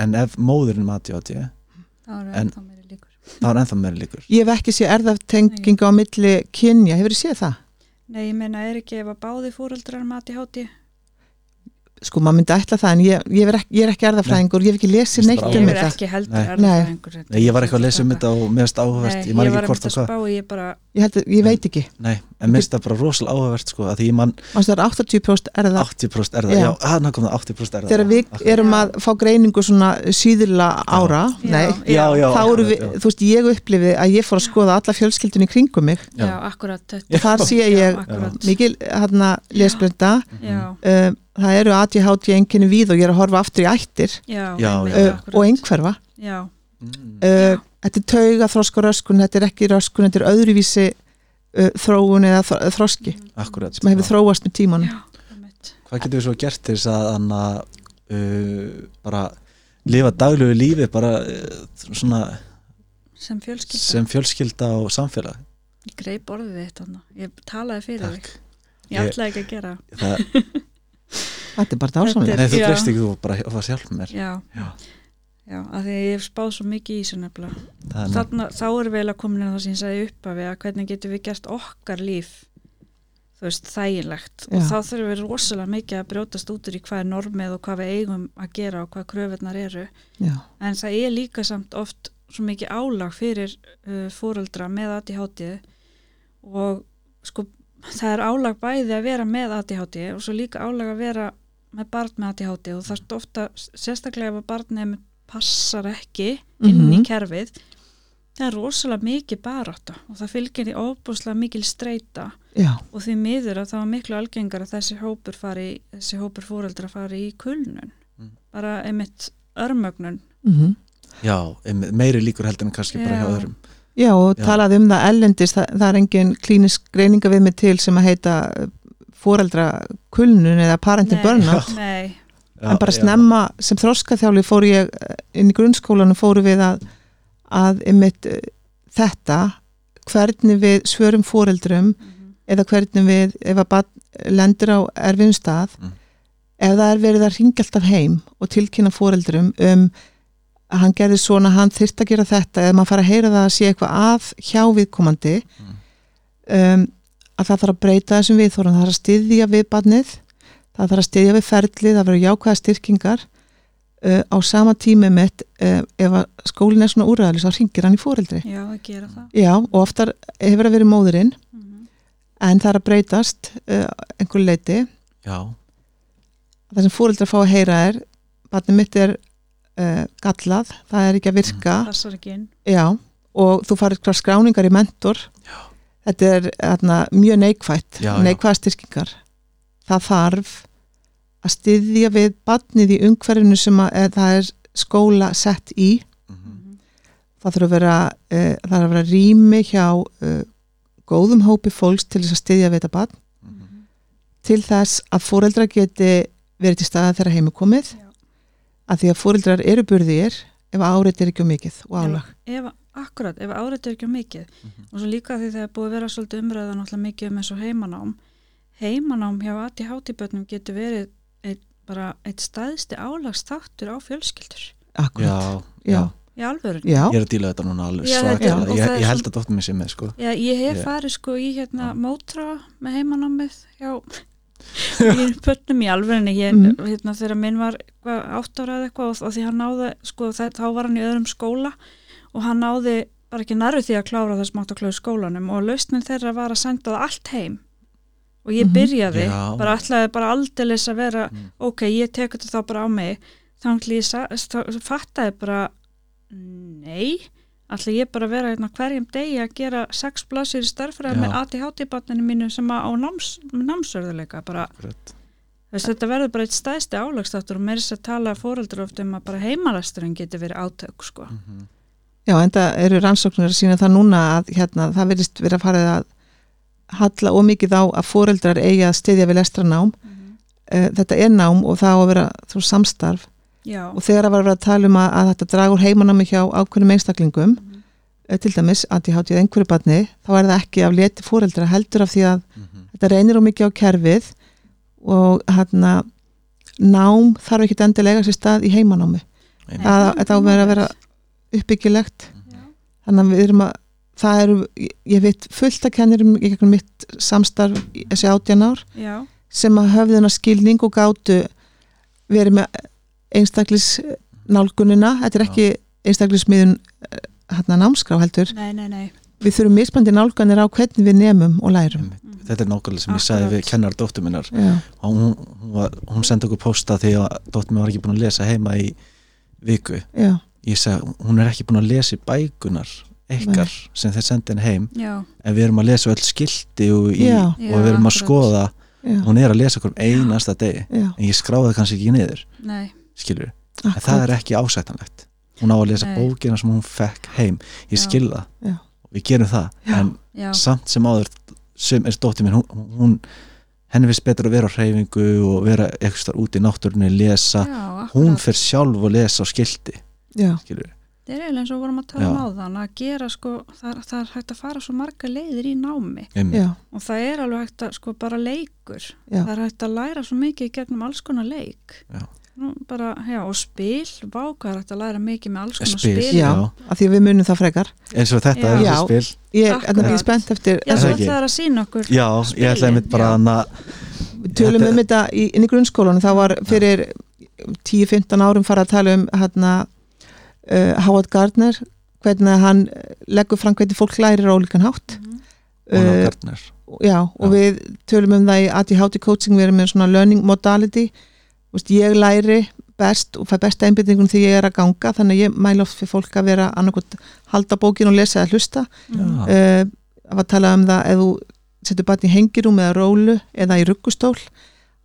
B: en ef móðurinn með ADHD
A: þá eru
B: En-
A: ennþá meira líkur
B: þá er ennþá meira líkur
D: ég hef ekki séð erðaftengingu á milli kynja, hefur þið séð það?
A: nei, ég meina er ekki ef að báði fóreldrar mati háti
D: sko maður myndi ætla það en ég, ég, er, ekki, ég er ekki erðafræðingur, ég hef ekki
B: Mér
D: lesið neitt
B: finnst bara
A: ég
D: um
A: er
D: þetta
A: ekki heldur
B: Nei.
A: erfðafræðingur, þetta
B: Nei, ég var eitthvað að lesa um
A: þetta-
B: þetta og mér finnst áhugavert,
A: Nei,
B: ég man
A: var
B: ekki hvort og
A: einmitt að
B: hvað
A: spá, ég bara,
D: ég, held, að- ég veit ekki,
B: Nei, en mér finnst það bara rosalega áhugavert sko, að því ég man
D: Manstu, það er 80% erða
B: 80% erða,
D: Já.
B: já, hann kom það 80% erða
D: þegar við
B: Akkurat.
D: erum að fá greiningu svona síðurla ára
A: Já.
D: nei,
B: Já, já,
D: þá eru við,
B: akkurat,
D: þú veist, ég upplifi að ég fór að skoða alla fjölskyldunni í kringum mig
B: Já.
A: já, akkurat þetta,
D: og þar sé
A: já,
D: ég
A: akkurat,
D: mikil hérna lesbrenda
A: já,
D: um, það eru ADHD enginni víð og ég er að horfa aftur í ættir
A: já,
B: Já,
A: einmitt,
B: já.
D: uh,
A: akkurat.
D: og einhverfa
A: já,
B: Mm,
D: uh, þetta er tauga þroska röskun þetta er ekki röskun, þetta er öðruvísi uh, þróun eða þro- þroski
B: akkurat
D: eh, sem hefur
B: Já.
D: þróast með tímanum
A: já, einmitt.
B: Hvað getum við svo gert til þess að hann að uh, bara lifa daglegu lífi bara uh, svona
A: sem fjölskylda
B: sem fjölskylda og samfélag
A: ég greip orðið þitt hann ég talaði fyrir
B: Takk
A: þig ég
B: Ég-
A: ætlaði ekki að gera
B: það,
D: þetta er bara dásamlega
A: Þetta
B: Nei, þú
A: Já.
B: breyst ekki, þú bara varst hjálp með mér
A: já.
B: Já.
A: já, að því að ég hef spáð svo mikið í þessu nefnilega.
B: það er
A: Þarna, þá er vel að komin að það sem ég sagði upp af að hvernig getum við gert okkar líf þú veist, þægilegt og
D: Já.
A: þá þurfum við rosalega mikið að brjótast út úr í hvað er normið og hvað við eigum að gera og hvað kröfunar eru
D: já,
A: en það er líka samt oft svo mikið álag fyrir uh, fóröldra með ADHD og sko það er álag bæði að vera með ADHD og svo líka álag að vera með barn með ADHD og það er ofta sérstaklega ef að barnið passar ekki inn í
D: Mhm.
A: kerfið það er rosalega mikið barátta og það fylgir því óbúslega mikil streyta
D: já,
A: og því miður að það var miklu algengar að þessi hópur fari, þessi hópur fóreldra fari í kulnun
B: Mm.
A: bara einmitt örmögnun
D: mm
B: Já, einmitt, meiri líkur heldur en kannski bara
A: Já.
B: hjá öðrum
D: já og
B: Já.
D: talaði um það ellendis, það, það er engin klínisk greininga við mig til sem að heita fóreldra kulnun eða parentin
A: Nei,
D: börna,
A: Nei,
D: en bara snemma sem þroskaþjáli fór ég eh, inn í grunnskólanum fóru við að, að einmitt eh, þetta hvernig við svörum fóreldrum eða hvernig við, ef að barn lendur á erfiðum stað
B: Mm.
D: ef það er verið að ringja alltaf heim og tilkynna foreldrum um að hann gerði svona, hann þyrst að gera þetta eða maður fara að heyra það að sé eitthvað að hjá viðkomandi
B: Mm.
D: um, að það þarf að breyta þessum viðþórum það þarf að styðja við barnið það þarf að styðja við ferlið, það verður jákvæða styrkingar uh, á sama tími mitt uh, ef að skólinn er svona úræðalis þá ringir hann í foreldri
A: já, að gera það.
D: já, og oftar hefur það verið móðurinn
A: Mhm.
D: en það er að breytast uh, einhverju leiti.
B: Já,
D: Það sem fóreldrar fá að heyra er barnið mitt er uh, gallað, það er ekki að virka
B: Mm.
A: Passar ekki inn.
D: já, og þú farir hvað skráningar í mentor
B: Já.
D: þetta er atna, mjög neikvætt
B: Já, já.
D: neikvæða styrkingar það þarf að styðja við barnið í umhverfinu sem að, eða það er skóla sett í
B: mhm,
D: það þarf að vera, uh, það þarf að vera rými hjá uh, góðum hópi fólks til þess að styðja við þetta barn
B: mhm.
D: til þess að fóreldrar geti verið til staða þegar heim er komið
A: Já.
D: að því að fóreldrar eru burðir ef áreitt er ekki um mikið og álag
A: Ef, akkurat, ef áreitur ekki um mikið.
B: Mhm.
A: Og svo líka því það er búið að vera svolítið umræðan alltaf mikið um eins og heimanám. Heimanám hjá ADHD börnum getur verið eitt, bara eitt staðsti álagstáttur á fjölskyldur.
D: akkurat,
B: já,
D: Já.
B: já.
A: Í alvörun.
D: já,
B: Ég er að díla þetta núna alveg
A: Já, þetta er-
B: svakalega.
A: og það
B: Ég,
A: er
B: ég held að dóttum mér sé með sko.
A: Já, ég hef
B: Já.
A: farið sko í hérna
B: Já.
A: mótra með heimanámið hjá í pötnum í alvegni ég,
D: Mhm.
A: hérna, þegar minn var hva, átt ára eða eitthvað og, og því hann náði sko, það, þá var hann í öðrum skóla og hann náði bara ekki nærri því að klára það sem átt að klára í skólanum og lausnin þeirra var að senda það allt heim og ég
D: Mhm.
A: byrjaði
B: Já.
A: bara ætlaði bara aldeilis að vera
B: Mm.
A: ok, ég tekur þetta þá bara á mig þannig að ég sa- þá- þá fattaði bara nei ætla ég bara að vera hérna á hverjum degi að gera sex blassir í starfræði
B: Já.
A: með ADHD-banninu mínu sem að á náms, námsörðuleika bara,
B: Akkurat.
A: þú veist, þetta verður bara eitt stæðsti álagstáttur og meirist að tala fóreldur oft um að bara heimalasturinn getur verið átök sko.
B: Mhm.
D: já en það eru rannsóknir að sína það núna að hérna, það verðist verið að farið að halla ómikið á að fóreldrar eigi að styðja við lestranám uh, þetta er nám og það á að vera þú samstarf
A: Já,
D: og þegar að var að vera að tala um að, að þetta dragur heimanámi hjá ákveðnum einstaklingum
A: Mhm.
D: eh, til dæmis að ég hátíð einhverju barni þá er það ekki af leti fóreldra heldur af því að
B: Mhm.
D: þetta reynir um mikið á kerfið og hérna nám þarf ekki endilega sér stað í heimanámi
B: Einmitt.
D: að þetta á að vera að vera uppbyggilegt þannig að við erum að það eru, ég- ég veit fullt að kennirum í gegnum mitt samstarf í þessi átjan ár
A: já,
D: sem að höfðuna skilning og gátu verið með einstaklis nálgunina, þetta er ekki einstaklismiðun hérna námskrá heldur,
A: nei, nei, nei
D: við þurfum mismandi nálganir á hvernig við nemum og lærum
B: Einmitt. Þetta er nákvæmlega sem ég sagði
A: Akkurat.
B: við kennar dóttum minnar
D: Já,
B: og hún, hún, var- hún sendi okkur posta því að dóttum minn var ekki búin að lesa heima í viku.
D: já,
B: Ég sagði, hún er ekki búin að lesa í bækunar ekkar sem þeir sendi henn heim
A: Já,
B: en við erum að lesa öll skilti og, í,
D: Já.
B: og við erum að
A: Já, akkurat.
B: skoða
D: já,
B: hún er að lesa okkur um einasta degi
D: já
B: en ég skráði það kannski ekki niður
A: nei,
B: skilur en það er ekki ásættanlegt hún á að lesa
A: Nei.
B: bókina sem hún fekk heim ég
A: Já.
B: skil það,
D: Já.
B: Og við gerum það
D: Já.
B: en
A: já,
B: samt sem áður sem er dóttir mín, hún, hún henni finnst betur að vera á hreyfingu og vera eitthvað starf út í náttúrunni, lesa
A: já akkurat.
B: hún fer sjálf og lesa á skildi
D: já,
B: skilur við,
A: Það er eiginlega eins og við vorum að tala
B: Já.
A: um áðan að gera sko, það, það er hægt að fara svo marga leiðir í námi
B: einmitt,
D: já,
A: og það er alveg hægt að sko bara leikur
D: Já.
A: það er hægt að læra svo mikið í gegnum alls konar leik
B: Já.
A: Nú, bara, já, og spil, vákar hægt að læra mikið með alls konar
B: Spil,
A: spil,
B: Já.
D: Já, af því að við munum það frekar
B: eins og þetta
A: Já.
B: er
D: Já.
B: þessi spil
D: Ég
A: Akkurat.
D: er mjög spennt eftir
A: Já,
B: Er
A: þú
B: það
D: þessa-
B: ekki?
A: ætlaði að sína okkur
B: já, ég
A: Spilin,
B: ætlaði mitt bara
A: já.
B: að na-
D: Við tölum
B: Þetta-
D: um þetta í, inn í grunnskólanum það var fyrir 10-15 árum fara að tala um hérna, uh, Howard Gardner hvernig hann eh, leggur fram hvernig fólk lærir á ólíkan hátt
B: Ólaf
D: uh,
B: Gardner.
D: já,
B: Já.
D: og við tölum um það í ADHD coaching, við erum með svona learning modality Vist, ég læri best og fæ besta einbyrningun þegar ég er að ganga þannig að ég mæla oft fyrir fólk að vera annarkot halda bókin og lesa eða hlusta
B: Já.
D: uh, að tala um það ef þú setur barn í hengirúm eða rólu eða í ruggustól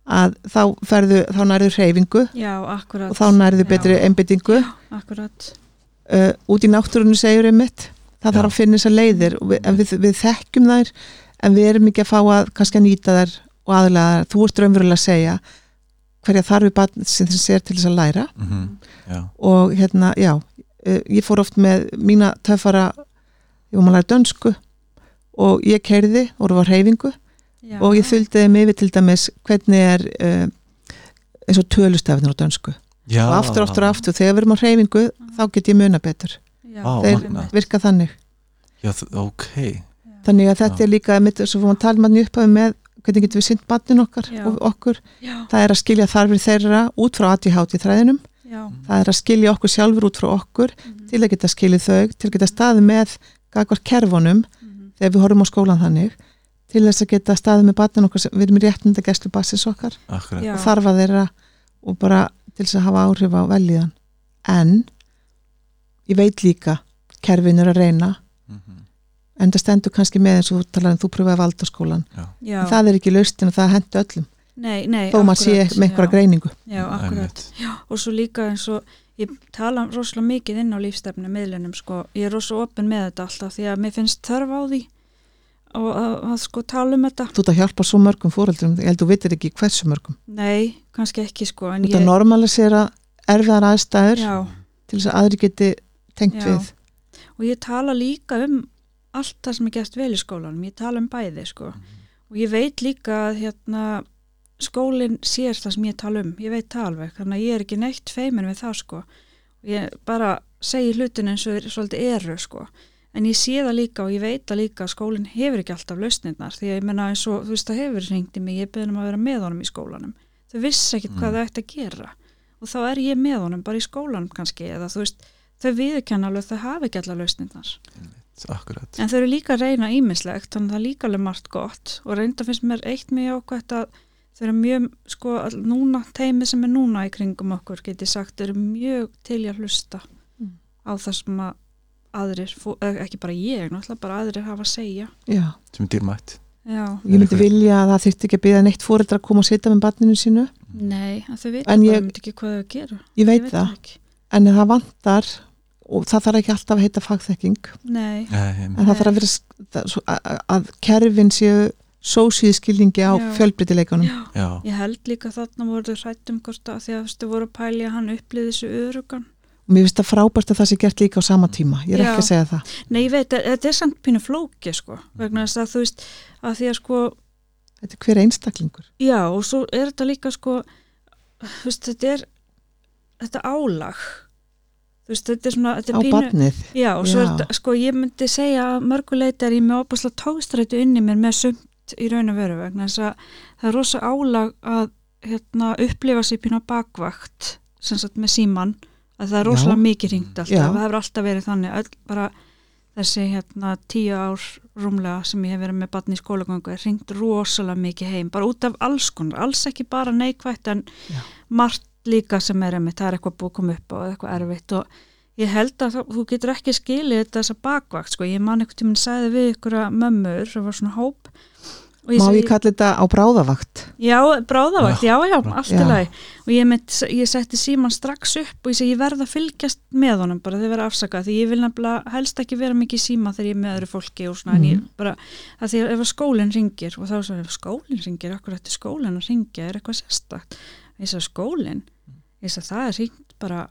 D: að þá, ferðu, þá nærðu hreyfingu
A: Já, akkurat
D: og þá nærðu betri einbyttingu
A: Akkurat,
D: uh, út í náttúrunni segjur einmitt það
B: Já.
D: þarf að finna þessar leiðir og við, en við, við þekkjum þær en við erum ekki að fá að kannski að nýta þær og aðlega þær, þú ert raunverulega að segja hverja þarf við barn sem þess er til þess að læra
B: Mhm. Já.
D: og hérna, já eh, ég fór oft með mína töffara ég var maður að læra dönsku og ég kerði og var reyfingu
A: já
D: og ég þuldiði mig við til dæmis hvernig er uh, eins og tölustafnir á dönsku
B: já,
D: og aftur, aftur, aftur, þegar við erum á reyfingu þá get ég muna betur,
A: já,
B: Vá,
D: þeir
B: magnað.
D: virka þannig
B: já, þ- ok
D: þannig að þetta
B: Já.
D: er líka, mitt, svo fórum að tala manni upphafi með hvernig getum við sint bannin okkar
A: Já.
D: og okkur,
A: já,
D: það er að skilja þarfir þeirra út frá ADHD þræðinum
A: já,
D: það er að skilja okkur sjálfur út frá okkur
A: mhm,
D: til að geta skilið þau, til að geta staðið með gagvar kerfunum
A: mhm,
D: þegar við horfum á skólan þannig til þess að geta staðið með barnin okkar sem við erum í réttinda gæslu bassins okkar
B: akkurat,
A: já,
D: og þarfa þeirra og bara til þess að hafa áhrif á veljiðan en ég veit líka kerfin er að reyna
B: Mhm.
D: en það stendur kannski með eins og þú talar en þú pröfaði valdaskólan
A: já.
D: en það er ekki laustin og það hendur öllum
A: Nei, nei,
D: þó maður sé
A: akkurat,
D: með einhverja
A: já.
D: greiningu
A: Já, akkurat
B: Einmitt.
A: og svo líka eins og ég tala rosalega mikið inn á lífstefnu miðlunum sko, ég er rosalega opin með þetta alltaf því að mér finnst þörf á því og að, að sko tala um þetta
D: þú ert að hjálpa svo mörgum fóreldrum ég held þú vitir ekki hversu mörgum
A: nei, kannski ekki sko en
D: þú ert að
A: ég,
D: normalisera erfiðar aðstæður
A: já,
D: til þess að aðri geti tengt
A: Já.
D: við
A: og ég tala líka um allt það sem er gert vel í skólanum ég tala um bæði sko og ég veit líka að hérna skólinn sér það sem ég tala um ég veit það alveg, þannig að ég er ekki neitt feimin við það sko ég bara segi hlutin eins og þeir svolítið eru sko en ég sé það líka og ég veit það líka að skólinn hefur ekki alltaf lausnirnar því að ég menna eins og þú veist það hefur hringt í mig ég beðin um að vera með honum í skólanum þau vissi ekkit
B: Mm.
A: hvað þau ætti að gera og þá er ég með honum bara í skólanum kannski eða þú veist þau viðurkenna alveg að þau hafa ekki alltaf lausnirnar
B: akkurat
A: En þau eru líka að reyna ímislegt, þannig að það er líka alveg margt gott og reynda finnst mér eitt mjög ákvæmt að þau eru mjög, sko, all- núna, teimið sem er núna í kringum okkur, get ég sagt, eru mjög til í að hlusta
D: Mm.
A: á það sem að aðrir, fó- eh, ekki bara ég, náttúrulega bara aðrir hafa að segja.
D: Já.
B: sem er dýrmætt
A: Já,
D: ég myndi vilja að það þyrfti ekki að byrja neitt fóreldra að koma og sitja með barninu sínu
A: nei, að þau veit
D: En
A: bara
D: ég-
A: myndi ekki hvað þau að gera.
D: ég
A: Ég
D: veit það,
A: ekki.
D: en það vantar og það þarf ekki alltaf að heita fagþekking
A: Nei,
D: en það þarf að vera sk- það- svo- að- að- að kerfin séu sósíði skilningi á
A: Já.
D: fjölbreytileikunum
A: já.
B: já,
A: Ég held líka þarna voru þau hrætt um hvort að því að þú veist, þau voru að pæli að hann upplýði þessu örugan.
D: og mér finnst það frábært að það sé gert líka á sama tíma ég er ekki að segja það
A: Nei, ég veit, e, þetta er samt pínu flóki, sko,
D: Mm.
A: vegna þess að þú veist, að því að sko,
D: þetta er hver einstaklingur
A: já, og svo er þetta líka sko, þú veist, þetta er, þetta álag, þú veist, þetta er svona, þetta
D: á
A: er pínu,
D: barnið
A: já, og svo er
D: Já.
A: þetta, sko, ég myndi segja að mörguleiti er ég með opaslega tókstrættu inni mér með sumt í raun og veru vegna þess að það er rosa álag að, hérna, upplifa sér pínu á bakvakt, sem sagt með síman, að það er
D: Já.
A: rosalega mikið ringt alltaf,
D: Já.
A: það hefur alltaf verið þannig, öll, bara þessi hérna tíu ár rúmlega sem ég hef verið með batni í skólagöngu er ringt rosalega mikið heim, bara út af alls konar, alls ekki bara neikvætt en
D: Já.
A: margt líka sem er einmitt, það er eitthvað búið að koma upp á eða eitthvað erfitt og ég held að það, þú getur ekki skilið þetta þessa bakvakt, sko, ég man einhvern tíminn sæði við ykkur mömmur, það var svona hóp og
D: má
A: segi-
D: ég kalla þetta á bráðavakt
A: Já, bráðavakt, já, já, allt í
D: Já.
A: lagi og ég, mitt, ég setti síman strax upp og ég segi ég verð að fylgjast með honum bara þegar vera afsakað því ég vil nefnilega helst ekki vera mikið í síma þegar ég er með öðru fólki og svona en ég bara, að því að ef að skólinn ringir og þá svo ef skólinn ringir, akkur þetta skólinn að ringja er eitthvað sérstakt, ég sagði skólinn ég sagði það er ringt bara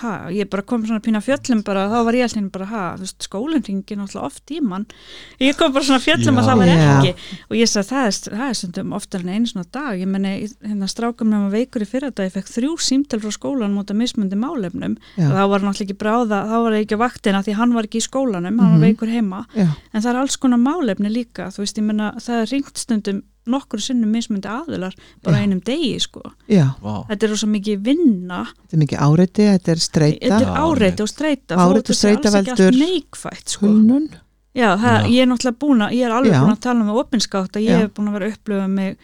A: ha, ég bara kom svona pína fjöllum bara, þá var ég allir bara, ha, þú veist, skólinn ringir náttúrulega oft í mann, ég kom bara svona fjöllum að
B: Já.
A: það var
D: Já.
A: ekki og ég sagði, það er, það er stundum oftar en einu svona á dag, ég meni, hérna strákum með maður veikur í fyrra dag, ég fekk þrjú símtel frá skólan mútið mismundi málefnum
D: Já.
A: og þá var náttúrulega ekki bráða, þá var ég ekki á vaktina því hann var ekki í skólanum, hann var
D: Mhm.
A: veikur heima
D: já,
A: en það er alls konar málefni líka, þú veist, ég meni, það er ringt stundum nokkur sinnum mismundi aðilar bara á
D: Já.
A: einum degi, sko.
D: já,
B: Vá,
A: Þetta er rosa mikið vinna
D: þetta er mikið áreiti, þetta er
A: Þetta
D: streyta,
A: er áreiti og streita
D: Áreiti og streita veldur-
A: neikvætt sko.
D: hulnun,
A: Já, það,
B: Já.
A: ég er náttúrulega búin að ég er alveg
D: Já.
A: búin að tala með opinskátt að
D: Já.
A: ég hef búin að vera að upplifa mig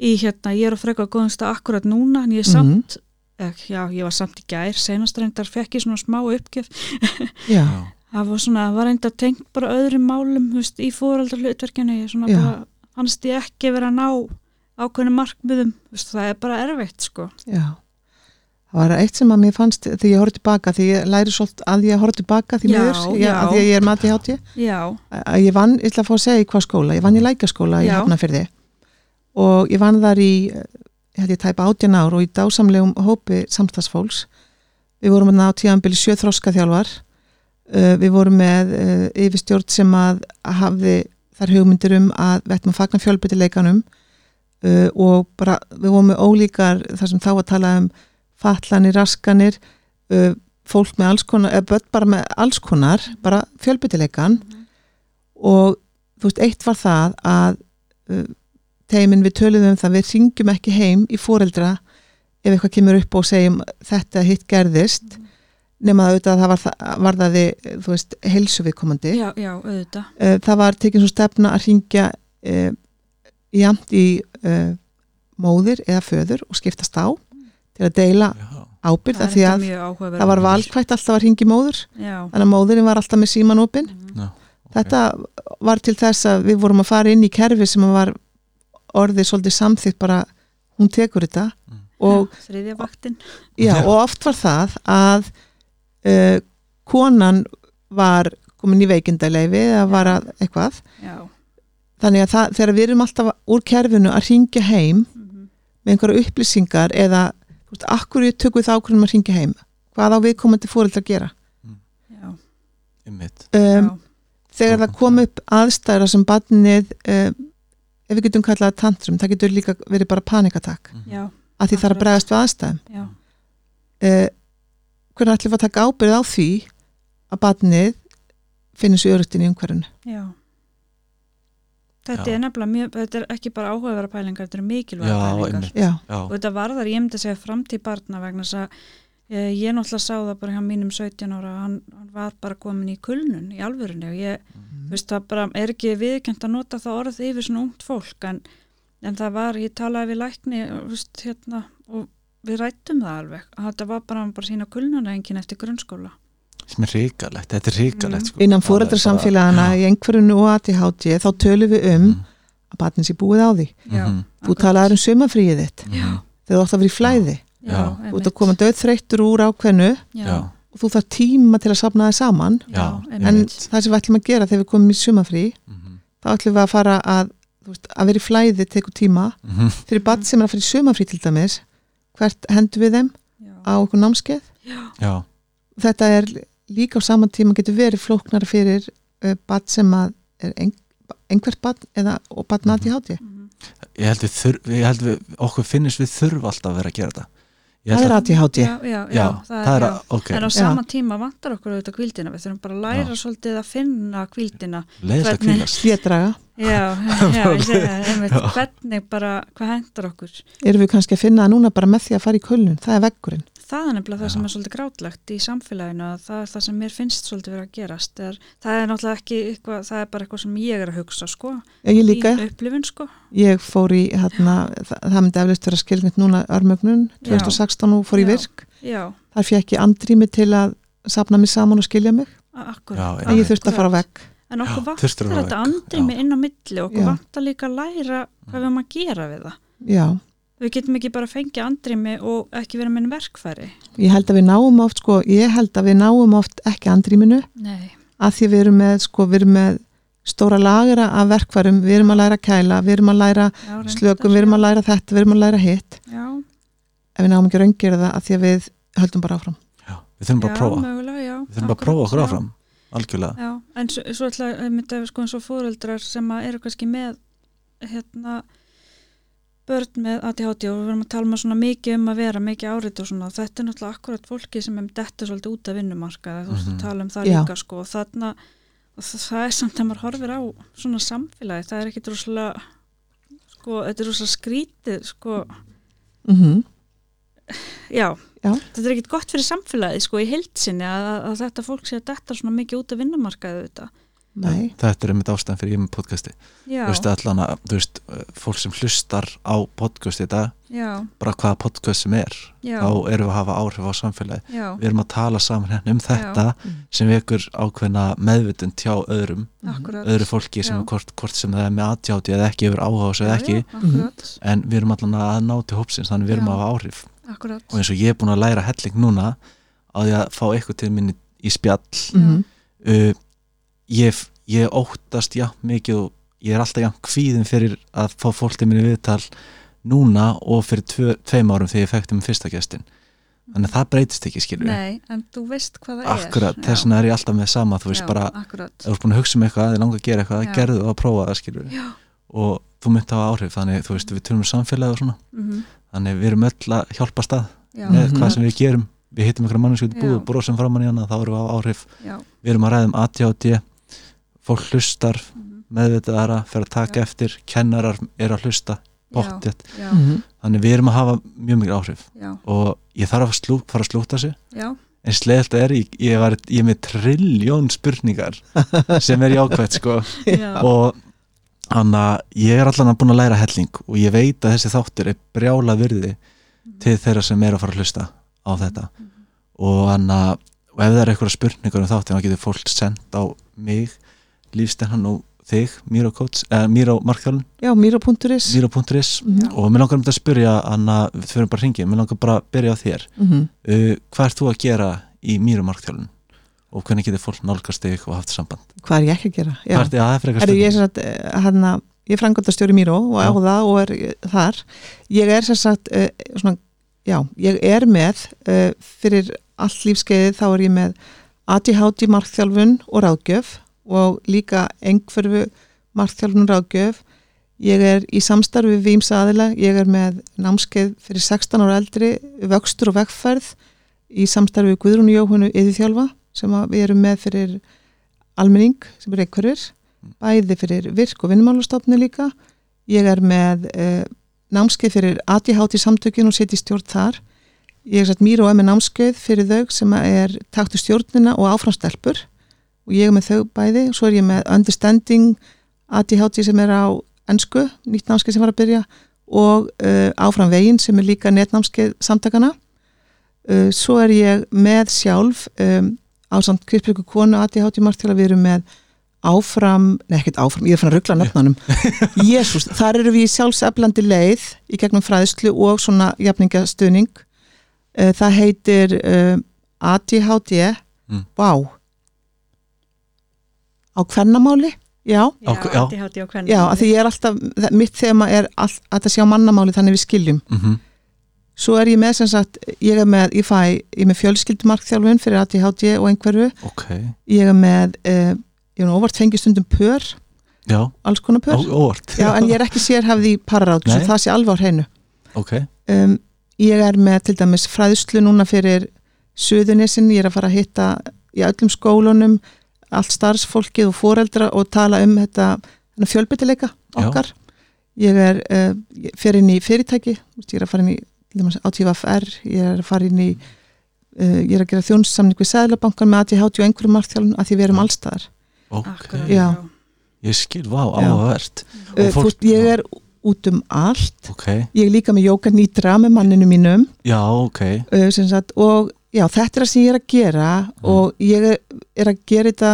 A: í hérna, ég er að freka góðumsta akkurat núna en ég er
D: Mhm.
A: samt ek, já, ég var samt í gær, senastrendar fekk ég svona smá uppgjöf,
D: já,
B: já,
A: það var svona, það var enda tengt bara öðrum málum, þú veist, í fóraldar hlutverkinu, ég svona
D: Já.
A: bara fannst ég ekki vera að ná ákveðnum markmiðum, þú veist, það er bara erfitt sko.
D: já. Það var eitt sem að mér fannst þegar ég horfði tilbaka, því ég læri svolítið að ég horfði tilbaka því
A: Já,
D: miður, ég,
A: já.
D: að því að ég er mati hátja.
A: Já,
D: að ég vann, ég ætla að fá að segja í hvað skóla ég vann í lækaskóla í
A: Já.
D: Hafnafyrði og ég vann þar í eh, ég held ég tæpa átján ár og í dásamlegum hópi samstagsfólks við vorum að ná tíðanbili sjö þroskaþjálfar uh, við vorum með uh, yfirstjórn sem að hafði þar hugmyndir um að við ættum að fagna fjölbyttileikanum uh, og bara við vorum með ólíkar þar sem þá að tala um fatlanir, raskanir uh, fólk með alls konar, eða börn bara með alls konar, bara fjölbyttileikan og þú veist, eitt var það að uh, teimin við töluðum um það við ringjum ekki heim í foreldra ef eitthvað kemur upp og segjum þetta hitt gerðist nema það auðvitað að það var það, var það þú veist, heilsu viðkomandi
A: já, já, auðvitað
D: uh, það var tekin svo stefna að ringja uh, jæmt í uh, móðir eða föður og skiptast á til að deila
B: já,
D: ábyrð
A: það
D: af
A: er
D: því
A: þetta
D: að
A: mjög áhugaverð
D: það var valkvætt alltaf að ringi móður
A: Já,
D: þannig að móðurinn var alltaf með síman opinn Þetta var til þess að við vorum að fara inn í kerfi sem var orðið svolítið samþýtt bara hún tekur þetta
B: Mm.
D: og,
A: þriðja vaktin
D: já,
B: Já.
D: og oft var það að uh, konan var komin í veikindaleifi eða var að eitthvað
A: Já,
D: þannig að það, þegar við erum alltaf úr kerfinu að ringja heim
A: mhm,
D: með einhverja upplýsingar eða þú veist, akkur ég tökum við það ákvörðum að ringja heim hvað á viðkomandi fóreldra að gera
A: já,
B: einmitt,
A: já,
D: um, þegar það kom upp aðstæðra sem barnið uh, ef við getum kallað það tantrum, það getur líka verið bara panikatak,
A: já,
D: að því það er að
A: Akkurat.
D: bregðast við aðstæðum
A: já,
D: uh, hvernig ætlum við að taka ábyrð á því að barnið finnir sér örugtin í umhverfinu
A: já. Þetta
B: Já.
A: er nefnilega mjög, þetta er ekki bara áhugaverða pælingar, þetta eru mikilvæga
B: Já,
A: pælingar.
B: einmitt.
D: já,
B: já,
A: Og þetta varðar, ég myndi að segja framtíð barna vegna þess að eh, ég náttúrulega sá það bara hjá mínum 17 ára, hann, hann var bara komin í kulnun í alvörunni og ég,
B: Mhm.
A: þú veist, það bara er ekki viðkjönt að nota það orð yfir svona ungt fólk en, en það var, ég talaði við lækni, þú veist, hérna, og við rættum það alveg. að Þetta var bara, hann bara sína kulnuna engin eftir grunnskóla.
B: sem er ríkalegt, þetta er ríkalegt sko. Það er
D: innan
B: bara-
D: fóreldrasamfélagana í einhverjunu og ATHT þá tölum við um
B: Mhm.
D: að barnið sé búið á því
A: Já,
B: Mhm.
D: þú talaðir um sömafríið þitt
A: Já,
D: þegar þú átt að vera í flæði,
A: já,
B: Já.
D: þú ert að koma döðþreyttur úr ákveðnu
B: já,
D: og þú þarf tíma til að safna þið saman
B: já,
D: en
B: einmitt.
D: það sem við ætlum að gera þegar við komum í sumafrí
B: Mhm.
D: þá ætlum við að fara að þú veist, að vera í flæði tekur tíma
B: Mhm.
D: fyrir barn
A: Mm.
D: sem er að fara í sumafrí til dæmis hvert hendur við þeim á okkur námskeið
B: já,
D: þetta er líka á saman tíma getur verið flóknara fyrir uh, barn sem að er ein, einhvert barn eða, og
A: Mhm.
D: barn aðti hátti
B: ég held við, þur, ég held við okkur finnist við þurfa alltaf að vera að gera þetta Ég held
D: það er aðti hátti
A: Já, já,
B: já, það er
A: já.
B: að, ok,
A: En á sama tíma vantar okkur auðvitað kvildina, við þurfum bara að læra svolítið að finna kvildina.
B: leiðist að
A: hvernig-
B: kvílast
D: vétraga,
A: Já, já, ég segi það, einmitt, hvernig bara, hvað hendur okkur?
D: erum við kannski að finna það núna bara með því að fara í kölnun, það er veggurinn
A: Það er nefnilega það
B: Já.
A: sem er svolítið grátlegt í samfélaginu að það er það sem mér finnst svolítið vera að gerast. Er, það er náttúrulega ekki eitthvað, það er bara eitthvað sem ég er að hugsa, sko.
D: ég líka,
A: Í upplifun, sko.
D: ég fór í hérna, það, það myndi eflust vera skilnitt núna örmögnun, 2016 og fór í
A: Já.
D: virk
A: Já,
D: þar fekk ég andrými til að sapna mig saman og skilja mig
A: akkur.
B: Já,
D: en ég
B: einmitt.
D: þurfti að fara á vegg
A: En okkur
B: Já,
A: vantar
B: þurftir að
A: þetta
B: vera vegg,
A: andri
B: já.
A: með inn á milli, okkur
D: Já.
A: vantar líka að læra hvað við erum að gera við það.
D: já,
A: Við getum ekki bara að fengja andrými og ekki vera með verkfæri.
D: ég held að við náum oft sko, ég held að við náum oft ekki andrýminu
A: Nei.
D: að því við erum með, sko, við erum með stóra lagra af verkvarum, við erum að læra að kæla við erum að læra
A: Já, reyndar,
D: slökum, við erum að læra þetta, við erum að læra hitt
A: Já,
D: ef við náum ekki raungir það að því að við höldum bara áfram
B: Já. við þurfum bara að prófa
A: mögulega, já.
B: við þurfum bara að prófa okkur
A: Akkurat,
B: áfram algjörlega,
A: Já, já. en svo, svo ætla að mynda sko eins og fóreldrar sem að eru kannski með hérna börn með ADHD og við verum að tala um að svona mikið um að vera, mikið árit og svona þetta er náttúrulega akkurat fólki sem er dettur svolítið út af vinnumarkaði, þú veist
B: Mhm.
A: að tala um það
D: Já.
A: líka sko og þarna og þa- það er samt að maður horfir á svona samfélagi, það er ekkit rosalega sko, þetta er rosalega skrítið sko,
D: mm -hmm.
A: já,
D: Já.
A: þetta er ekkit gott fyrir samfélagi sko í heildsinni að, að, að þetta fólk sé að detta svona mikið út af vinnumarkaði þetta,
D: Nei,
B: þetta er einmitt ástæðan fyrir ég með podcasti
A: já,
B: þú veist allan að, þú veist, eh, fólk sem hlustar á podcast í dag
A: já
B: bara hvaða podcast sem er
A: já,
B: þá erum við að hafa áhrif á samfélagi
A: já,
B: við erum að tala saman hérna um þetta
D: Mm.
B: sem vekur ákveðna meðvutund hjá öðrum,
A: akkurat
B: öðru fólki sem
A: Já.
B: er hvort, hvort sem það er með aðjáti eða ekki yfir áhuga á þessu eða ekki,
A: já, akkurat,
B: en við erum allan að ná til hópsins, þannig við erum
A: Já.
B: að hafa áhrif
A: akkurat
B: og eins og ég er búin að læra helling núna á því að fá eitthvað til minni í spjall
D: Mhm.
B: uh, ég, ég óttast já mikið og ég er alltaf já kvíðin fyrir að fá fólk til minni í viðtal núna og fyrir tvö, tveim árum þegar ég fekti með fyrsta gestin þannig að það breytist ekki skilur
A: Nei, en þú veist hvað það
B: akkurat,
A: er
B: þess vegna er ég alltaf með sama þú veist
A: já,
B: bara, ef
A: akkurat,
B: þú ert búin að hugsa um eitthvað að þið langar að gera eitthvað,
A: Já.
B: gerðu það og prófa það skilur
A: já,
B: og þú myndi hafa áhrif, þannig þú veist við tölum um samfélagi og svona,
A: mm
B: þannig við erum öll að hjálpa stað
A: já,
B: með
D: Mhm.
B: hvað sem við gerum við hittum einhverja mannesku út í búð
A: Já.
B: og brosum framann í hana þá erum við á áhrif,
A: já,
B: við erum að ræða um ADHD fólk hlustar
A: mhm,
B: meðvitaðara, fer að taka
A: Já.
B: eftir kennarar eru að hlusta,
A: já,
B: bóttið
A: já,
D: Mhm.
B: þannig við erum að hafa mjög mikil áhrif
A: já,
B: og ég þarf að slú, fara að slúta sig
A: já,
B: en slegalt er, ég, ég, var, ég er með trilljón spurningar sem er jákvæmt sko
A: já,
B: og hann að ég er allan að búin að læra helling og ég veit að þessi þáttur er brjála virði
D: Mhm.
B: til þeirra sem er að fara að hlusta á þetta og hann að og ef það er eitthvað spurningar um þáttir þá getur fólk sendt á mig lífstennan og þig, Míró Coach eh, eða Míró Markþjálun,
D: Já, mýra.is
B: Míró.is
D: Mhm.
B: og mér langar um þetta að spyrja hann að við fyrir bara að ringi, mér langar bara að byrja á þér
D: Mhm.
B: uh, hvað ert þú að gera í Míró Markþjálun og hvernig getur fólk nálgast þig og haft samband
D: Hvað er ég ekki að gera? Já.
B: hvað ert þið að það er frekar
D: Herru, ég
B: spurning?
D: er sem sagt, eh, hérna, ég er frangöldastjóri Míró og á
B: Já.
D: það og er eh, þar. Ég er sem sagt, eh, svona, já, ég er með, eh, fyrir allt lífskeiðið þá er ég með ADHD markþjálfun og ráðgjöf og líka engförfu markþjálfun og ráðgjöf. Ég er í samstarfi við ímsa aðila, ég er með námskeið fyrir 16 ára eldri, vöxtur og vegferð í samstarfi við Guðrún Jóhunu yðurþjálfa sem að við erum með fyrir almenning sem er einhverjur bæði fyrir virk og vinnumálastofni líka. Ég er með eh, námskeið fyrir ADHD samtökin og setji stjórn þar. Ég er satt mýr og er með námskeið fyrir þau sem að er taktu stjórnina og áframstelpur og ég er með þau bæði. Svo er ég með Understanding ADHD sem er á ennsku, nýtt námskeið sem var að byrja og uh, áfram veginn sem er líka netnámskeið samtakana. Uh, svo er ég með sjálf um, á samt Krispjöku konu ADHD margt til að við erum með áfram, nei ekkert áfram, ég er fann að ruggla nafnanum, Jésús, þar eru við í sjálfseflandi leið í gegnum fræðslu og svona jafningastuðning Eh, það heitir eh, ADHD
B: Mm.
D: Vá á kvennamáli já,
A: já,
B: ok, já.
A: ADHD og hvernig
D: já, að því ég er alltaf það- mitt þema er all, að það sjá mannamáli þannig við skiljum
B: Mhm,
D: svo er ég með sem sagt, ég er með ég fæ, ég er með fjölskyldumarkþjálfun fyrir ADHD og einhverfu,
B: Mhm, ok,
D: ég er með eh, ég er nú óvart fengið stundum pör
B: já,
D: alls konar
B: ó,
D: pör
B: óvart
D: Já, en ég er ekki sérhæfð í pararátt svo
B: Nei.
D: það sé alveg á hreinu.
B: ok,
D: Um, ég er með til dæmis fræðslu núna fyrir Suðunesin, ég er að fara að hitta í öllum skólunum, allt starfsfólkið og foreldra og tala um þetta þennan fjölbyttileika
B: Já.
D: okkar. Ég er uh, fyrir inn í fyrirtæki, þú veist, ég er að fara inn í til dæmis ATVFR, ég er að fara inn í uh, ég er að gera þjónussamning við Sæðlabankan með ATHT og einhverjum margþjálun að því við erum allstaðar.
B: ok
A: akkurat,
D: Já.
B: ég skil, vá,
D: Já.
B: áhugavert Og
D: Uh,
B: fólk-
D: fólk, ég er út um allt
B: ok,
D: Ég er líka með Jóka Nýtra með manninu mínum
B: já, ok
D: uh, sem sagt, og já, þetta er það sem ég er að gera
B: Mhm.
D: og ég er, er að gera þetta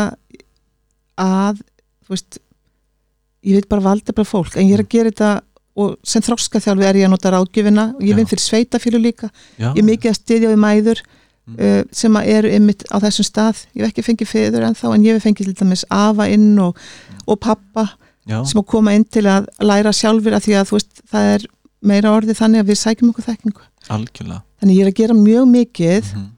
D: að, þú veist ég veit bara valda bara fólk en
B: Mhm.
D: ég er að gera þetta og sem þróska þjálfi er ég að nota ráðgjöfina og ég
B: Já.
D: vinn fyrir sveitafílu líka
B: já,
D: ég er mikið að styðja við mæður
B: Mm.
D: uh, sem að eru einmitt á þessum stað ég hef ekki fengið feður ennþá en ég hef fengið til dæmis afa inn og, og pappa
B: já,
D: sem að koma inn til að læra sjálfur af því að þú veist, það er meira orðið þannig að við sækjum okkur þekkingu.
B: algjörlega
D: Þannig ég er að gera mjög mikið
B: Mhm.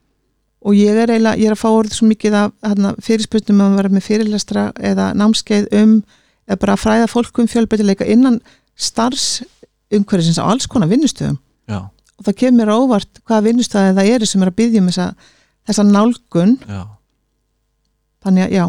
D: og ég er eiginlega, ég er að fá orðið svo mikið af hana, fyrirspurnum um að vera með fyrirlestra eða námskeið um eða bara að fræða fólk um fjölbreytileika innan starfs umhverfisins á alls konar vinnustöðum
B: já,
D: og það kemur mér á óvart hvaða vinnustöði það eru sem er að byggja um þessa, þessa nálgun
B: já
D: þannig að já,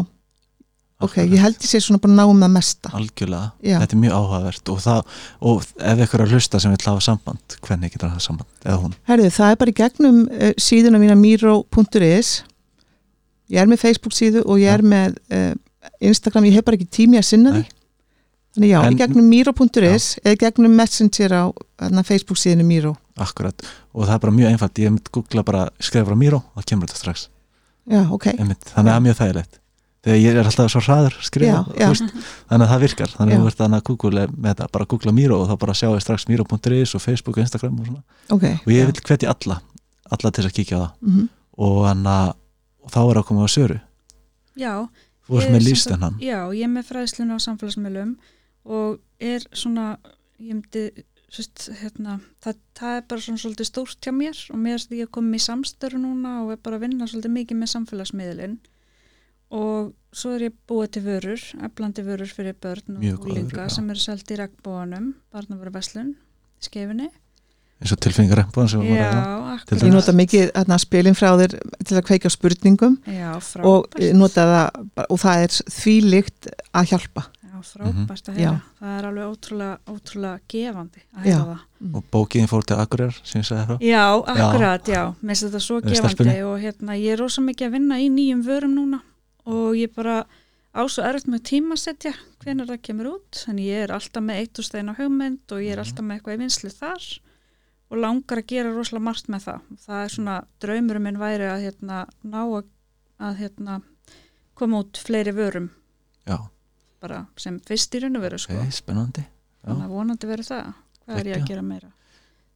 D: ok, ég held ég sé svona bara náum um það mesta
B: algjörlega,
D: Já.
B: þetta er mjög áhugavert og, það, og ef ykkur er að hlusta sem vil hafa samband, hvernig getur það samband eða hún,
D: Herðu, það er bara í gegnum uh, síðuna mína miro.is Ég er með Facebook síðu og ég er með uh, Instagram, ég hef bara ekki tími að sinna því
B: Nei.
D: Þannig já,
B: En-
D: í gegnum miro.is eða í gegnum messenger á hana, Facebook síðinu miro
B: akkurat og það er bara mjög einfalt, ég mynd googla bara skrifa bara Miro og það kemur þetta strax
D: Já, ok,
B: Einmitt, þannig að það er mjög þægilegt þegar ég er alltaf svo hraður að skrifa
D: Já,
B: þú
D: já.
B: veist, þannig að það virkar þannig
D: Já.
B: að þú ert þannig að googla með þetta, bara googla Miro og þá bara sjáu strax Miro.is og Facebook og Instagram og svona
D: ok
B: og ég
D: já.
B: vil hvetja alla, alla til þess að kíkja á það
D: Mhm.
B: og þannig að og þá er að koma á Söru
A: Já,
B: þú
A: Ég
B: ert
A: er
B: með
A: sem
B: lífstennan
A: já, ég er með fræðsluna á samfélagsmiðlum og er svona, ég myndi, svist, hérna, það, það er bara svona svolítið stórt hjá mér og mér er ég komið í samstöru núna og er bara að vinna svolítið mikið með samfélagsmiðlin og svo er ég búið til vörur, eflandi vörur fyrir börn
B: Mjög
A: og
B: góðar vörur,
A: úlinga
B: já.
A: sem eru selt í regnbóðanum, barnavöruverslun, skefinni.
B: eins og tilfengar empúðan sem var að
A: Já,
B: Til
D: Ég
B: dæmis.
A: akkurat.
D: nota mikið hana, spilin frá þér til að kveika á spurningum
A: Já, frábært.
D: og, eh, nota það, bara- og það er þvílíkt að hjálpa
A: Já, frábært
B: Mhm.
A: að heyra.
D: Já.
A: Það er alveg ótrúlega, ótrúlega gefandi að
D: Já.
A: heyra það.
B: og bókiðin fór til Akureyrar sem ég sagði það
A: Já, akkurat, já. Mér finnst þetta svo
B: Eh,
A: gefandi
B: stelpunni.
A: og hérna, ég er rosa mikið að vinna í nýjum vörum núna og ég bara á svo erfitt með tímasetja hvenær það kemur út. Þannig ég er alltaf með eitt úr stein á hugmynd og
B: Mhm.
A: ég er alltaf með eitthvað í vinslu þar og langar að gera rosalega margt með það. Það er svona, draumurum minn væri að hérna, ná að, að hérna, koma út fleiri vörum
B: já,
A: bara sem fyrst í raun og veru sko.
B: ok, spennandi
A: Þannig að vonandi verið það. Hvað er ég að
B: Geggjað.
A: gera meira?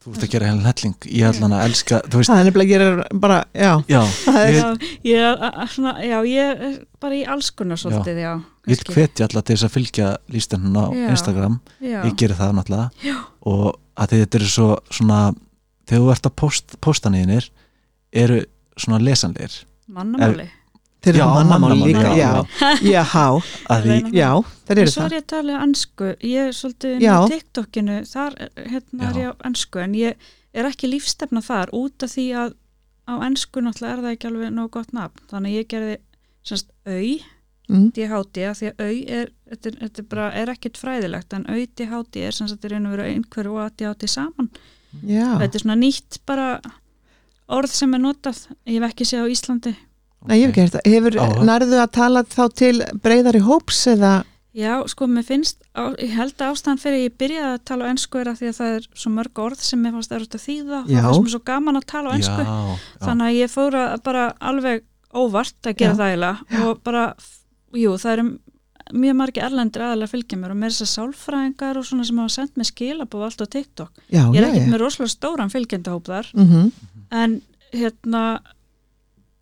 B: þú ert að gera henni helling, ég ætla hann að elska þú veist,
D: Það er nefnilega að gera bara, já
B: já, ég
A: Já, ég, er a- a- svona, já, ég er bara í allskunna svolítið, já.
B: Ég vil hvetja alla til þess að fylgja lístennan á
A: Já.
B: Instagram,
A: Já,
B: ég gerir það náttúrulega já. og að því þetta eru svo svona, þegar þú ert að post, posta niðinir, eru svona lesanleir,
A: mannamáli.
D: Þeir
B: Já,
D: eru mannamál
B: mannamáli,
D: líka,
B: já,
D: já, já, já,
B: að því,
A: Reyna-
D: þeir
A: En
D: eru
A: svo
D: það
A: er ég að tala ansku, ég er svolítið inn
D: Já.
A: á TikTokinu, þar eh, hérna er
B: Já.
A: ég á ansku, en ég er ekki lífstefna þar út af því að á ansku náttúrulega er það ekki alveg nóg gott nafn, þannig að ég gerði semst au,
D: mm.
A: DHD, af því að au er, þetta, er- þetta er bara, er ekkit fræðilegt, en au DHD er semst að þetta er einu verið einhverju og ADHD saman.
D: Já,
A: Þetta er svona nýtt bara orð sem er notað, ég hef ekki séð á Íslandi.
D: Nei, ég hef ekki hérna, hefur
B: Áhugavert.
D: nærðu að tala þá til breyðari hóps eða,
A: Já, sko, mér finnst, á, ég held að ástæðan fyrir ég byrjaði að tala á ennsku er að því að það er svo mörg orð sem mér fannst erut að þýða og
D: Já.
A: það er svo gaman að tala á ennsku
B: já, já,
A: þannig að ég fór að bara alveg óvart að gera
D: Já.
A: það eiginlega og bara, f- jú, það eru m- mjög margi erlendir aðalega að fylgja mér og mér er þess að sálfræðingar og svona sem hafa sendt mér skilabóð allt á TikTok.
D: já,
A: Ég
D: já,
A: er ekkert
D: já.
A: með rosalega stóran fylgjendahóp þar
D: Mm
A: en hérna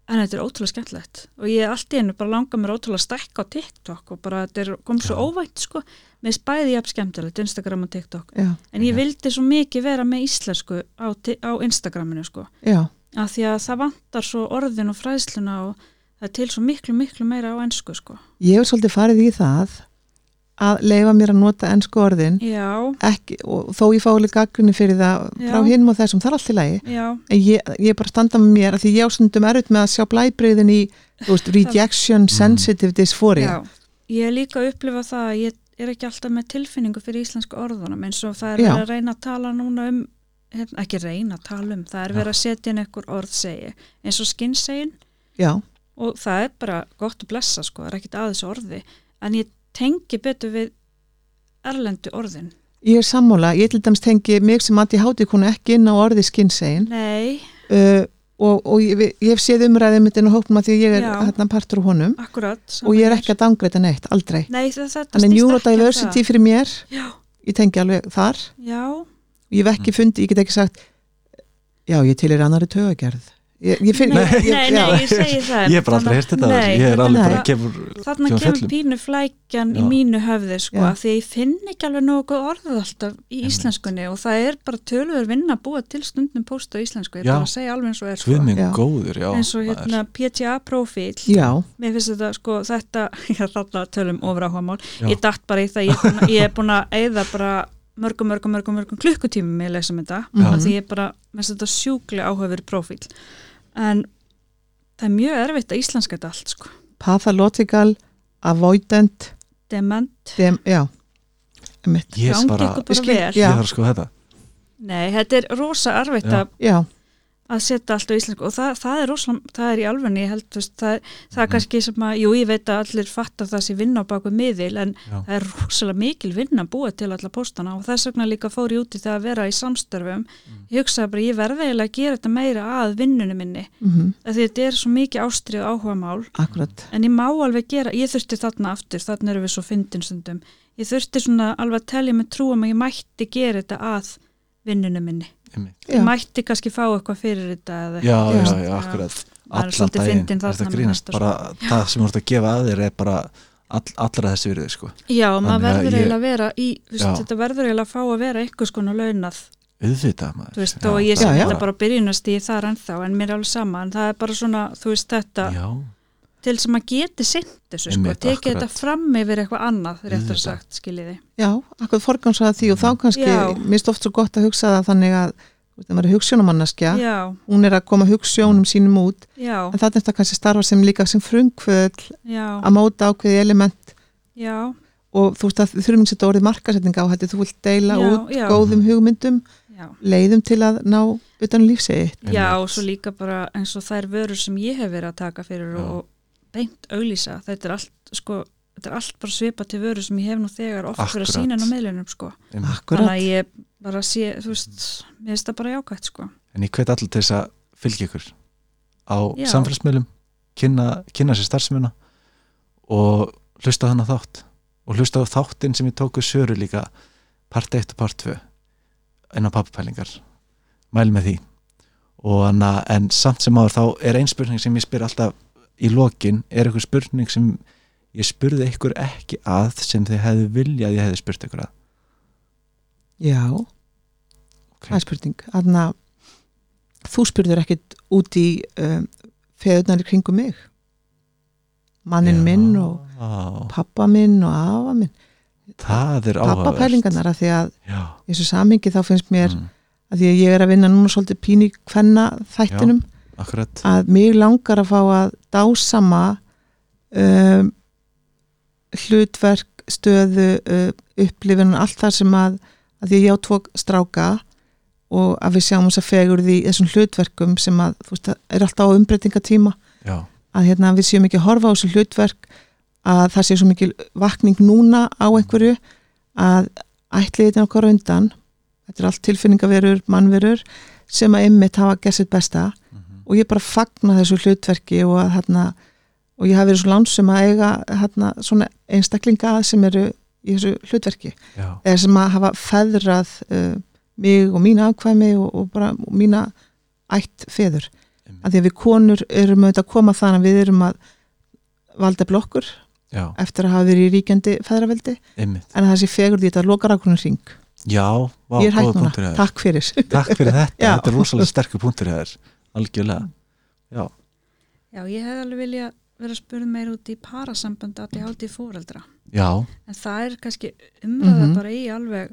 A: en þetta er ótrúlega skemmtilegt og ég allt í einu bara langa mér ótrúlega að stækka á TikTok og bara þetta er kom svo
B: Já.
A: óvænt sko með spæði jafn skemmtilegt Instagram og TikTok
D: já,
A: en ég
B: Já.
A: vildi svo mikið vera með íslensku á, ti- á Instagraminu sko
D: já,
A: af því að það vantar svo orðin og fræðsluna og það er til svo miklu miklu meira á ennsku sko
D: ég hef svolítið farið í það að leifa mér að nota ennsku orðin
A: já,
D: ekki, og þó ég fá alveg gaggrunni fyrir það frá
A: Já.
D: hinum og þessum, það er allt í lagi
A: já,
D: En ég, ég er bara að standa með mér að því ég ásundum erut með að sjá blæbreyðin í þú veist, rejection sensitive dysphoria
A: já ég er líka að upplifa það að ég er ekki alltaf með tilfinningu fyrir íslensku orðunum eins og það er
D: Já.
A: verið að reyna að tala núna um hérna, ekki reyna að tala um, það er verið að setja inn einhver orð segi, eins og skinnsegin
D: já,
A: og það er bara gott að blessa sko, það er ekkit aðeins orði en ég tengi betur við erlendu orðin
D: ég er sammála, ég til dæmis tengi mig sem að ég háti konu ekki inn á orði skinnsegin
A: nei,
D: uh, og, og ég, ég hef séð umræðið mitt inn á hópnum að því að ég er
A: Já.
D: hérna partur á honum
A: akkurat sama
D: og ég er
A: hér.
D: ekki að dangreita neitt, aldrei
A: nei, það, þetta
D: þannig
A: snýst ekki um
D: neurodiversity fyrir mér
A: það. já,
D: ég tengi alveg þar,
A: já,
D: ég hef ekki fundið ég get ekki sagt já, ég til er annari tögagerð Ég, ég finn,
A: Nei,
D: ég, ég,
A: nei,
D: já.
A: nei, ég segi það
B: Ég er bara aldrei hérst þetta
A: Nei,
B: Ég er alveg
D: nei.
B: bara kemur
A: Þannig
B: Kemur
A: kemur
B: fjöllum.
A: pínu flækjan í
B: Já.
A: mínu höfði sko,
D: Já.
A: af því ég finn ekki alveg nógu góð orðið alltaf í
B: Einmitt.
A: íslenskunni og það er bara tölur vinna að búa til stundum post á íslensku, ég
B: Já.
A: er bara að segja alveg eins og er sko.
B: Sviming
D: Já.
B: góður, já
A: eins og
B: maður.
A: hérna PTA profil
D: já,
A: mér finnst þetta sko þetta ég er alltaf að tölum ofur áhugamál
B: Já.
A: ég dætt bara í það, ég er búin að- ég er búin að eyða bara mörgum, mörgum, mörgum, mörgum klukkutímum með að lesa um þetta,
D: Já.
A: af því ég er bara mér finnst þetta sjúklega áhugaveri profil en það er mjög erfitt að íslenska þetta allt sko
D: pathological avoidant
A: dement,
D: dem, já, mitt
B: Ég er
A: gangi
B: bara,
A: ykkur
D: Ég
A: bara
D: skil-
A: vel
D: Já.
B: ég þarf sko þetta
A: Nei, þetta er rosa erfitt
B: Já.
A: að
D: já,
A: að setja allt á íslensku og það, það er rosalega, það er í alvegni, ég held, þú veist, það, það
B: Mhm.
A: er kannski sem að, jú, ég veit að allir fattar það sem vinna á baku miðil, en
B: Já.
A: það er rosalega mikil vinna að búa til alla postana og þess vegna líka fór ég úti þegar að vera í samstörfum,
B: Mhm.
A: ég hugsaði bara, ég verði eiginlega að gera þetta meira að vinnunum minni,
D: mm
A: af því þetta er svo mikið ástrið og áhuga mál,
D: akkurat
A: en ég má alveg gera, ég þurfti þarna aftur, þarna erum við svo fyndin stundum, ég þurfti svona alveg að telja með trúum að ég mætti gera þetta að vinnunum minni
B: einmitt.
D: já,
A: mætti kannski fá eitthvað fyrir þetta eða
B: Já,
D: Já.
B: já, já,
A: Já.
B: akkurat
A: Maður er
B: Allan
A: svolítið
B: daginn,
A: fyndinn
B: þetta
A: þarna með
B: grínast
A: þetta,
B: bara það sem þú ert að gefa að þér er bara all, allra þessi virði, sko
A: Já, maður
B: Þannig að
A: verður
B: ég-
A: eiginlega að vera í, þú
B: Já.
A: veist, þetta verður eiginlega að fá að vera einhvers konar launað,
B: auðvitað
A: þú
B: maður
A: veist, og ég
B: það
A: sem
B: er
D: já.
A: þetta bara byrjunast í þar ennþá, en mér er alveg sama, en það er bara svona, þú veist, þetta,
B: Já,
A: til sem maður geti sint þessu, sko,
B: Einmitt,
A: tekið
B: akkurat.
A: þetta fram yfir eitthvað annað,
B: Auðvitað.
A: réttur sagt, skiljiði.
D: já, akkurat forgansraða því og þá kannski,
A: Mm. Já.
D: minnst oft svo gott að hugsa það þannig að, þú veist, það var hugsjónamanneskja
A: Já,
D: hún er að koma hugssjónum sínum út
A: já,
D: en það er þetta kannski starfa sem líka sem frumkvöðl
A: já,
D: að móta ákveði element
A: já,
D: og þú veist að við þurfum ekki að setja orðið markasetninga á þetta, þú vilt deila
A: Já,
D: út
A: já.
D: góðum hugmyndum,
A: já.
D: leiðum til að ná utan um lífsegið.
A: Já,
B: Einmitt.
A: og svo líka bara eins og þær vörur sem ég hef verið að taka fyrir
B: Já.
A: og, og beint auglýsa, þetta er allt, sko, þetta er allt bara svipað til vörur sem ég hef nú þegar oft fyrir að
B: Akkurat.
A: sína á meðlunum, sko.
B: einmitt.
A: þannig
D: Akkurat,
A: að ég bara sé, þú veist, mér finnst það bara jákvæmt sko.
B: en ég hvet allir til þess að fylgja ykkur á
A: Já.
B: samfélagsmiðlum kynna, kynna sér starfsemina og hlusta á þennan þátt og hlusta á þáttinn sem ég tóku söru líka part 1 og part 2 en á pappapælingar mæl með því og anna, en samt sem áður þá er ein spurning sem ég spyr alltaf í lokin er eitthvað spurning sem ég spurði ykkur ekki að sem þið hefði viljað að ég hefði spurt ykkur að
D: já, það er spurning. Þannig að þú spurður ekkit út í um, feðunar í kringum mig, mannin minn og
B: og
D: pappa minn og afa minn,
B: það er áhugavert
D: pappa pælingarnar að því að
B: já,
D: í þessu samingi þá finnst mér,
B: mm,
D: að því að ég er að vinna núna svolítið píni hvenna þættinum,
B: akkurat
D: að mig langar að fá að dásama um, hlutverk, stöðu, uh, upplifun og allt það sem að, að því að ég á tvo stráka og að við sjáum þess að fegur því þessum hlutverkum sem að þú veist að er alltaf á umbreytingatíma
B: já,
D: að hérna við séum ekki að horfa á þessu hlutverk að það sé svo mikil vakning núna á einhverju að ætli þetta okkar á undan þetta er allt tilfinningaverur, mannverur sem að ymmit hafa gert sitt besta
B: mhm,
D: og ég bara fagna þessu hlutverki og að hérna og ég hafi verið svo lánsum að eiga hérna svona einstaklinga að sem eru í þessu hlutverki
B: já,
D: eða sem að hafa feðrað uh, mig og mína afkvæmi og, og bara og mína ætt feður
B: Einmitt.
D: að því að við konur erum auðvitað að koma þannig að við erum að valda blokkur
B: já,
D: eftir að hafa verið í ríkjandi feðraveldi
B: einmitt
D: en að þessi fegur því þetta lokar ákvörnum ring
B: já, vá,
D: ég er
B: góða
D: hægt núna,
B: punktur hjá þér.
D: takk fyrir
B: takk fyrir þetta,
D: Já.
B: þetta er rosalega sterkur punktur hjá þér algjörlega, já
A: Já, ég hef alveg vilja vera að spurða meir út í parasambandi að ég háti fóreldra.
B: já,
A: En það er kannski umræða
D: Mhm.
A: bara í alveg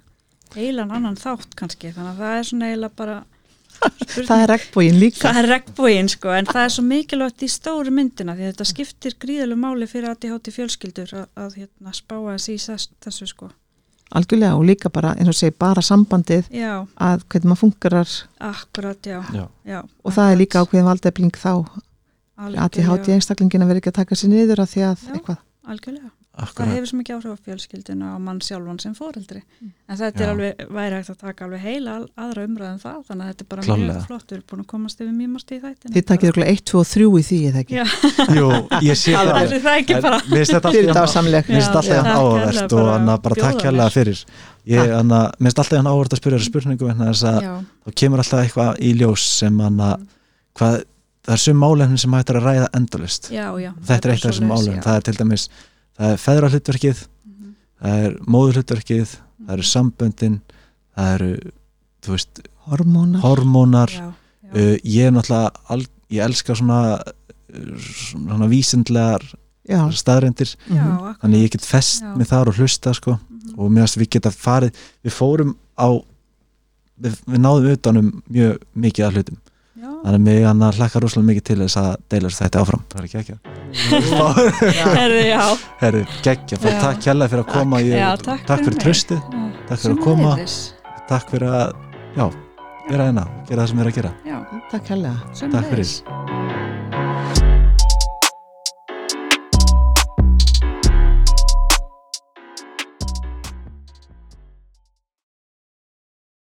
A: eilan annan þátt kannski, þannig að það er svona eiginlega bara spurning.
D: það er regnbógin líka
A: Það er regnbúinn sko, en það er svo mikilvægt í stóru myndina því að þetta skiptir gríðalega máli fyrir að ég háti fjölskyldur að, að hérna, spáa þessi í þess, þessu sko.
D: algjörlega og líka bara, eins og segi, bara sambandið
A: Já,
D: að hvernig maður fungerar
A: akkurat, já.
B: já,
A: já
D: og það er líka ákveðin valdefling þá að ég
A: algjörlega,
D: háti einstaklingin að vera ekki að taka sér niður að því að
A: Já.
D: eitthvað,
A: Algjörlega. það
B: akkurat
A: hefur svo mikið áhrif á fjölskylduna og mann sjálfan sem foreldri
D: Mm.
A: en þetta
B: Já.
A: er alveg, væri hægt að taka alveg heila al- aðra umræðum það, þannig að þetta er bara
B: Klárlega.
A: mjög flott, við erum búin að komast yfir mjög margt í þættina
D: þið takir okkur 1, 2 og 3 í því eða ekki,
A: Já.
B: jú, ég sé það
A: Það
B: alveg.
A: er það ekki
B: En
A: bara
B: mér finnst þetta
D: þið eru
B: alltaf
D: dásamleg
B: mér finnst
A: Já,
B: alltaf hann
A: já. Takk
B: áhugavert
A: kærlega
B: og
A: bara
B: hann bara
A: bjóða
B: takk hérlega
A: mér.
B: fyrir ég, hann mér finnst alltaf hann áhugavert að spyrja þér spurningum en þess að
A: Já,
B: þá kemur alltaf eitthvað í ljós sem hann að hvað það er sum málefni sem hættur að ræða endalist
A: já, já
B: þetta er eitt af þessum málefni, það er til dæmis það er feðralutverkið,
A: Mhm.
B: það er móðurlutverkið, það eru samböndin það eru, þú veist
D: hormónar
B: hormónar,
A: já, já,
B: uh, ég er náttúrulega al, ég elska svona uh, svona vísindlegar
D: já,
B: staðrendir
A: já,
D: mhm.
A: akkurat.
B: þannig ég get fest
A: Já.
B: með þar og hlusta sko.
A: Mhm.
B: og mér finnst við geta farið við fórum á við, við náðum utanum mjög mikið að hlutum
A: já,
B: þannig að mig hann að hlakka rosalega mikið til þess að deila þessu þetta áfram það er ekki ekki
A: herri, já,
B: herru, geggja, bara
A: Já.
B: takk kjærlega fyrir að koma ég,
A: Já, takk fyrir
B: fyrir
A: mig.
B: tröstu,
A: já.
B: takk fyrir að koma
A: Sömuleiðis.
B: takk fyrir að, já, vera hérna gera það sem er að gera,
A: já,
D: takk hella
B: takk fyrir
A: sömuleiðis.